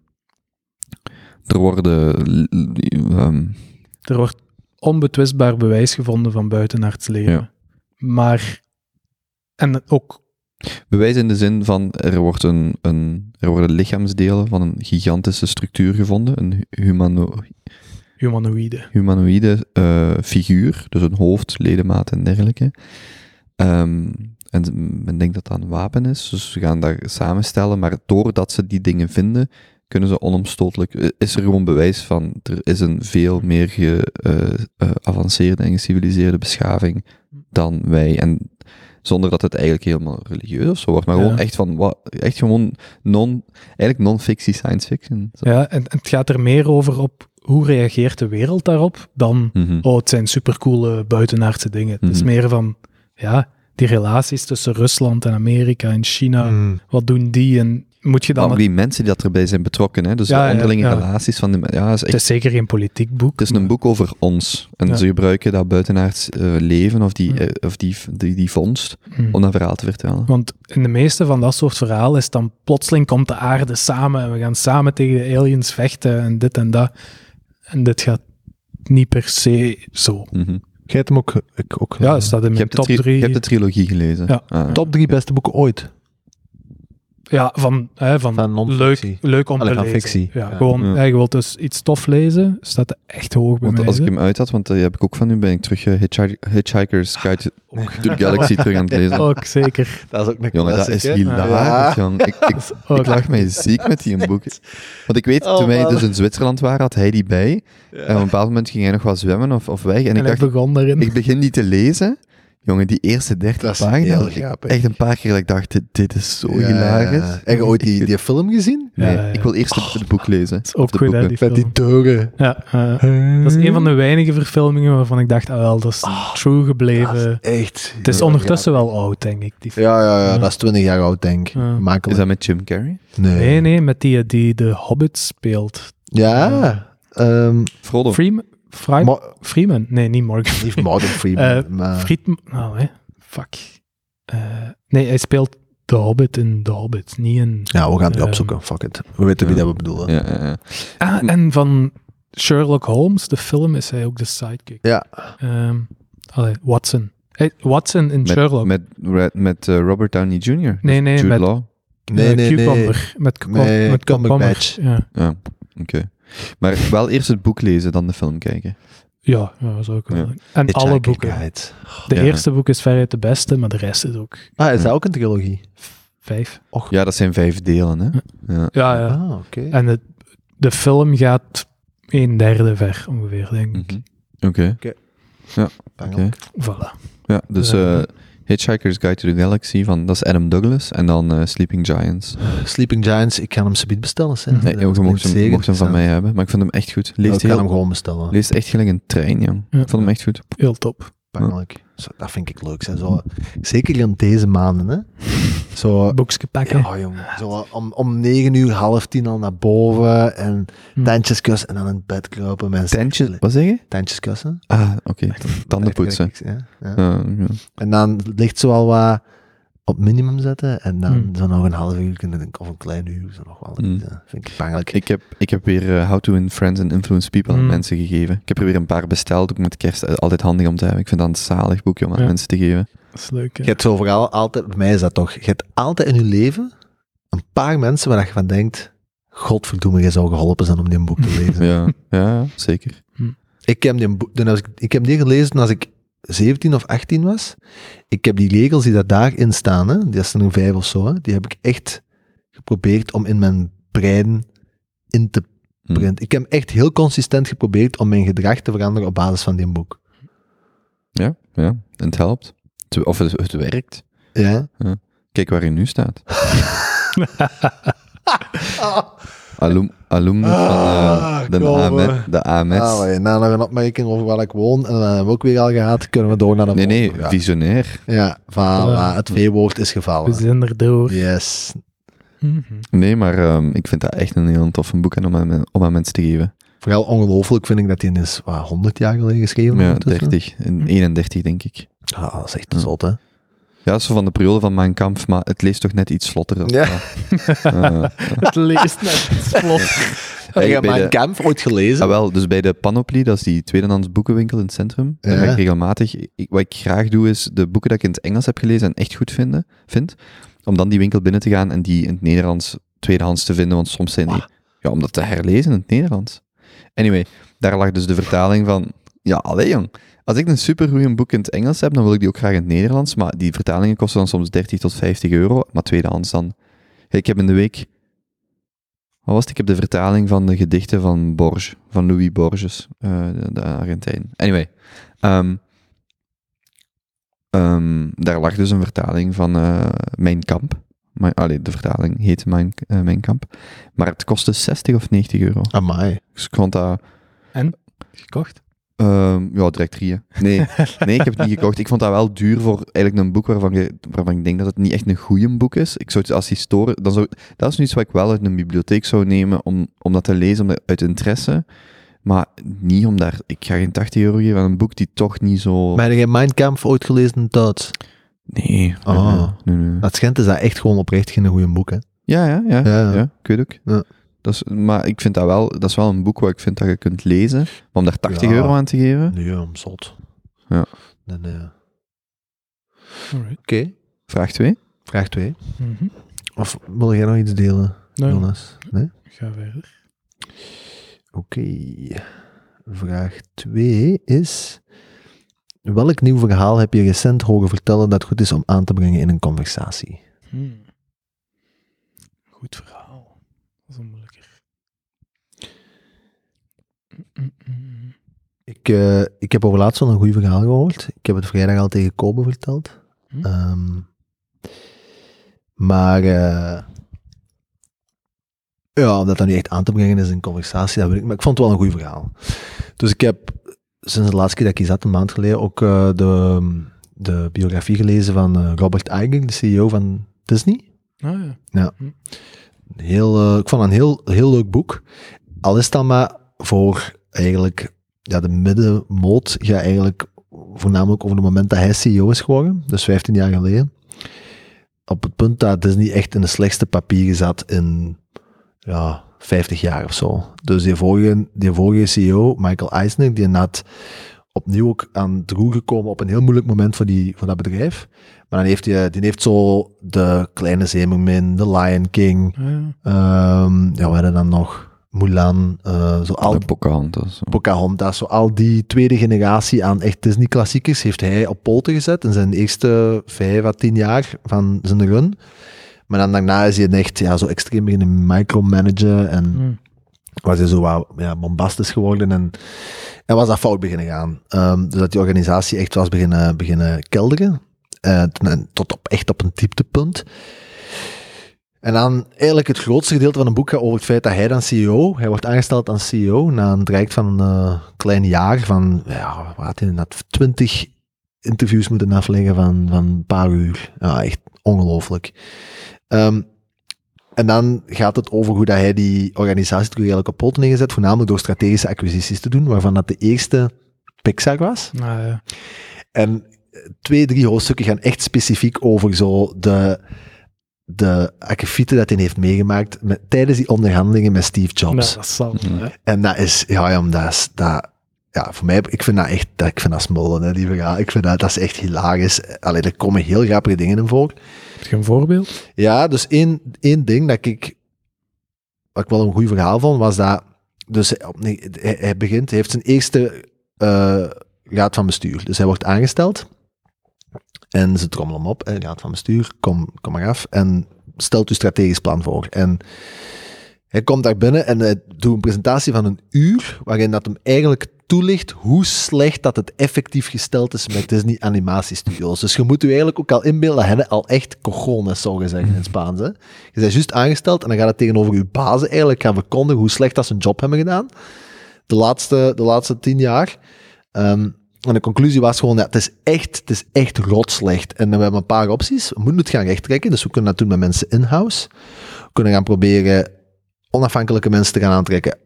Speaker 1: Er worden... l- l- ehm,
Speaker 2: Er wordt onbetwistbaar bewijs gevonden van buitenaards leven.
Speaker 1: Ja.
Speaker 2: Maar, en ook,
Speaker 1: bewijs in de zin van, er, wordt een, een, er worden lichaamsdelen van een gigantische structuur gevonden. Een hu- humano,
Speaker 2: humanoïde.
Speaker 1: humanoïde eh, figuur, dus een hoofd, ledemaat en dergelijke. Ehm, en ze- men denkt dat dat een wapen is, dus ze gaan dat samenstellen, maar doordat ze die dingen vinden, kunnen ze onomstotelijk, eh, is er gewoon bewijs van, er is een veel meer geavanceerde en geciviliseerde beschaving dan wij. En zonder dat het eigenlijk helemaal religieus of zo wordt, maar
Speaker 2: Ja.
Speaker 1: gewoon echt van, wat, echt gewoon non, eigenlijk non-fictie science fiction. Zo.
Speaker 2: Ja, en, en het gaat er meer over op hoe reageert de wereld daarop dan,
Speaker 1: Mhm.
Speaker 2: oh, het zijn supercoole buitenaardse dingen. Het is
Speaker 1: Mhm.
Speaker 2: meer van, ja, die relaties tussen Rusland en Amerika en China,
Speaker 3: Mm.
Speaker 2: wat doen die en moet je
Speaker 1: Maar
Speaker 2: dan...
Speaker 1: ook die mensen die dat erbij zijn betrokken, hè? dus
Speaker 2: Ja,
Speaker 1: de
Speaker 2: ja,
Speaker 1: onderlinge
Speaker 2: ja.
Speaker 1: relaties van de men- Ja, is
Speaker 2: het
Speaker 1: echt,
Speaker 2: is zeker geen politiek boek.
Speaker 1: het is een boek over ons. En
Speaker 2: Ja.
Speaker 1: ze gebruiken dat buitenaards eh, leven of, die,
Speaker 2: Ja.
Speaker 1: eh, of die, die, die vondst
Speaker 2: Mhm.
Speaker 1: om dat verhaal te vertellen.
Speaker 2: Want in de meeste van dat soort verhalen is het dan plotseling komt de aarde samen en we gaan samen tegen de aliens vechten en dit en dat. En dit gaat niet per se zo.
Speaker 1: Mhm.
Speaker 3: Jij hebt hem ook, ik ook
Speaker 2: Ja, het staat in
Speaker 1: Je,
Speaker 2: mijn
Speaker 1: hebt de
Speaker 2: top
Speaker 1: tri- je hebt
Speaker 2: drie.
Speaker 1: de trilogie gelezen.
Speaker 2: Ja.
Speaker 1: Ah.
Speaker 3: Top drie beste boeken ooit.
Speaker 2: Ja, van, hè, van,
Speaker 3: Van non-fictie.
Speaker 2: leuk, leuk om
Speaker 3: Allee,
Speaker 2: te
Speaker 3: van
Speaker 2: lezen.
Speaker 3: fictie.
Speaker 2: Ja,
Speaker 3: Ja.
Speaker 2: gewoon,
Speaker 1: Ja.
Speaker 2: hè, je wilt dus iets tof lezen, staat echt hoog bij
Speaker 1: Want
Speaker 2: mij.
Speaker 1: als ik
Speaker 2: hè.
Speaker 1: hem uit had, want eh, die heb ik ook van nu, ben ik terug eh, Hitchhi- Hitchhiker's Guide
Speaker 2: Ook-
Speaker 1: to the Galaxy terug aan het lezen.
Speaker 2: Ook zeker.
Speaker 3: Dat is ook een
Speaker 1: Jongen, dat is hilarisch, jong. Ik, ik,
Speaker 2: Ook.
Speaker 1: ik lag mij ziek met die boek. Want ik weet,
Speaker 3: Oh,
Speaker 1: toen wij
Speaker 3: man.
Speaker 1: dus in Zwitserland waren, had hij die bij. En op een bepaald moment ging hij nog wat zwemmen of, of weg. En,
Speaker 2: En
Speaker 1: ik
Speaker 2: ik
Speaker 1: dacht,
Speaker 2: begon daarin.
Speaker 1: Ik begin die te lezen. Jongen, die eerste 30
Speaker 3: Dat is
Speaker 1: pagina's.
Speaker 3: heel
Speaker 1: ik-
Speaker 3: grappig.
Speaker 1: Echt een paar keer dat ik dacht, dit, dit is zo
Speaker 3: Ja,
Speaker 1: hilarisch.
Speaker 3: ja. Heb je ooit die, die film gezien?
Speaker 1: Nee,
Speaker 2: Ja, ja.
Speaker 1: ik wil eerst het, het boek lezen.
Speaker 2: Dat is
Speaker 1: Of
Speaker 2: ook
Speaker 1: de
Speaker 2: goed, hè,
Speaker 1: boeken.
Speaker 2: die
Speaker 3: Met die
Speaker 2: film.
Speaker 3: toren.
Speaker 2: Ja, eh, dat is een van de weinige verfilmingen waarvan ik dacht, ah wel, dat is true gebleven.
Speaker 3: Ah, Echt.
Speaker 2: Het is ondertussen wel oud, denk ik. Die
Speaker 3: Ja, ja, ja,
Speaker 2: Ja.
Speaker 3: dat is 20 jaar oud, denk ik.
Speaker 2: Ja.
Speaker 1: Is
Speaker 3: Makkelijk.
Speaker 1: dat met Jim Carrey?
Speaker 2: Nee, nee, met die eh, die de Hobbit speelt.
Speaker 3: Ja. ehm,
Speaker 1: Frodo.
Speaker 2: Freeman? Fry-
Speaker 3: Mo-
Speaker 2: Freeman? Nee, niet Morgan.
Speaker 3: niet Morgan Freeman.
Speaker 2: Eh,
Speaker 3: maar
Speaker 2: Friedman? Nou, hè. Fuck. Eh, nee, hij speelt de Hobbit in de Hobbit, niet in...
Speaker 3: ja, we gaan die
Speaker 2: Ehm,
Speaker 3: opzoeken. Fuck it. We weten wie
Speaker 1: ja.
Speaker 3: dat we bedoelen.
Speaker 1: Ja, ja, ja.
Speaker 2: Ah, en van Sherlock Holmes, de film, is hij ook de sidekick.
Speaker 3: Ja.
Speaker 2: Ehm, allee, Watson. Hey, Watson in Sherlock.
Speaker 1: Met, met, Ra- met eh, Robert Downey Jr.
Speaker 2: Nee, nee,
Speaker 1: Jude
Speaker 2: met-
Speaker 1: Law.
Speaker 3: Nee,
Speaker 2: Eh,
Speaker 3: nee, nee.
Speaker 2: Cucumber. Met, cucum-
Speaker 3: Nee,
Speaker 2: met
Speaker 3: Cumberbatch.
Speaker 2: Cucumber. Ja.
Speaker 1: Ja, oké. Maar wel eerst het boek lezen, dan de film kijken.
Speaker 2: Ja, ja, dat is ook wel.
Speaker 1: Ja.
Speaker 2: En alle
Speaker 3: Hitchhiker
Speaker 2: boeken.
Speaker 3: Guide.
Speaker 2: De
Speaker 1: Ja.
Speaker 2: eerste boek is veruit de beste, maar de rest is ook
Speaker 3: Ah, is dat ook een trilogie?
Speaker 2: vijf.
Speaker 1: Ja, dat zijn vijf delen, hè. Ja.
Speaker 2: Ja, ja.
Speaker 3: Ah, oké.
Speaker 2: En het, de film gaat een derde ver ongeveer, denk ik.
Speaker 1: Mhm. Oké.
Speaker 3: Bang.
Speaker 1: oké.
Speaker 2: Voilà.
Speaker 1: Ja, dus
Speaker 2: Ja.
Speaker 1: eh, Hitchhiker's Guide to the Galaxy, van, dat is Adam Douglas. En dan eh, Sleeping Giants.
Speaker 3: Sleeping Giants, ik kan hem subiet bestellen. Hè.
Speaker 1: Nee,
Speaker 3: Dat
Speaker 1: je mocht,
Speaker 3: is
Speaker 1: hem,
Speaker 3: zeer
Speaker 1: mocht hem van
Speaker 3: interessant.
Speaker 1: mij hebben. Maar ik vond hem echt goed.
Speaker 3: Ja,
Speaker 1: Leest,
Speaker 3: Nou, ik kan hem
Speaker 1: heel,
Speaker 3: gewoon bestellen.
Speaker 1: leest echt gelijk een trein, jong.
Speaker 2: Ja.
Speaker 1: Ik vond hem echt goed.
Speaker 2: Heel top.
Speaker 3: Pijnlijk. Zo, Dat vind ik leuk. Zijn. Zo, zeker in deze maanden. Hè. Zo,
Speaker 2: Boekske pakken.
Speaker 3: Oh. ja, jongen. Zo, om, om negen uur, half tien al naar boven. En
Speaker 2: Hm.
Speaker 3: tandjes kussen en dan in het bed kruipen. Mensen.
Speaker 1: Tandje, wat zeg je?
Speaker 3: Tandjes kussen.
Speaker 1: Ah, oké. Tanden poetsen.
Speaker 3: Echt, echt, ja, ja.
Speaker 1: Ja, ja.
Speaker 3: En dan ligt zo al wat op minimum zetten. En dan
Speaker 2: Hm.
Speaker 3: zo nog een half uur kunnen denken, of een klein uur. Zo nog wel.
Speaker 1: Hm.
Speaker 3: Ja, vind ik pijnlijk.
Speaker 1: Ik, heb, ik heb weer eh, How to Win Friends and Influence People aan
Speaker 2: Mm.
Speaker 1: mensen gegeven. Ik heb er weer een paar besteld, ook met kerst. eh, Altijd handig om te hebben. Ik vind dat een zalig boekje om aan
Speaker 2: Ja.
Speaker 1: mensen te geven.
Speaker 2: Dat is leuk. hè.
Speaker 3: Je hebt zo vooral altijd, bij mij is dat toch, je hebt altijd in je leven een paar mensen waar je van denkt, godverdomme, je zou geholpen zijn om die boek te lezen.
Speaker 1: Ja, ja zeker.
Speaker 3: Ik heb, die boek, toen als ik, ik heb die gelezen toen als ik 17 of 18 was. Ik heb die regels die daar daarin staan, hè, die zijn er vijf of zo, hè, die heb ik echt geprobeerd om in mijn brein in te
Speaker 1: Hm.
Speaker 3: printen. Ik heb echt heel consistent geprobeerd om mijn gedrag te veranderen op basis van die boek.
Speaker 1: Ja, en het helpt. Het- Of het, het werkt.
Speaker 3: Ja.
Speaker 1: Kijk waar je nu staat. Alum, alumnus van eh,
Speaker 3: Ah,
Speaker 1: de,
Speaker 3: kom,
Speaker 1: AMS,
Speaker 3: eh.
Speaker 1: de E AMS.
Speaker 3: Ah, maar ja, na nog een opmerking over waar ik woon, en dat hebben we ook weer al gehad, kunnen we door naar de
Speaker 1: nee, nee,
Speaker 3: volgende.
Speaker 1: visionair.
Speaker 3: Ja, voilà, het V-woord is
Speaker 2: We
Speaker 3: gevallen.
Speaker 2: zijn er door.
Speaker 3: Yes.
Speaker 2: Mhm.
Speaker 1: Nee, maar ehm, ik vind dat echt een heel tof boek en om aan, men- om aan mensen te geven.
Speaker 3: Vooral ongelooflijk vind ik dat die is, wat, 100 jaar geleden geschreven?
Speaker 1: Ja,
Speaker 3: ondertussen?
Speaker 1: 30,
Speaker 3: Hm.
Speaker 1: en 31 denk ik.
Speaker 3: Ah, dat is echt
Speaker 1: Ja.
Speaker 3: zot, hè?
Speaker 1: Ja, zo van de periode van Mijn Kampf, maar het leest toch net iets slotter.
Speaker 3: Ja.
Speaker 1: Eh,
Speaker 3: Het leest net vlot. Heb
Speaker 1: Hey,
Speaker 3: je
Speaker 1: bij
Speaker 3: Mijn
Speaker 1: de-
Speaker 3: Kampf ooit gelezen?
Speaker 1: Ah, wel, dus bij de Panoply, dat is die tweedehands boekenwinkel in het centrum.
Speaker 3: Ja.
Speaker 1: Daar ga ik regelmatig. ik- wat ik graag doe, is de boeken dat ik in het Engels heb gelezen en echt goed vinden, vind, om dan die winkel binnen te gaan en die in het Nederlands tweedehands te vinden, want soms zijn die...
Speaker 3: Ah.
Speaker 1: Ja, om dat te herlezen in het Nederlands. Anyway, daar lag dus de vertaling van... Ja, allee jong. Als ik een supergoeie boek in het Engels heb, dan wil ik die ook graag in het Nederlands, maar die vertalingen kosten dan soms 30 tot 50 euro, maar tweedehands dan... Ik heb in de week... Wat was het? Ik heb de vertaling van de gedichten van Borges, van Louis Borges, eh, de, de Argentijn. Anyway, ehm, ehm, daar lag dus een vertaling van eh, Mijn Kamp. Maar, allee, de vertaling heet Mijn, eh, Mijn Kamp. Maar het kostte 60 of 90 euro.
Speaker 3: Amai.
Speaker 1: Dus ik vond dat...
Speaker 2: Gekocht?
Speaker 1: ehm, ja, direct drieën. Nee, nee, ik heb het niet gekocht. Ik vond dat wel duur voor eigenlijk een boek waarvan, je- waarvan ik denk dat het niet echt een goeie boek is. Ik zou het als historie... Dan zou, dat is nu iets wat ik wel uit een bibliotheek zou nemen om, om dat te lezen om, dat- uit interesse. Maar niet om daar... Ik ga geen 80 euro geven aan een boek die toch niet zo...
Speaker 3: Maar heb je Mijn Kampf ooit gelezen in het Duits?
Speaker 1: Nee.
Speaker 3: Ah.
Speaker 1: Nee, nee, nee.
Speaker 3: Dat schijnt is dat echt gewoon oprecht geen goede boek, hè?
Speaker 1: Ja, ja, ja.
Speaker 3: Ja.
Speaker 1: ja. ik weet ook.
Speaker 3: Ja.
Speaker 1: Dat is, maar ik vind dat wel... Dat is wel een boek waar ik vind dat je kunt lezen. Maar om daar 80
Speaker 3: Ja.
Speaker 1: euro aan te geven...
Speaker 3: Nee, om zot.
Speaker 1: Ja.
Speaker 3: Nee, nee. Oké,
Speaker 2: Alright.
Speaker 1: Vraag 2.
Speaker 3: vraag 2.
Speaker 2: Mhm.
Speaker 3: Of wil jij nog iets delen,
Speaker 2: Nee,
Speaker 3: Jonas? Nee?
Speaker 2: ik ga verder.
Speaker 3: Oké. Vraag 2 is... Welk nieuw verhaal heb je recent horen vertellen dat goed is om aan te brengen in een conversatie?
Speaker 2: Hmm. Goed verhaal. Dat is een moeilijker. Mm, mm, mm.
Speaker 3: Ik, eh, ik heb over laatst al een goed verhaal gehoord. Ik heb het vrijdag al tegen Kobe verteld.
Speaker 2: Hm.
Speaker 3: Ehm, maar eh, ja, om dat dan niet echt aan te brengen is een conversatie, dat weet ik. Maar ik vond het wel een goed verhaal. Dus ik heb sinds de laatste keer dat ik hier zat, een maand geleden, ook eh, de, de biografie gelezen van eh, Robert Iger, de CEO van Disney
Speaker 2: Ah ja.
Speaker 3: een heel, eh, ik vond het een heel, heel leuk boek. Al is dat maar voor eigenlijk ja, de middenmoot gaat eigenlijk voornamelijk over het moment dat hij CEO is geworden, dus 15 jaar geleden. Op het punt dat Disney echt in de slechtste papieren zat in ja, 50 jaar of zo. Dus die vorige, die vorige CEO, Michael Eisner, die had opnieuw ook aan het roer gekomen op een heel moeilijk moment voor, die, voor dat bedrijf. Maar dan heeft hij, die heeft zo de Kleine Zeemermin, de Lion King,
Speaker 2: Ah, ja.
Speaker 3: Ehm, ja, we hadden dan nog Mulan, eh, zo al
Speaker 1: Al... Pocahontas.
Speaker 3: Pocahontas, zo al die tweede generatie aan echt Disney-klassiekers heeft hij op poten gezet in zijn eerste vijf à tien jaar van zijn run. Maar dan daarna is hij echt ja, zo extreem beginnen micromanagen en
Speaker 2: Hmm.
Speaker 3: was hij zo wat ja, bombastisch geworden en, en was dat fout beginnen gaan. Ehm, dus dat die organisatie echt was beginnen, beginnen kelderen. Eh, ten- en tot op, echt op een dieptepunt. En dan eigenlijk het grootste gedeelte van het boek gaat over het feit dat hij dan CEO, hij wordt aangesteld als CEO na een traject van een eh, klein jaar van, ja, wat had hij dat, twintig interviews moeten afleggen van, van een paar uur. Ja, echt ongelooflijk. Ehm, en dan gaat het over hoe dat hij die organisatie terug eigenlijk op poten neergezet, voornamelijk door strategische acquisities te doen, waarvan dat de eerste Pixar was.
Speaker 2: Ah, ja.
Speaker 3: En eh, twee, drie hoofdstukken gaan echt specifiek over zo de, de akkefieten dat hij heeft meegemaakt met, tijdens die onderhandelingen met Steve Jobs.
Speaker 2: Nou, dat zal.
Speaker 1: Hmm.
Speaker 2: hè.
Speaker 3: En dat is, ja, jong, dat is, dat, ja, voor mij, ik vind dat echt, dat, ik vind dat smullen, hè, die verhaal. Ik vind dat, dat is echt hilarisch. Allee, er komen heel grappige dingen in voor.
Speaker 2: Heb je een voorbeeld?
Speaker 3: Ja, dus één, één ding dat ik, wat ik wel een goed verhaal vond, was dat, dus hij- op- nee, hij, hij begint, hij heeft zijn eerste eh, raad van bestuur. Dus hij wordt aangesteld en ze trommelen hem op, hè, raad van bestuur, kom, kom maar af en stelt uw strategisch plan voor. En hij komt daar binnen en hij doet een presentatie van een uur, waarin dat hem eigenlijk toelicht hoe slecht dat het effectief gesteld is met Disney animatiestudio's. Dus je moet je eigenlijk ook al inbeelden dat hen al echt cojones zou je zeggen in het Spaans. Hè? Je bent juist aangesteld en dan gaat het tegenover je bazen eigenlijk gaan verkondigen hoe slecht dat ze hun job hebben gedaan. De laatste, de laatste tien jaar. Ehm, en de conclusie was gewoon, ja, het is echt, het is echt rotslecht. En we hebben een paar opties. We moeten het gaan rechttrekken, dus we kunnen dat doen met mensen in-house. We kunnen gaan proberen onafhankelijke mensen te gaan aantrekken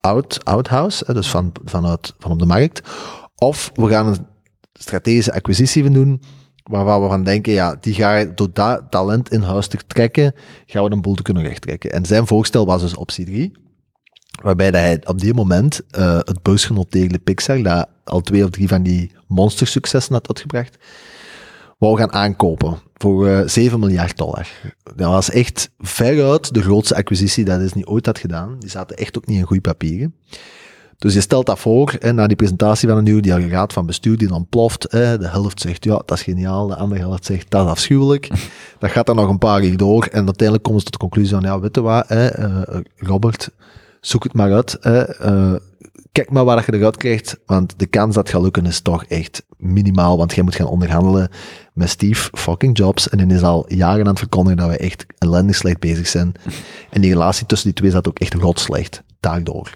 Speaker 3: out, out house, dus van, vanuit, van op de markt. Of we gaan een strategische acquisitie van doen, waarvan we van denken, ja, die ga je door dat talent in huis te trekken, gaan we een boel te kunnen rechttrekken. En zijn voorstel was dus optie 3, waarbij dat hij op die moment eh, het beursgenoot tegen de Pixar, dat al twee of drie van die monstersuccessen had uitgebracht, wou gaan aankopen voor eh, 7 miljard dollar. Dat was echt veruit de grootste acquisitie dat Disney ooit had gedaan. Die zaten echt ook niet in goede papieren. Dus je stelt dat voor, en na die presentatie van een nieuw die raad van bestuur die dan ploft. Hè, de helft zegt, ja, dat is geniaal. De andere helft zegt, dat is afschuwelijk. dat gaat dan nog een paar keer door. En uiteindelijk komen ze tot de conclusie van, ja, weet je wat, hè, eh, Robert, zoek het maar uit. Hè, eh, kijk maar waar dat je eruit krijgt, want de kans dat het gaat lukken is toch echt minimaal, want jij moet gaan onderhandelen met Steve fucking Jobs en die is al jaren aan het verkondigen dat we echt ellendig slecht bezig zijn. En die relatie tussen die twee zat ook echt rot slecht, daardoor.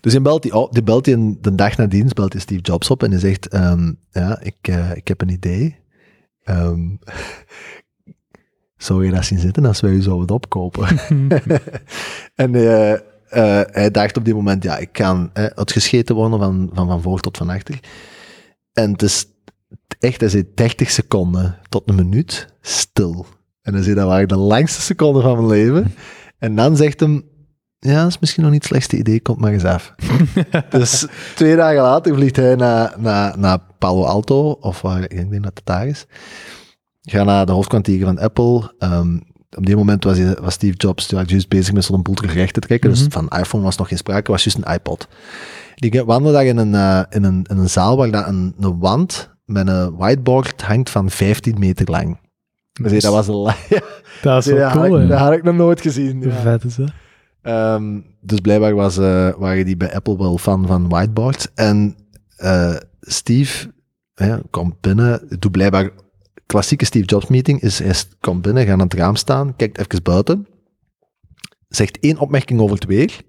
Speaker 3: Dus hij belt die, op- die belt die een- de dag nadien, belt hij Steve Jobs op en hij zegt, ehm, ja, ik, eh, ik heb een idee. Ehm, zou je dat zien zitten als wij u zouden opkopen? En eh, eh, hij dacht op dit moment, ja, ik kan eh, uitgescheten worden van, van van voor tot van achter. En het is echt, hij zit 30 seconden tot een minuut stil. En dan zei dat waren de langste seconden van mijn leven. En dan zegt hem, ja, dat is misschien nog niet het slechtste idee, komt maar eens af. dus twee dagen later vliegt hij naar, naar, naar Palo Alto, of waar, ik denk dat het daar is. Ga naar de hoofdkwartier van Apple. Ehm, op die moment was, hij- was Steve Jobs ja, juist bezig met zo'n boel terug recht te trekken.
Speaker 2: Mhm.
Speaker 3: Dus van iPhone was nog geen sprake, was juist een iPod. Die wandelde daar in een, eh, in een, in een zaal waar daar een, een wand met een whiteboard hangt van 15 meter lang. Dus hij, dat was een la- ja,
Speaker 2: Dat is wel
Speaker 3: dat, had
Speaker 2: cool,
Speaker 3: ik, dat
Speaker 2: hè.
Speaker 3: had ik nog nooit gezien. ja.
Speaker 2: Vet is dat.
Speaker 3: Ehm, dus blijkbaar was, eh, waren die bij Apple wel fan van whiteboards. En eh, Steve hè, komt binnen, doet blijkbaar klassieke Steve Jobs meeting, is, hij st- komt binnen, gaat aan het raam staan, kijkt even buiten, zegt één opmerking over het weer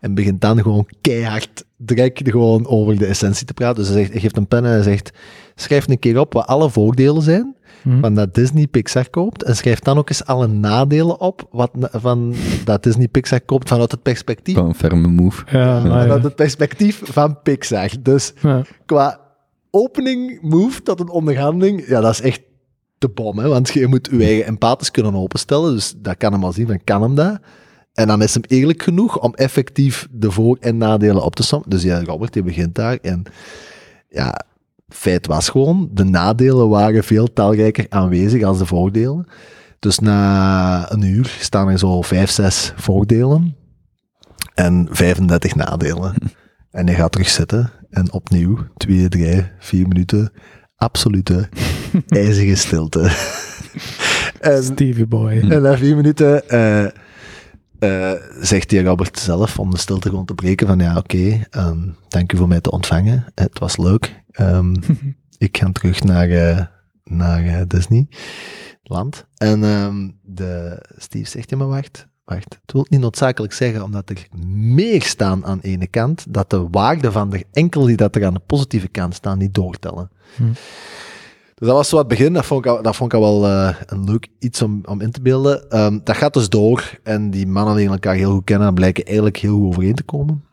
Speaker 3: en begint dan gewoon keihard direct gewoon over de essentie te praten. Dus hij, zegt, hij geeft een pen en hij zegt, schrijf een keer op wat alle voordelen zijn
Speaker 2: Mhm.
Speaker 3: van dat Disney Pixar koopt en schrijf dan ook eens alle nadelen op wat, na- van dat Disney Pixar koopt vanuit het perspectief,
Speaker 1: Wel een ferme move.
Speaker 2: Ja, maar
Speaker 3: vanuit
Speaker 2: Ah, ja.
Speaker 3: het perspectief van Pixar. Dus
Speaker 2: Ja.
Speaker 3: qua opening move tot een onderhandeling, ja, dat is echt de bom, hè? want je moet je eigen empathisch kunnen openstellen, dus dat kan hem al zien, van kan hem dat? En dan is hem eerlijk genoeg om effectief de voor- en nadelen op te sommen. Dus ja, Robert, die begint daar en ja, feit was gewoon, de nadelen waren veel talrijker aanwezig als de voordelen. Dus na een uur staan er zo vijf, zes voordelen en 35 nadelen. En hij gaat terug zitten en opnieuw, twee, drie, vier minuten, absolute ijzige stilte. en,
Speaker 2: Stevie Boy.
Speaker 3: en na vier minuten eh, eh, zegt die Robert zelf, om de stilte gewoon te breken, van ja, oké, ehm, dank u voor mij te ontvangen. Het was leuk. Ehm, ik ga terug naar, eh, naar eh, Disneyland. En ehm, de Steve zegt, ja maar wacht, wacht. Het wil niet noodzakelijk zeggen, omdat er meer staan aan de ene kant, dat de waarde van de enkel die dat er aan de positieve kant staan, niet doortellen.
Speaker 2: Hm.
Speaker 3: Dus dat was zo het begin. Dat vond ik al, dat vond ik al wel eh, een leuk iets om, om in te beelden. Ehm, dat gaat dus door. En die mannen die elkaar heel goed kennen, blijken eigenlijk heel goed overeen te komen.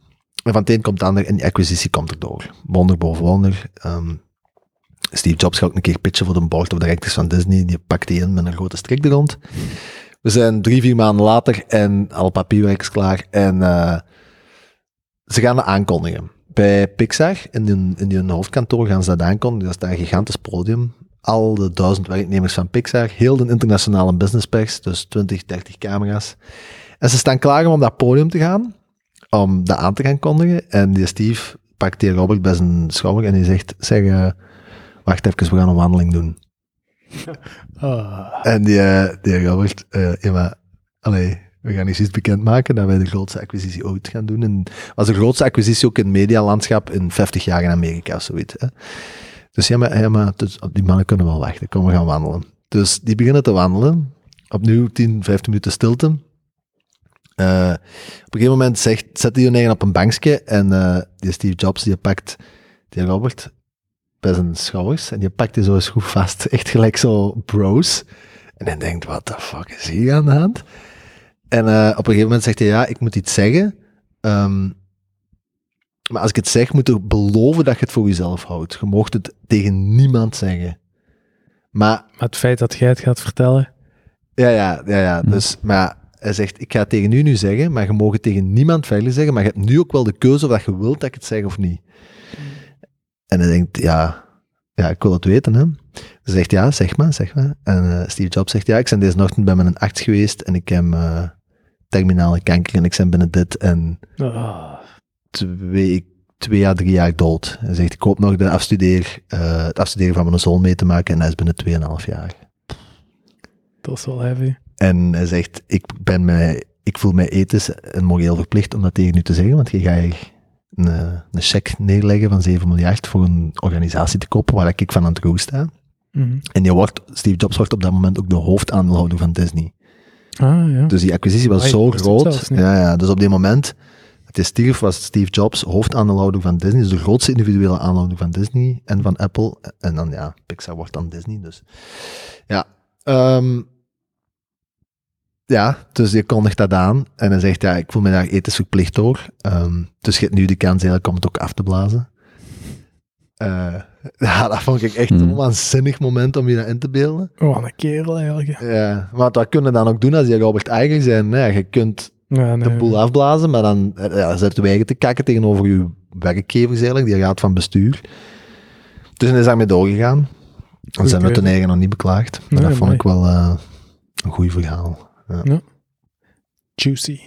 Speaker 3: En van het een komt het ander en die acquisitie komt er door. Wonder boven wonder. Ehm, Steve Jobs gaat ook een keer pitchen voor de board of directors van Disney. Die pakt die in met een grote strik er rond. We zijn drie, vier maanden later en al papierwerk is klaar. En eh, ze gaan dat aankondigen. Bij Pixar, in hun, in hun hoofdkantoor, gaan ze dat aankondigen. Dat is daar een gigantisch podium. Al de duizend werknemers van Pixar, heel de internationale businesspers, dus 20, 30 camera's. En ze staan klaar om op dat podium te gaan, om dat aan te gaan kondigen. En die Steve pakt die Robert bij zijn schouder en die zegt, zeg, eh, wacht even, we gaan een wandeling doen.
Speaker 2: Ah.
Speaker 3: En die, eh, die Robert, eh ja maar, allee, we We gaan eens iets bekendmaken dat wij de grootste acquisitie ooit gaan doen. En was de grootste acquisitie ook in het medialandschap in 50 jaar in Amerika of zoiets. Hè? Dus ja, maar, ja, maar dus, die mannen kunnen wel wachten. Kom, we gaan wandelen. Dus die beginnen te wandelen. Opnieuw 10, 15 minuten stilte. Eh, op een gegeven moment zegt, zet hij hun eigen op een bankje en eh, die Steve Jobs die pakt die Robert bij zijn schouders en die pakt die zo eens goed vast. Echt gelijk zo bros. En hij denkt, wat the fuck is hier aan de hand? En eh, op een gegeven moment zegt hij, ja, ik moet iets zeggen. Ehm, maar als ik het zeg, moet je beloven dat je het voor jezelf houdt. Je mocht het tegen niemand zeggen. Maar
Speaker 2: Maar het feit dat jij het gaat vertellen,
Speaker 3: ja, ja, ja, ja.
Speaker 2: Hm.
Speaker 3: Dus, maar hij zegt, ik ga het tegen u nu zeggen, maar je mag het tegen niemand verder zeggen, maar je hebt nu ook wel de keuze of dat je wilt dat ik het zeg of niet. En hij denkt, ja, ja ik wil het weten, hè. Ze zegt, ja, zeg maar, zeg maar. En eh, Steve Jobs zegt, ja, ik ben deze ochtend bij mijn arts geweest en ik heb eh, terminale kanker en ik ben binnen dit en
Speaker 2: ah,
Speaker 3: twee, twee à drie jaar dood. Hij zegt, ik hoop nog de afstudeer, eh, het afstuderen van mijn zoon mee te maken en hij is binnen tweeënhalf jaar.
Speaker 2: dat is wel heavy.
Speaker 3: En hij zegt, ik, ben mij, ik voel mij ethisch en moreel verplicht om dat tegen u te zeggen, want je gaat hier een, eh, een cheque neerleggen van 7 miljard voor een organisatie te kopen waar ik van aan het roer sta.
Speaker 2: Mhm.
Speaker 3: En je wordt, Steve Jobs wordt op dat moment ook de hoofdaandeelhouder van Disney.
Speaker 2: Ah, ja.
Speaker 3: Dus die acquisitie was
Speaker 2: Amai,
Speaker 3: zo
Speaker 2: wist ik
Speaker 3: groot.
Speaker 2: zelfs niet.
Speaker 3: Ja, ja, dus op dit moment, het is stierf, was Steve Jobs hoofdaandeelhouder van Disney. Dus de grootste individuele aandeelhouder van Disney en van Apple. En dan ja, Pixar wordt dan Disney. Dus ja. ehm, ja, dus je kondigt dat aan. En hij zegt, ja, ik voel me daar ethisch verplicht door. Ehm, dus je hebt nu de kans eigenlijk om het ook af te blazen. Eh, ja, dat vond ik echt
Speaker 1: Mm.
Speaker 3: een waanzinnig moment om je dat in te beelden.
Speaker 2: Oh, Wat een kerel eigenlijk.
Speaker 3: Ja, want dat kunnen dan ook doen als die Robert eigen zijn. Hè. Je kunt
Speaker 2: Ja, nee.
Speaker 3: de boel afblazen, maar dan eh, ja, zetten wij te kakken tegenover je werkgevers eigenlijk, die raad van bestuur. Dus hij is daarmee doorgegaan. Dan zijn we
Speaker 2: keuze.
Speaker 3: ten eigen nog niet beklaagd. Maar
Speaker 2: Nee,
Speaker 3: dat vond
Speaker 2: mooi.
Speaker 3: ik wel eh, een goed verhaal.
Speaker 2: Juicy.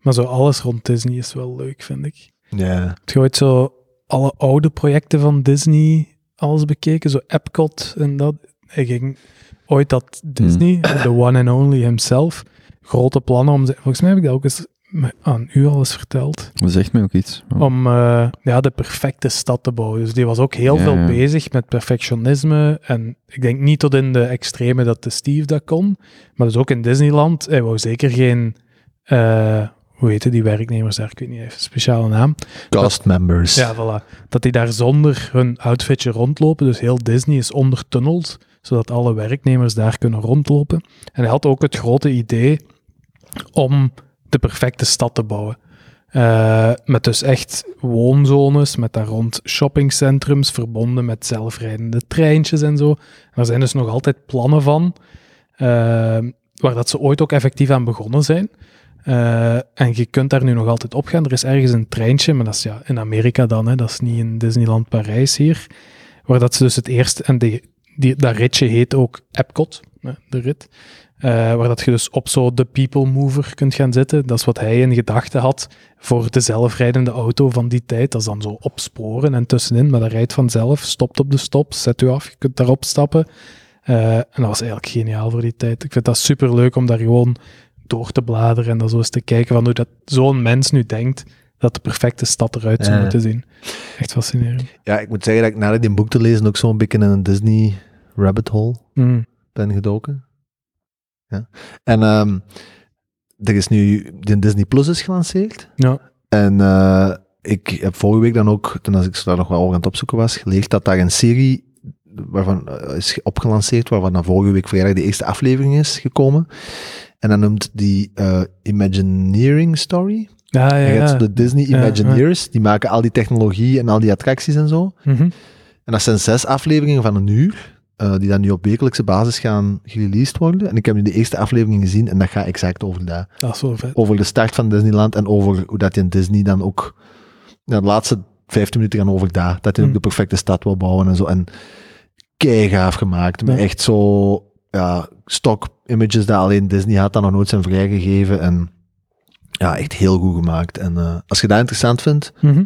Speaker 2: Maar zo alles rond Disney is wel leuk, vind ik.
Speaker 3: Ja.
Speaker 2: Heb je ooit zo alle oude projecten van Disney alles bekeken? Zo Epcot en dat. Hij ging ooit dat Disney, the one and only himself, grote plannen om... ze- Volgens mij heb ik dat ook eens me- aan u al eens verteld.
Speaker 1: Dat zegt mij ook iets. Ja.
Speaker 2: Om eh, ja, de perfecte stad te bouwen. Dus die was ook heel
Speaker 1: Ja,
Speaker 2: veel
Speaker 1: ja.
Speaker 2: bezig met perfectionisme. En ik denk niet tot in de extreme dat de Steve dat kon. Maar dus ook in Disneyland. Hij wou zeker geen... eh, hoe heten die werknemers daar? Ik weet niet, hij heeft een speciale naam.
Speaker 3: Cast members.
Speaker 2: Ja, voilà. Dat die daar zonder hun outfitje rondlopen. Dus heel Disney is ondertunneld, zodat alle werknemers daar kunnen rondlopen. En hij had ook het grote idee om de perfecte stad te bouwen. Eh, met dus echt woonzones, met daar rond shoppingcentrums, verbonden met zelfrijdende treintjes en zo. En er zijn dus nog altijd plannen van, eh, waar dat ze ooit ook effectief aan begonnen zijn. Eh, en je kunt daar nu nog altijd op gaan. Er is ergens een treintje, maar dat is ja, in Amerika dan, hè. dat is niet in Disneyland Parijs hier. Waar dat ze dus het eerst, en die, die, dat ritje heet ook Epcot, hè, de rit. eh, waar dat je dus op zo de people mover kunt gaan zitten. Dat is wat hij in gedachten had voor de zelfrijdende auto van die tijd. Dat is dan zo opsporen en tussenin, maar dat rijdt vanzelf. Stopt op de stop, zet u af, je kunt daarop stappen. Eh, en dat was eigenlijk geniaal voor die tijd. Ik vind dat super leuk om daar gewoon door te bladeren en dan zo eens te kijken van hoe dat zo'n mens nu denkt dat de perfecte stad eruit zou
Speaker 3: Ja.
Speaker 2: moeten zien. Echt fascinerend.
Speaker 3: ja, ik moet zeggen dat ik nadat die boek te lezen ook zo'n beetje in een Disney rabbit hole
Speaker 2: Mm.
Speaker 3: ben gedoken. Ja. En ehm, er is nu, de Disney Plus is gelanceerd.
Speaker 2: Ja.
Speaker 3: En eh, ik heb vorige week dan ook, toen als ik daar nog wel over aan het opzoeken was, geleerd dat daar een serie waarvan, eh, is opgelanceerd, waarvan dan vorige week vrijdag de eerste aflevering is gekomen. En dan noemt die eh, Imagineering Story.
Speaker 2: Ja, ja,
Speaker 3: Je hebt zo
Speaker 2: ja.
Speaker 3: de Disney
Speaker 2: Ja, ja.
Speaker 3: Imagineers, die maken al die technologie en al die attracties en zo.
Speaker 2: Mhm.
Speaker 3: En dat zijn zes afleveringen van een uur, eh, die dan nu op wekelijkse basis gaan gereleased worden. En ik heb nu de eerste aflevering gezien en dat gaat exact over dat
Speaker 2: Dat is wel vet.
Speaker 3: over de start van Disneyland en over hoe dat je in Disney dan ook ja, de laatste 15 minuten gaan over daar. Dat je
Speaker 2: Mm.
Speaker 3: ook de perfecte stad wil bouwen en zo. En gaaf gemaakt. Met
Speaker 2: Ja.
Speaker 3: echt zo ja, stock images dat alleen Disney had, dat nog nooit zijn vrijgegeven. En ja, echt heel goed gemaakt. En eh, als je dat interessant vindt,
Speaker 2: Mhm.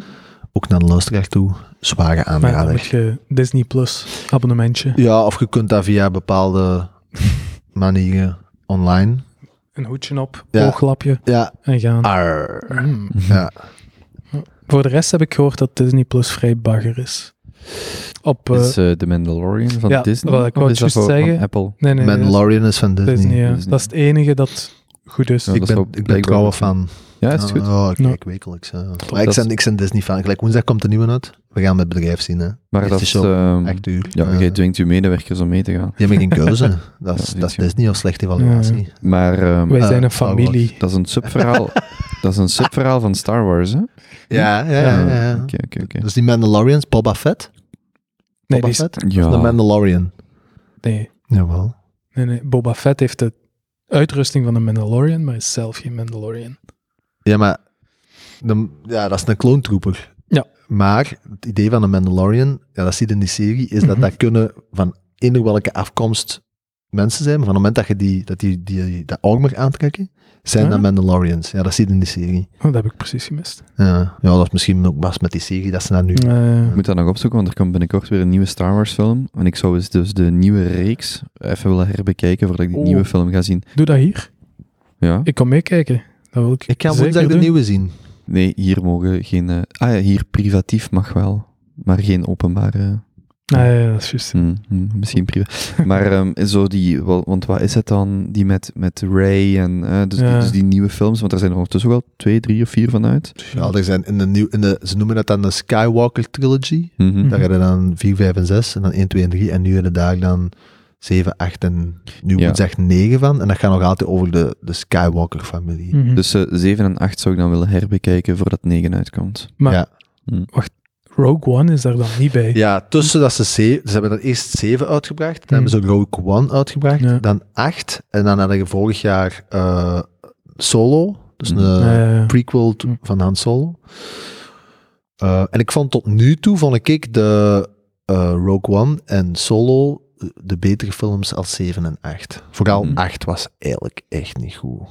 Speaker 3: ook naar de luisteraar toe, zware
Speaker 2: Maar dan moet
Speaker 3: aanrader.
Speaker 2: je Disney Plus abonnementje.
Speaker 3: Ja, of je kunt dat via bepaalde manieren online
Speaker 2: een hoedje op,
Speaker 3: Ja. Ah.
Speaker 2: ooglapje
Speaker 3: Ja,
Speaker 2: en gaan.
Speaker 3: arr.
Speaker 2: Mm.
Speaker 3: Ja.
Speaker 2: Voor de rest heb ik gehoord dat Disney Plus vrij bagger is. Op, eh,
Speaker 1: is eh The Mandalorian van
Speaker 2: ja,
Speaker 1: Disney?
Speaker 2: wel, ik
Speaker 1: Of
Speaker 2: wou
Speaker 1: is
Speaker 2: het
Speaker 1: dat
Speaker 2: juist
Speaker 1: van-
Speaker 2: zeggen.
Speaker 1: van Apple.
Speaker 2: nee, nee, nee, dat is
Speaker 3: Mandalorian is van Disney.
Speaker 2: Disney, ja.
Speaker 1: Disney.
Speaker 2: Dat is het enige dat goed is.
Speaker 1: Ja.
Speaker 3: Ik
Speaker 1: dat zou
Speaker 3: ben, ik ben
Speaker 1: blijkbaar
Speaker 3: trouwe
Speaker 1: wel
Speaker 3: fan.
Speaker 1: Ja, is het goed?
Speaker 3: Oh, oh, ik
Speaker 2: Ja.
Speaker 3: kijk wekelijks. ja. Maar
Speaker 1: dat
Speaker 3: ik
Speaker 1: is-
Speaker 3: ben, ik ben Disney fan. Gelijk woensdag komt de nieuwe uit. We gaan met het bedrijf zien. Hè.
Speaker 1: Maar
Speaker 3: echt
Speaker 1: dat
Speaker 3: een
Speaker 1: is...
Speaker 3: show.
Speaker 1: ehm,
Speaker 3: Echt duur.
Speaker 1: Mm. ja,
Speaker 3: Eh,
Speaker 1: jij dwingt uw medewerkers om mee te gaan.
Speaker 3: Die hebben geen keuze. Dat is,
Speaker 1: Ja,
Speaker 3: dat
Speaker 1: weet
Speaker 3: is
Speaker 1: je.
Speaker 3: Disney of slechte evaluatie.
Speaker 1: Maar ehm,
Speaker 2: Wij
Speaker 3: Eh,
Speaker 2: zijn een
Speaker 3: Star
Speaker 2: familie.
Speaker 1: dat is een subverhaal... dat is een subverhaal van Star Wars, hè? Eh,
Speaker 3: Ja, ja, ja. ja, ja.
Speaker 1: Oké, oké, oké.
Speaker 3: Dus die Mandalorians, Boba Fett.
Speaker 2: Nee,
Speaker 3: Boba
Speaker 2: die is-
Speaker 3: Fett? De
Speaker 1: Ja,
Speaker 3: Mandalorian.
Speaker 2: nee,
Speaker 3: Jawel.
Speaker 2: nee, nee. Boba Fett heeft de uitrusting van de Mandalorian, maar is zelf geen Mandalorian.
Speaker 3: Ja, maar de, ja, dat is een kloontrooper.
Speaker 2: Ja.
Speaker 3: Maar het idee van de Mandalorian, ja, dat zie je in die serie, is dat
Speaker 2: Mhm.
Speaker 3: dat kunnen van eender welke afkomst mensen zijn. Maar van het moment dat je die, dat die, die, dat armor aantrekken, zijn
Speaker 2: Ja?
Speaker 3: dat Mandalorians. Ja, dat zie je in die serie.
Speaker 2: Oh, dat heb ik precies gemist.
Speaker 3: Ja, ja dat is misschien ook best met die serie, dat ze dat nu...
Speaker 2: Eh,
Speaker 1: ik moet dat nog opzoeken, want er komt binnenkort weer een nieuwe Star Wars film. En ik zou eens dus de nieuwe reeks even willen herbekijken voordat ik die
Speaker 2: Oh.
Speaker 1: nieuwe film ga zien.
Speaker 2: doe dat hier.
Speaker 1: Ja?
Speaker 2: Ik kom meekijken. Dat wil ik
Speaker 3: Ik ga
Speaker 2: zeker
Speaker 3: woensdag de
Speaker 2: doen.
Speaker 3: nieuwe zien.
Speaker 1: Nee, hier mogen geen... eh, ah ja, hier privatief mag wel, maar geen openbare...
Speaker 2: Ah, ja, ja, dat is juist.
Speaker 1: Hmm, hmm, misschien prima. Maar ehm, zo die, wel- want wat is het dan, die met, met Ray en eh, dus, die,
Speaker 2: Ja.
Speaker 1: dus die nieuwe films, want er zijn er ondertussen ook al twee, drie of vier vanuit.
Speaker 3: Ja, er zijn in de nieuw, in de, ze noemen dat dan de Skywalker Trilogy.
Speaker 1: Mhm.
Speaker 2: Mhm.
Speaker 3: Daar hadden dan 4, 5 en 6 en dan 1, 2 en 3. En nu hebben daar dan 7, 8 en nu
Speaker 1: Ja.
Speaker 3: moet echt 9 van. En dat gaat nog altijd over de, de Skywalker-familie.
Speaker 2: Mhm.
Speaker 1: Dus eh 7 en 8 zou ik dan willen herbekijken voordat 9 uitkomt.
Speaker 2: Maar
Speaker 3: Ja.
Speaker 1: Hm.
Speaker 2: wacht, Rogue One is daar dan niet bij.
Speaker 3: Ja, tussen dat ze zeven, ze hebben er eerst 7 uitgebracht, dan
Speaker 2: Hmm.
Speaker 3: hebben ze Rogue One uitgebracht,
Speaker 2: Ja.
Speaker 3: dan 8 en dan hadden we vorig jaar eh, Solo, dus
Speaker 1: Hmm.
Speaker 3: een
Speaker 2: Eh,
Speaker 3: prequel to-
Speaker 2: Hmm.
Speaker 3: van Han Solo. Eh, en ik vond tot nu toe, vond ik de eh, Rogue One en Solo eh, de betere films als 7 en 8. Vooral
Speaker 1: Hmm.
Speaker 3: 8 was eigenlijk echt niet goed.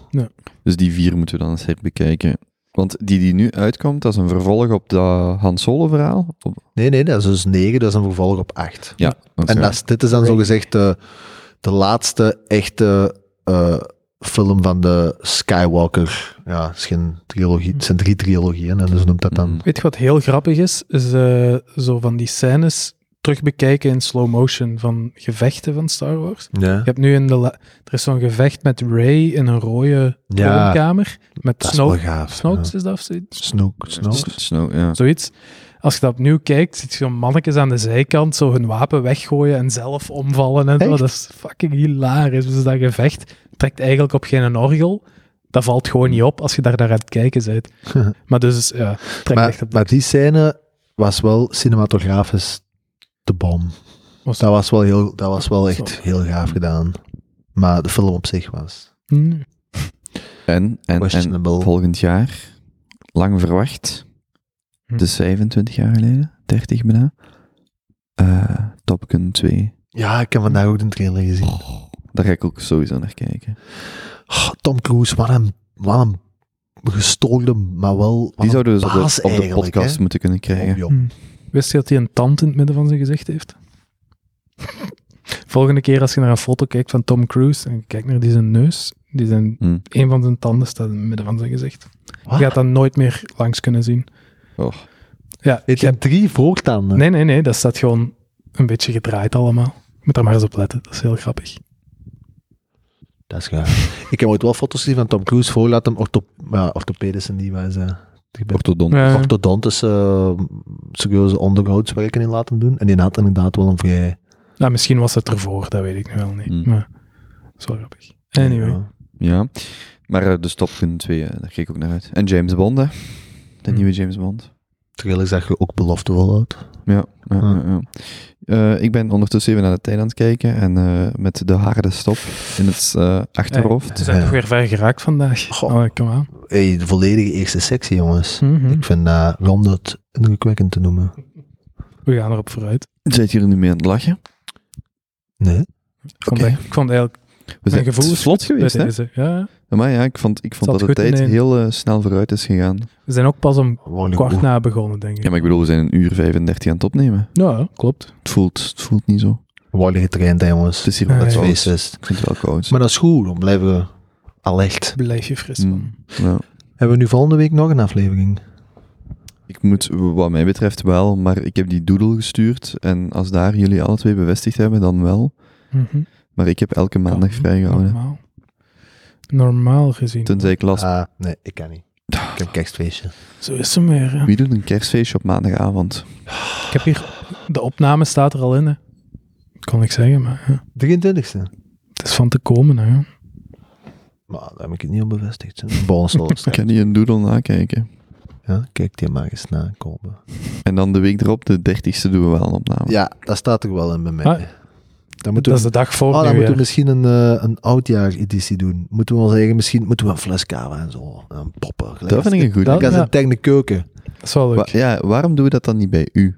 Speaker 1: Dus die vier moeten we dan eens herbekijken. Want die die nu uitkomt, dat is een vervolg op dat Han Solo verhaal. Op-
Speaker 3: Nee, nee, dat is dus 9, dat is een vervolg op 8.
Speaker 1: ja, want
Speaker 3: En
Speaker 1: ja,
Speaker 3: dat is, dit is dan zogezegd de, de laatste echte eh, film van de Skywalker. Ja, het, is geen trilogie, het zijn drie trilogieën en dus noemt dat dan.
Speaker 1: Mm.
Speaker 2: Weet je wat heel grappig is? Is eh, zo van die scènes terugbekijken in slow motion van gevechten van Star Wars.
Speaker 3: Ja,
Speaker 2: Je hebt nu in de... la- Er is zo'n gevecht met Ray in een rode
Speaker 3: ja
Speaker 2: kamer. Met
Speaker 3: dat is wel
Speaker 2: Snoke.
Speaker 3: gaaf.
Speaker 2: Snoke
Speaker 3: ja.
Speaker 2: is dat of zoiets?
Speaker 3: Snoke. Snoke.
Speaker 1: S- Snow, ja.
Speaker 2: zoiets. Als je dat opnieuw kijkt, ziet je zo'n mannetjes aan de zijkant zo hun wapen weggooien en zelf omvallen en zo.
Speaker 3: Echt?
Speaker 2: Dat is fucking hilarisch. Dus dat gevecht trekt eigenlijk op geen orgel. Dat valt gewoon niet op als je daar naar aan het kijken bent. Maar dus, ja, trekt
Speaker 3: Maar,
Speaker 2: echt op.
Speaker 3: maar die scène was wel cinematografisch de bom.
Speaker 2: Was-
Speaker 3: Dat was wel, heel, dat was wel echt
Speaker 2: Zo.
Speaker 3: heel gaaf gedaan. Maar de film op zich was
Speaker 2: Hm.
Speaker 1: En, en, en
Speaker 3: questionable.
Speaker 1: volgend jaar, lang verwacht,
Speaker 2: Hm.
Speaker 1: dus 25 jaar geleden, 30 bijna, eh, Top Gun 2.
Speaker 3: Ja, ik heb vandaag ook de trailer gezien.
Speaker 1: Daar ga ik ook sowieso naar kijken.
Speaker 3: Oh, Tom Cruise, wat een, wat een gestoorde, maar wel wat
Speaker 1: Die zouden we dus op
Speaker 3: baas
Speaker 1: de, op de
Speaker 3: eigenlijk,
Speaker 1: podcast
Speaker 3: hè?
Speaker 1: moeten kunnen
Speaker 3: een
Speaker 1: krijgen.
Speaker 3: job.
Speaker 2: Hm. Wist je dat hij een tand in het midden van zijn gezicht heeft? Volgende keer als je naar een foto kijkt van Tom Cruise en je kijkt naar die zijn neus, die zijn,
Speaker 1: Hm.
Speaker 2: een van zijn tanden staat in het midden van zijn gezicht.
Speaker 3: Wat?
Speaker 2: Je gaat dat nooit meer langs kunnen zien.
Speaker 1: Oh.
Speaker 2: Ja,
Speaker 3: Heeft
Speaker 2: je
Speaker 3: hij drie voortanden?
Speaker 2: Nee, nee, nee. Dat staat gewoon een beetje gedraaid allemaal. Je moet daar maar eens op letten. Dat is heel grappig.
Speaker 3: Dat is gaaf. ik heb ooit wel foto's gezien van Tom Cruise voor laat hem ortho, ja, orthopedische die was eh, ik ben-
Speaker 1: Orthodont.
Speaker 2: Ja.
Speaker 3: orthodontische eh, serieuze onderhoudswerken in laten doen. En die had inderdaad wel een vrij...
Speaker 2: Nou, misschien was het ervoor. Dat weet ik nu wel niet.
Speaker 1: Hmm.
Speaker 2: Maar dat is wel grappig. Anyway.
Speaker 3: Ja.
Speaker 1: Ja. Maar eh, dus Top Gun 2, eh, daar kijk ik ook naar uit. En James Bond, hè. De
Speaker 2: Hm.
Speaker 1: nieuwe James Bond.
Speaker 3: Terwijl zag je ook beloftevol uit.
Speaker 1: Ja, ja,
Speaker 2: Ah.
Speaker 3: Ja.
Speaker 1: ja, ja. Eh, ik ben ondertussen even naar de tijd aan het kijken. En eh, met de harde stop in het eh, achterhoofd.
Speaker 2: We zijn
Speaker 3: Ja.
Speaker 2: toch weer ver geraakt vandaag.
Speaker 3: Goh.
Speaker 2: Oh, kom aan.
Speaker 3: Hey, de volledige eerste sectie, jongens.
Speaker 2: Mhm.
Speaker 3: Ik vind dat rond het indrukwekkend te noemen.
Speaker 2: We gaan erop vooruit.
Speaker 1: Zijn jullie nu mee aan het lachen?
Speaker 3: Nee?
Speaker 2: Ik vond,
Speaker 1: Oké.
Speaker 2: echt- ik vond eigenlijk
Speaker 1: We zijn
Speaker 2: gevoel
Speaker 1: het is
Speaker 2: is
Speaker 1: vlot geweest,
Speaker 2: bij
Speaker 1: hè?
Speaker 2: deze. Ja.
Speaker 1: Maar ja, ik vond, ik vond
Speaker 2: Zat
Speaker 1: dat de
Speaker 2: goed in
Speaker 1: tijd
Speaker 2: een-
Speaker 1: heel eh, snel vooruit is gegaan.
Speaker 2: We zijn ook pas om
Speaker 3: Word ik
Speaker 2: kwart
Speaker 3: ook-
Speaker 2: na begonnen, denk ik.
Speaker 1: Ja, maar ik bedoel, we zijn een uur 35 aan het opnemen.
Speaker 2: Nou, ja, klopt.
Speaker 1: Het voelt, het voelt niet zo.
Speaker 3: word ik getraind, hè, jongens.
Speaker 1: Het is hier
Speaker 2: Ah,
Speaker 1: wel
Speaker 2: ja.
Speaker 1: koud.
Speaker 3: Feestfeest.
Speaker 1: Ik vind het wel koud.
Speaker 3: Maar dat is goed, dan blijven we Alert.
Speaker 2: Blijf je fris van.
Speaker 1: Mm. Ja.
Speaker 3: Hebben we nu volgende week nog een aflevering?
Speaker 1: Ik moet, wat mij betreft wel, maar ik heb die doodle gestuurd. En als daar jullie alle twee bevestigd hebben, dan wel.
Speaker 2: Mhm.
Speaker 1: Maar ik heb elke maandag
Speaker 2: Kan,
Speaker 1: vrijgehouden.
Speaker 2: Normaal. Normaal gezien.
Speaker 1: Tenzij ik last.
Speaker 3: Ah, nee, ik kan niet. Ik heb kerstfeestje.
Speaker 2: Zo is ze meer. hè.
Speaker 1: Wie doet een kerstfeestje op maandagavond?
Speaker 2: Ik heb hier... De opname staat er al in, hè. Kon ik zeggen, maar ja.
Speaker 3: 23e.
Speaker 2: het is van te komen, hè.
Speaker 3: Maar daar heb ik het niet op bevestigd. hè. Bonus wel
Speaker 1: Ik kan
Speaker 3: straks.
Speaker 1: niet een doodle nakijken.
Speaker 3: ja, Kijk die maar eens na, Kopen.
Speaker 1: En dan de week erop, de 30ste, doen we wel een opname.
Speaker 3: Ja, dat staat er wel in bij mij.
Speaker 2: Ah.
Speaker 3: Dan moeten
Speaker 2: Dat
Speaker 3: we,
Speaker 2: is de dag voor
Speaker 3: oh, dan
Speaker 2: nu
Speaker 3: moeten we misschien een, eh, een oudjaar-editie doen. Moeten we wel zeggen, misschien moeten we een fles kava en zo. En een popper. Gelijk
Speaker 1: Dat vind ik een goed
Speaker 2: Dat-
Speaker 3: als- als
Speaker 2: ja.
Speaker 3: een tang de keuken.
Speaker 2: Dat is wel leuk.
Speaker 1: Wa- ja, waarom doen we dat dan niet bij u?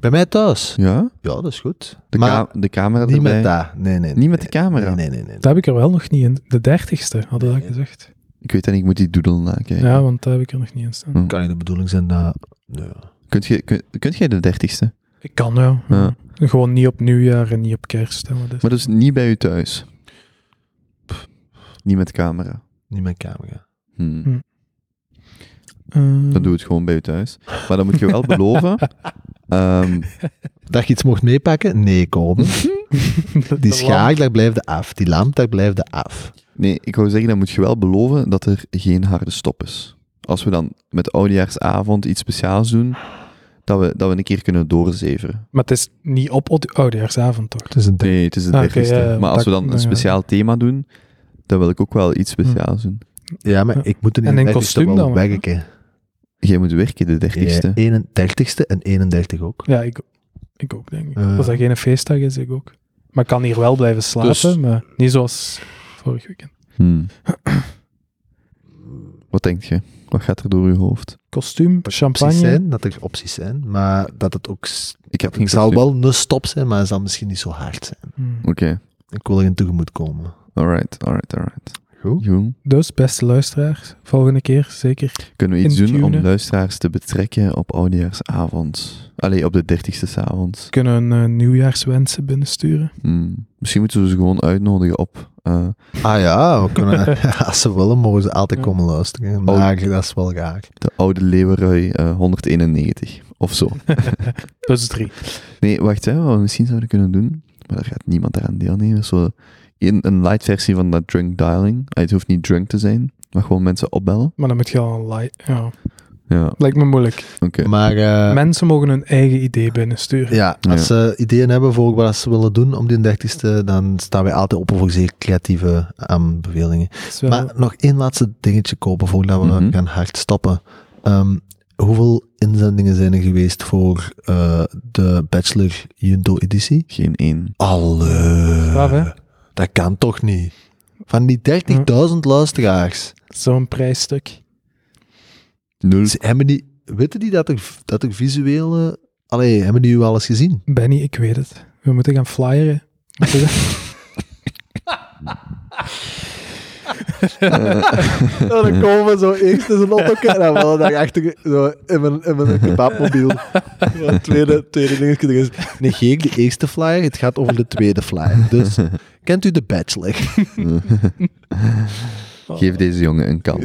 Speaker 3: Bij mij thuis.
Speaker 1: Ja?
Speaker 3: Ja, dat is goed.
Speaker 1: De,
Speaker 3: maar
Speaker 1: ka- de camera
Speaker 3: niet
Speaker 1: erbij.
Speaker 3: met daar. Nee, nee.
Speaker 1: Niet met de camera.
Speaker 3: Nee, nee, nee. nee.
Speaker 2: Dat heb ik er wel nog niet in. De dertigste hadden we dat
Speaker 3: Nee.
Speaker 2: gezegd.
Speaker 1: Ik weet dat niet, ik moet die doodle nakijken.
Speaker 2: Ja, want daar heb ik er nog niet in staan.
Speaker 1: Hm.
Speaker 3: Kan niet de bedoeling zijn dat... Nee.
Speaker 1: Kunt, je, kun- kunt jij de 30ste?
Speaker 2: Ik kan wel.
Speaker 1: Ja.
Speaker 2: Gewoon niet op nieuwjaar en niet op kerst. hè, maar dat is-
Speaker 1: Maar dus niet bij u thuis. Niet met camera.
Speaker 3: Niet met camera.
Speaker 1: Hm.
Speaker 2: Hm. Eh,
Speaker 1: Dan doe het gewoon bij u thuis. Maar dan moet je wel beloven. ehm,
Speaker 3: Dat je iets mocht meepakken? Nee,
Speaker 1: Hm?
Speaker 3: Kopen.
Speaker 2: de-
Speaker 3: Die
Speaker 2: de lamp.
Speaker 3: schaar, daar blijft de af. Die lamp, daar blijft de af.
Speaker 1: nee, ik wou zeggen, dan moet je wel beloven dat er geen harde stop is. Als we dan met oudejaarsavond iets speciaals doen, dat we, dat we een keer kunnen doorzeveren.
Speaker 2: Maar het is niet op oud- oudejaarsavond, toch?
Speaker 3: Het is een
Speaker 1: Nee, het is de
Speaker 2: Ah, oké,
Speaker 1: 30ste.
Speaker 2: ja, ja,
Speaker 1: maar als we dan
Speaker 2: dat-
Speaker 1: een
Speaker 2: dan ja. Hmm.
Speaker 1: speciaal thema doen, dan wil ik ook wel iets speciaals doen.
Speaker 3: Ja, maar
Speaker 2: Ja.
Speaker 3: ik moet er
Speaker 2: En
Speaker 3: in dus
Speaker 2: in kostuum
Speaker 3: wel
Speaker 2: dan wel, hè?
Speaker 3: werken.
Speaker 1: Jij moet werken de 30ste.
Speaker 3: Ja, 31ste Eh, en 31 ook.
Speaker 2: Ja, ik, ik ook, denk ik.
Speaker 3: Ja.
Speaker 2: Als dat geen feestdag is, ik ook. Maar ik kan hier wel blijven slapen,
Speaker 3: Eh. Dus-
Speaker 2: maar niet zoals vorig weekend.
Speaker 1: Hm. Wat denk je? Wat gaat er door je hoofd?
Speaker 2: Kostuum,
Speaker 3: opties
Speaker 2: champagne.
Speaker 3: zijn, dat er opties zijn, maar dat het ook... s-
Speaker 1: Ik heb geen
Speaker 3: Het zal
Speaker 1: kostuum.
Speaker 3: wel een stop zijn, maar het zal misschien niet zo hard zijn.
Speaker 2: Hm.
Speaker 1: Oké,
Speaker 3: Ik wil erin tegemoet komen.
Speaker 1: alright, alright, alright.
Speaker 3: Goed.
Speaker 1: Joen,
Speaker 2: Dus, beste luisteraars, volgende keer zeker.
Speaker 1: Kunnen we iets doen om
Speaker 2: Intunen.
Speaker 1: luisteraars te betrekken op oudejaarsavond? Allee, op de 30ste 's avonds.
Speaker 2: Kunnen we een eh, nieuwjaarswensen binnensturen?
Speaker 1: Hmm. Misschien moeten we ze gewoon uitnodigen op. eh,
Speaker 3: Ah ja, we kunnen, als ze willen, mogen ze altijd
Speaker 2: Ja.
Speaker 3: komen luisteren. Maar dat is wel raar.
Speaker 1: de oude Leeuwerui eh, 191 of zo.
Speaker 2: Dus drie.
Speaker 1: Nee, wacht, hè, wat we misschien zouden kunnen doen, maar daar gaat niemand eraan deelnemen. Zo een, een light versie van dat drunk dialing. Ah, het hoeft niet drunk te zijn, maar gewoon mensen opbellen.
Speaker 2: Maar dan moet je al een light. Ja,
Speaker 1: Ja, Mm.
Speaker 2: lijkt me moeilijk.
Speaker 1: oké.
Speaker 3: Maar eh,
Speaker 2: Mensen mogen hun eigen idee binnensturen.
Speaker 3: ja, als
Speaker 1: Ja.
Speaker 3: ze ideeën hebben voor wat ze willen doen om die 30ste, dan staan wij altijd open voor zeer creatieve aanbevelingen.
Speaker 2: Dat is wel-
Speaker 3: Maar nog één laatste dingetje kopen voordat we
Speaker 1: Mhm.
Speaker 3: gaan hard stoppen. Ehm, hoeveel inzendingen zijn er geweest voor eh, de Bachelor Junto editie?
Speaker 1: Geen één.
Speaker 3: Alle.
Speaker 2: Straf, hè?
Speaker 3: Dat kan toch niet? Van die 30.000 luisteraars.
Speaker 2: Zo'n prijsstuk.
Speaker 1: Nul.
Speaker 3: Ze hebben die, weten die dat er, dat er visuele... Allee, hebben die u al eens gezien?
Speaker 2: Benny, ik weet het. We moeten gaan flyeren.
Speaker 3: dan komen we zo eerst in zijn auto en dan wel daarachter zo in mijn, in mijn kebabmobiel. tweede, tweede dingetje er is. Negeer de eerste flyer, het gaat over de tweede flyer. Dus, kent u de Bachelor?
Speaker 1: Geef deze jongen een kans.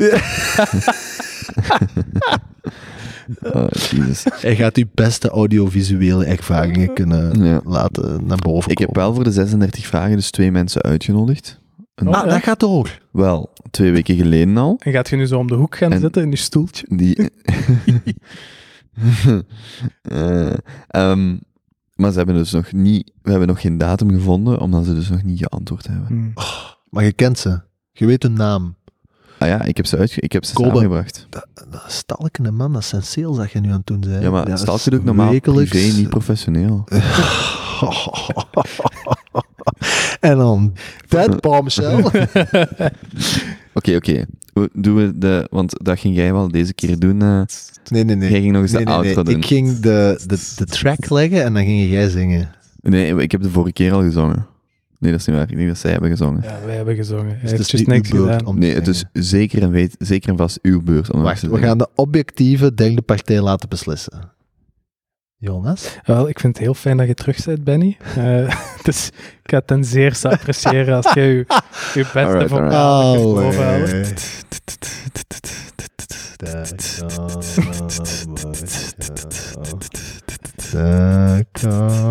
Speaker 1: oh, jezus.
Speaker 3: Hij gaat uw beste audiovisuele ervaringen kunnen
Speaker 1: Ja.
Speaker 3: laten naar boven
Speaker 1: Ik heb
Speaker 3: komen.
Speaker 1: wel voor de 36 vragen dus twee mensen uitgenodigd. Een-
Speaker 2: Oh.
Speaker 3: Ah, dat gaat door.
Speaker 1: Wel, twee weken geleden al.
Speaker 2: En gaat je nu zo om de hoek gaan
Speaker 1: En-
Speaker 2: zitten in je stoeltje?
Speaker 1: Die... Eh, ehm, maar ze hebben dus nog niet... We hebben nog geen datum gevonden, omdat ze dus nog niet geantwoord hebben.
Speaker 2: Hm.
Speaker 3: Maar je kent ze. Je weet hun naam.
Speaker 1: Ah ja, ik heb ze, uitge ik heb ze
Speaker 3: Kobe.
Speaker 1: samengebracht.
Speaker 3: Dat, dat stalkende man, dat zijn sales dat je nu aan het doen bent.
Speaker 1: Ja, maar
Speaker 3: Dat
Speaker 1: stel
Speaker 3: is
Speaker 1: je ook normaal
Speaker 3: wekelijks-
Speaker 1: privé, niet professioneel.
Speaker 3: en dan dat bombshell.
Speaker 1: Oké, oké. We- Doen we de... Want dat ging jij wel deze keer doen. eh.
Speaker 3: Nee, nee, nee.
Speaker 1: Jij ging nog eens
Speaker 3: Nee,
Speaker 1: de
Speaker 3: nee, nee.
Speaker 1: outro doen.
Speaker 3: Ik ging de, de, de track leggen en dan ging jij zingen.
Speaker 1: Nee, ik heb de vorige keer al gezongen. Nee, dat is niet waar. Ik denk dat zij hebben gezongen.
Speaker 2: Ja, wij hebben gezongen. Hij
Speaker 3: Dus het
Speaker 2: heeft
Speaker 3: is
Speaker 2: juist
Speaker 3: nu
Speaker 2: niks
Speaker 3: uw beurt
Speaker 2: gedaan.
Speaker 3: om te
Speaker 1: Nee, het is
Speaker 3: zingen.
Speaker 1: zeker en, weet, zeker en vast uw beurt. Om dat
Speaker 3: Wacht,
Speaker 1: te
Speaker 3: we
Speaker 1: zeggen.
Speaker 3: gaan de objectieve derde partij laten beslissen. Jonas.
Speaker 2: Wel, ik vind het heel fijn dat je terug bent, Benny. Eh, dus ik ga het ten zeerste appreciëren als jij je, je beste
Speaker 1: Alright,
Speaker 2: voor
Speaker 1: alright.
Speaker 3: Oh, Allee.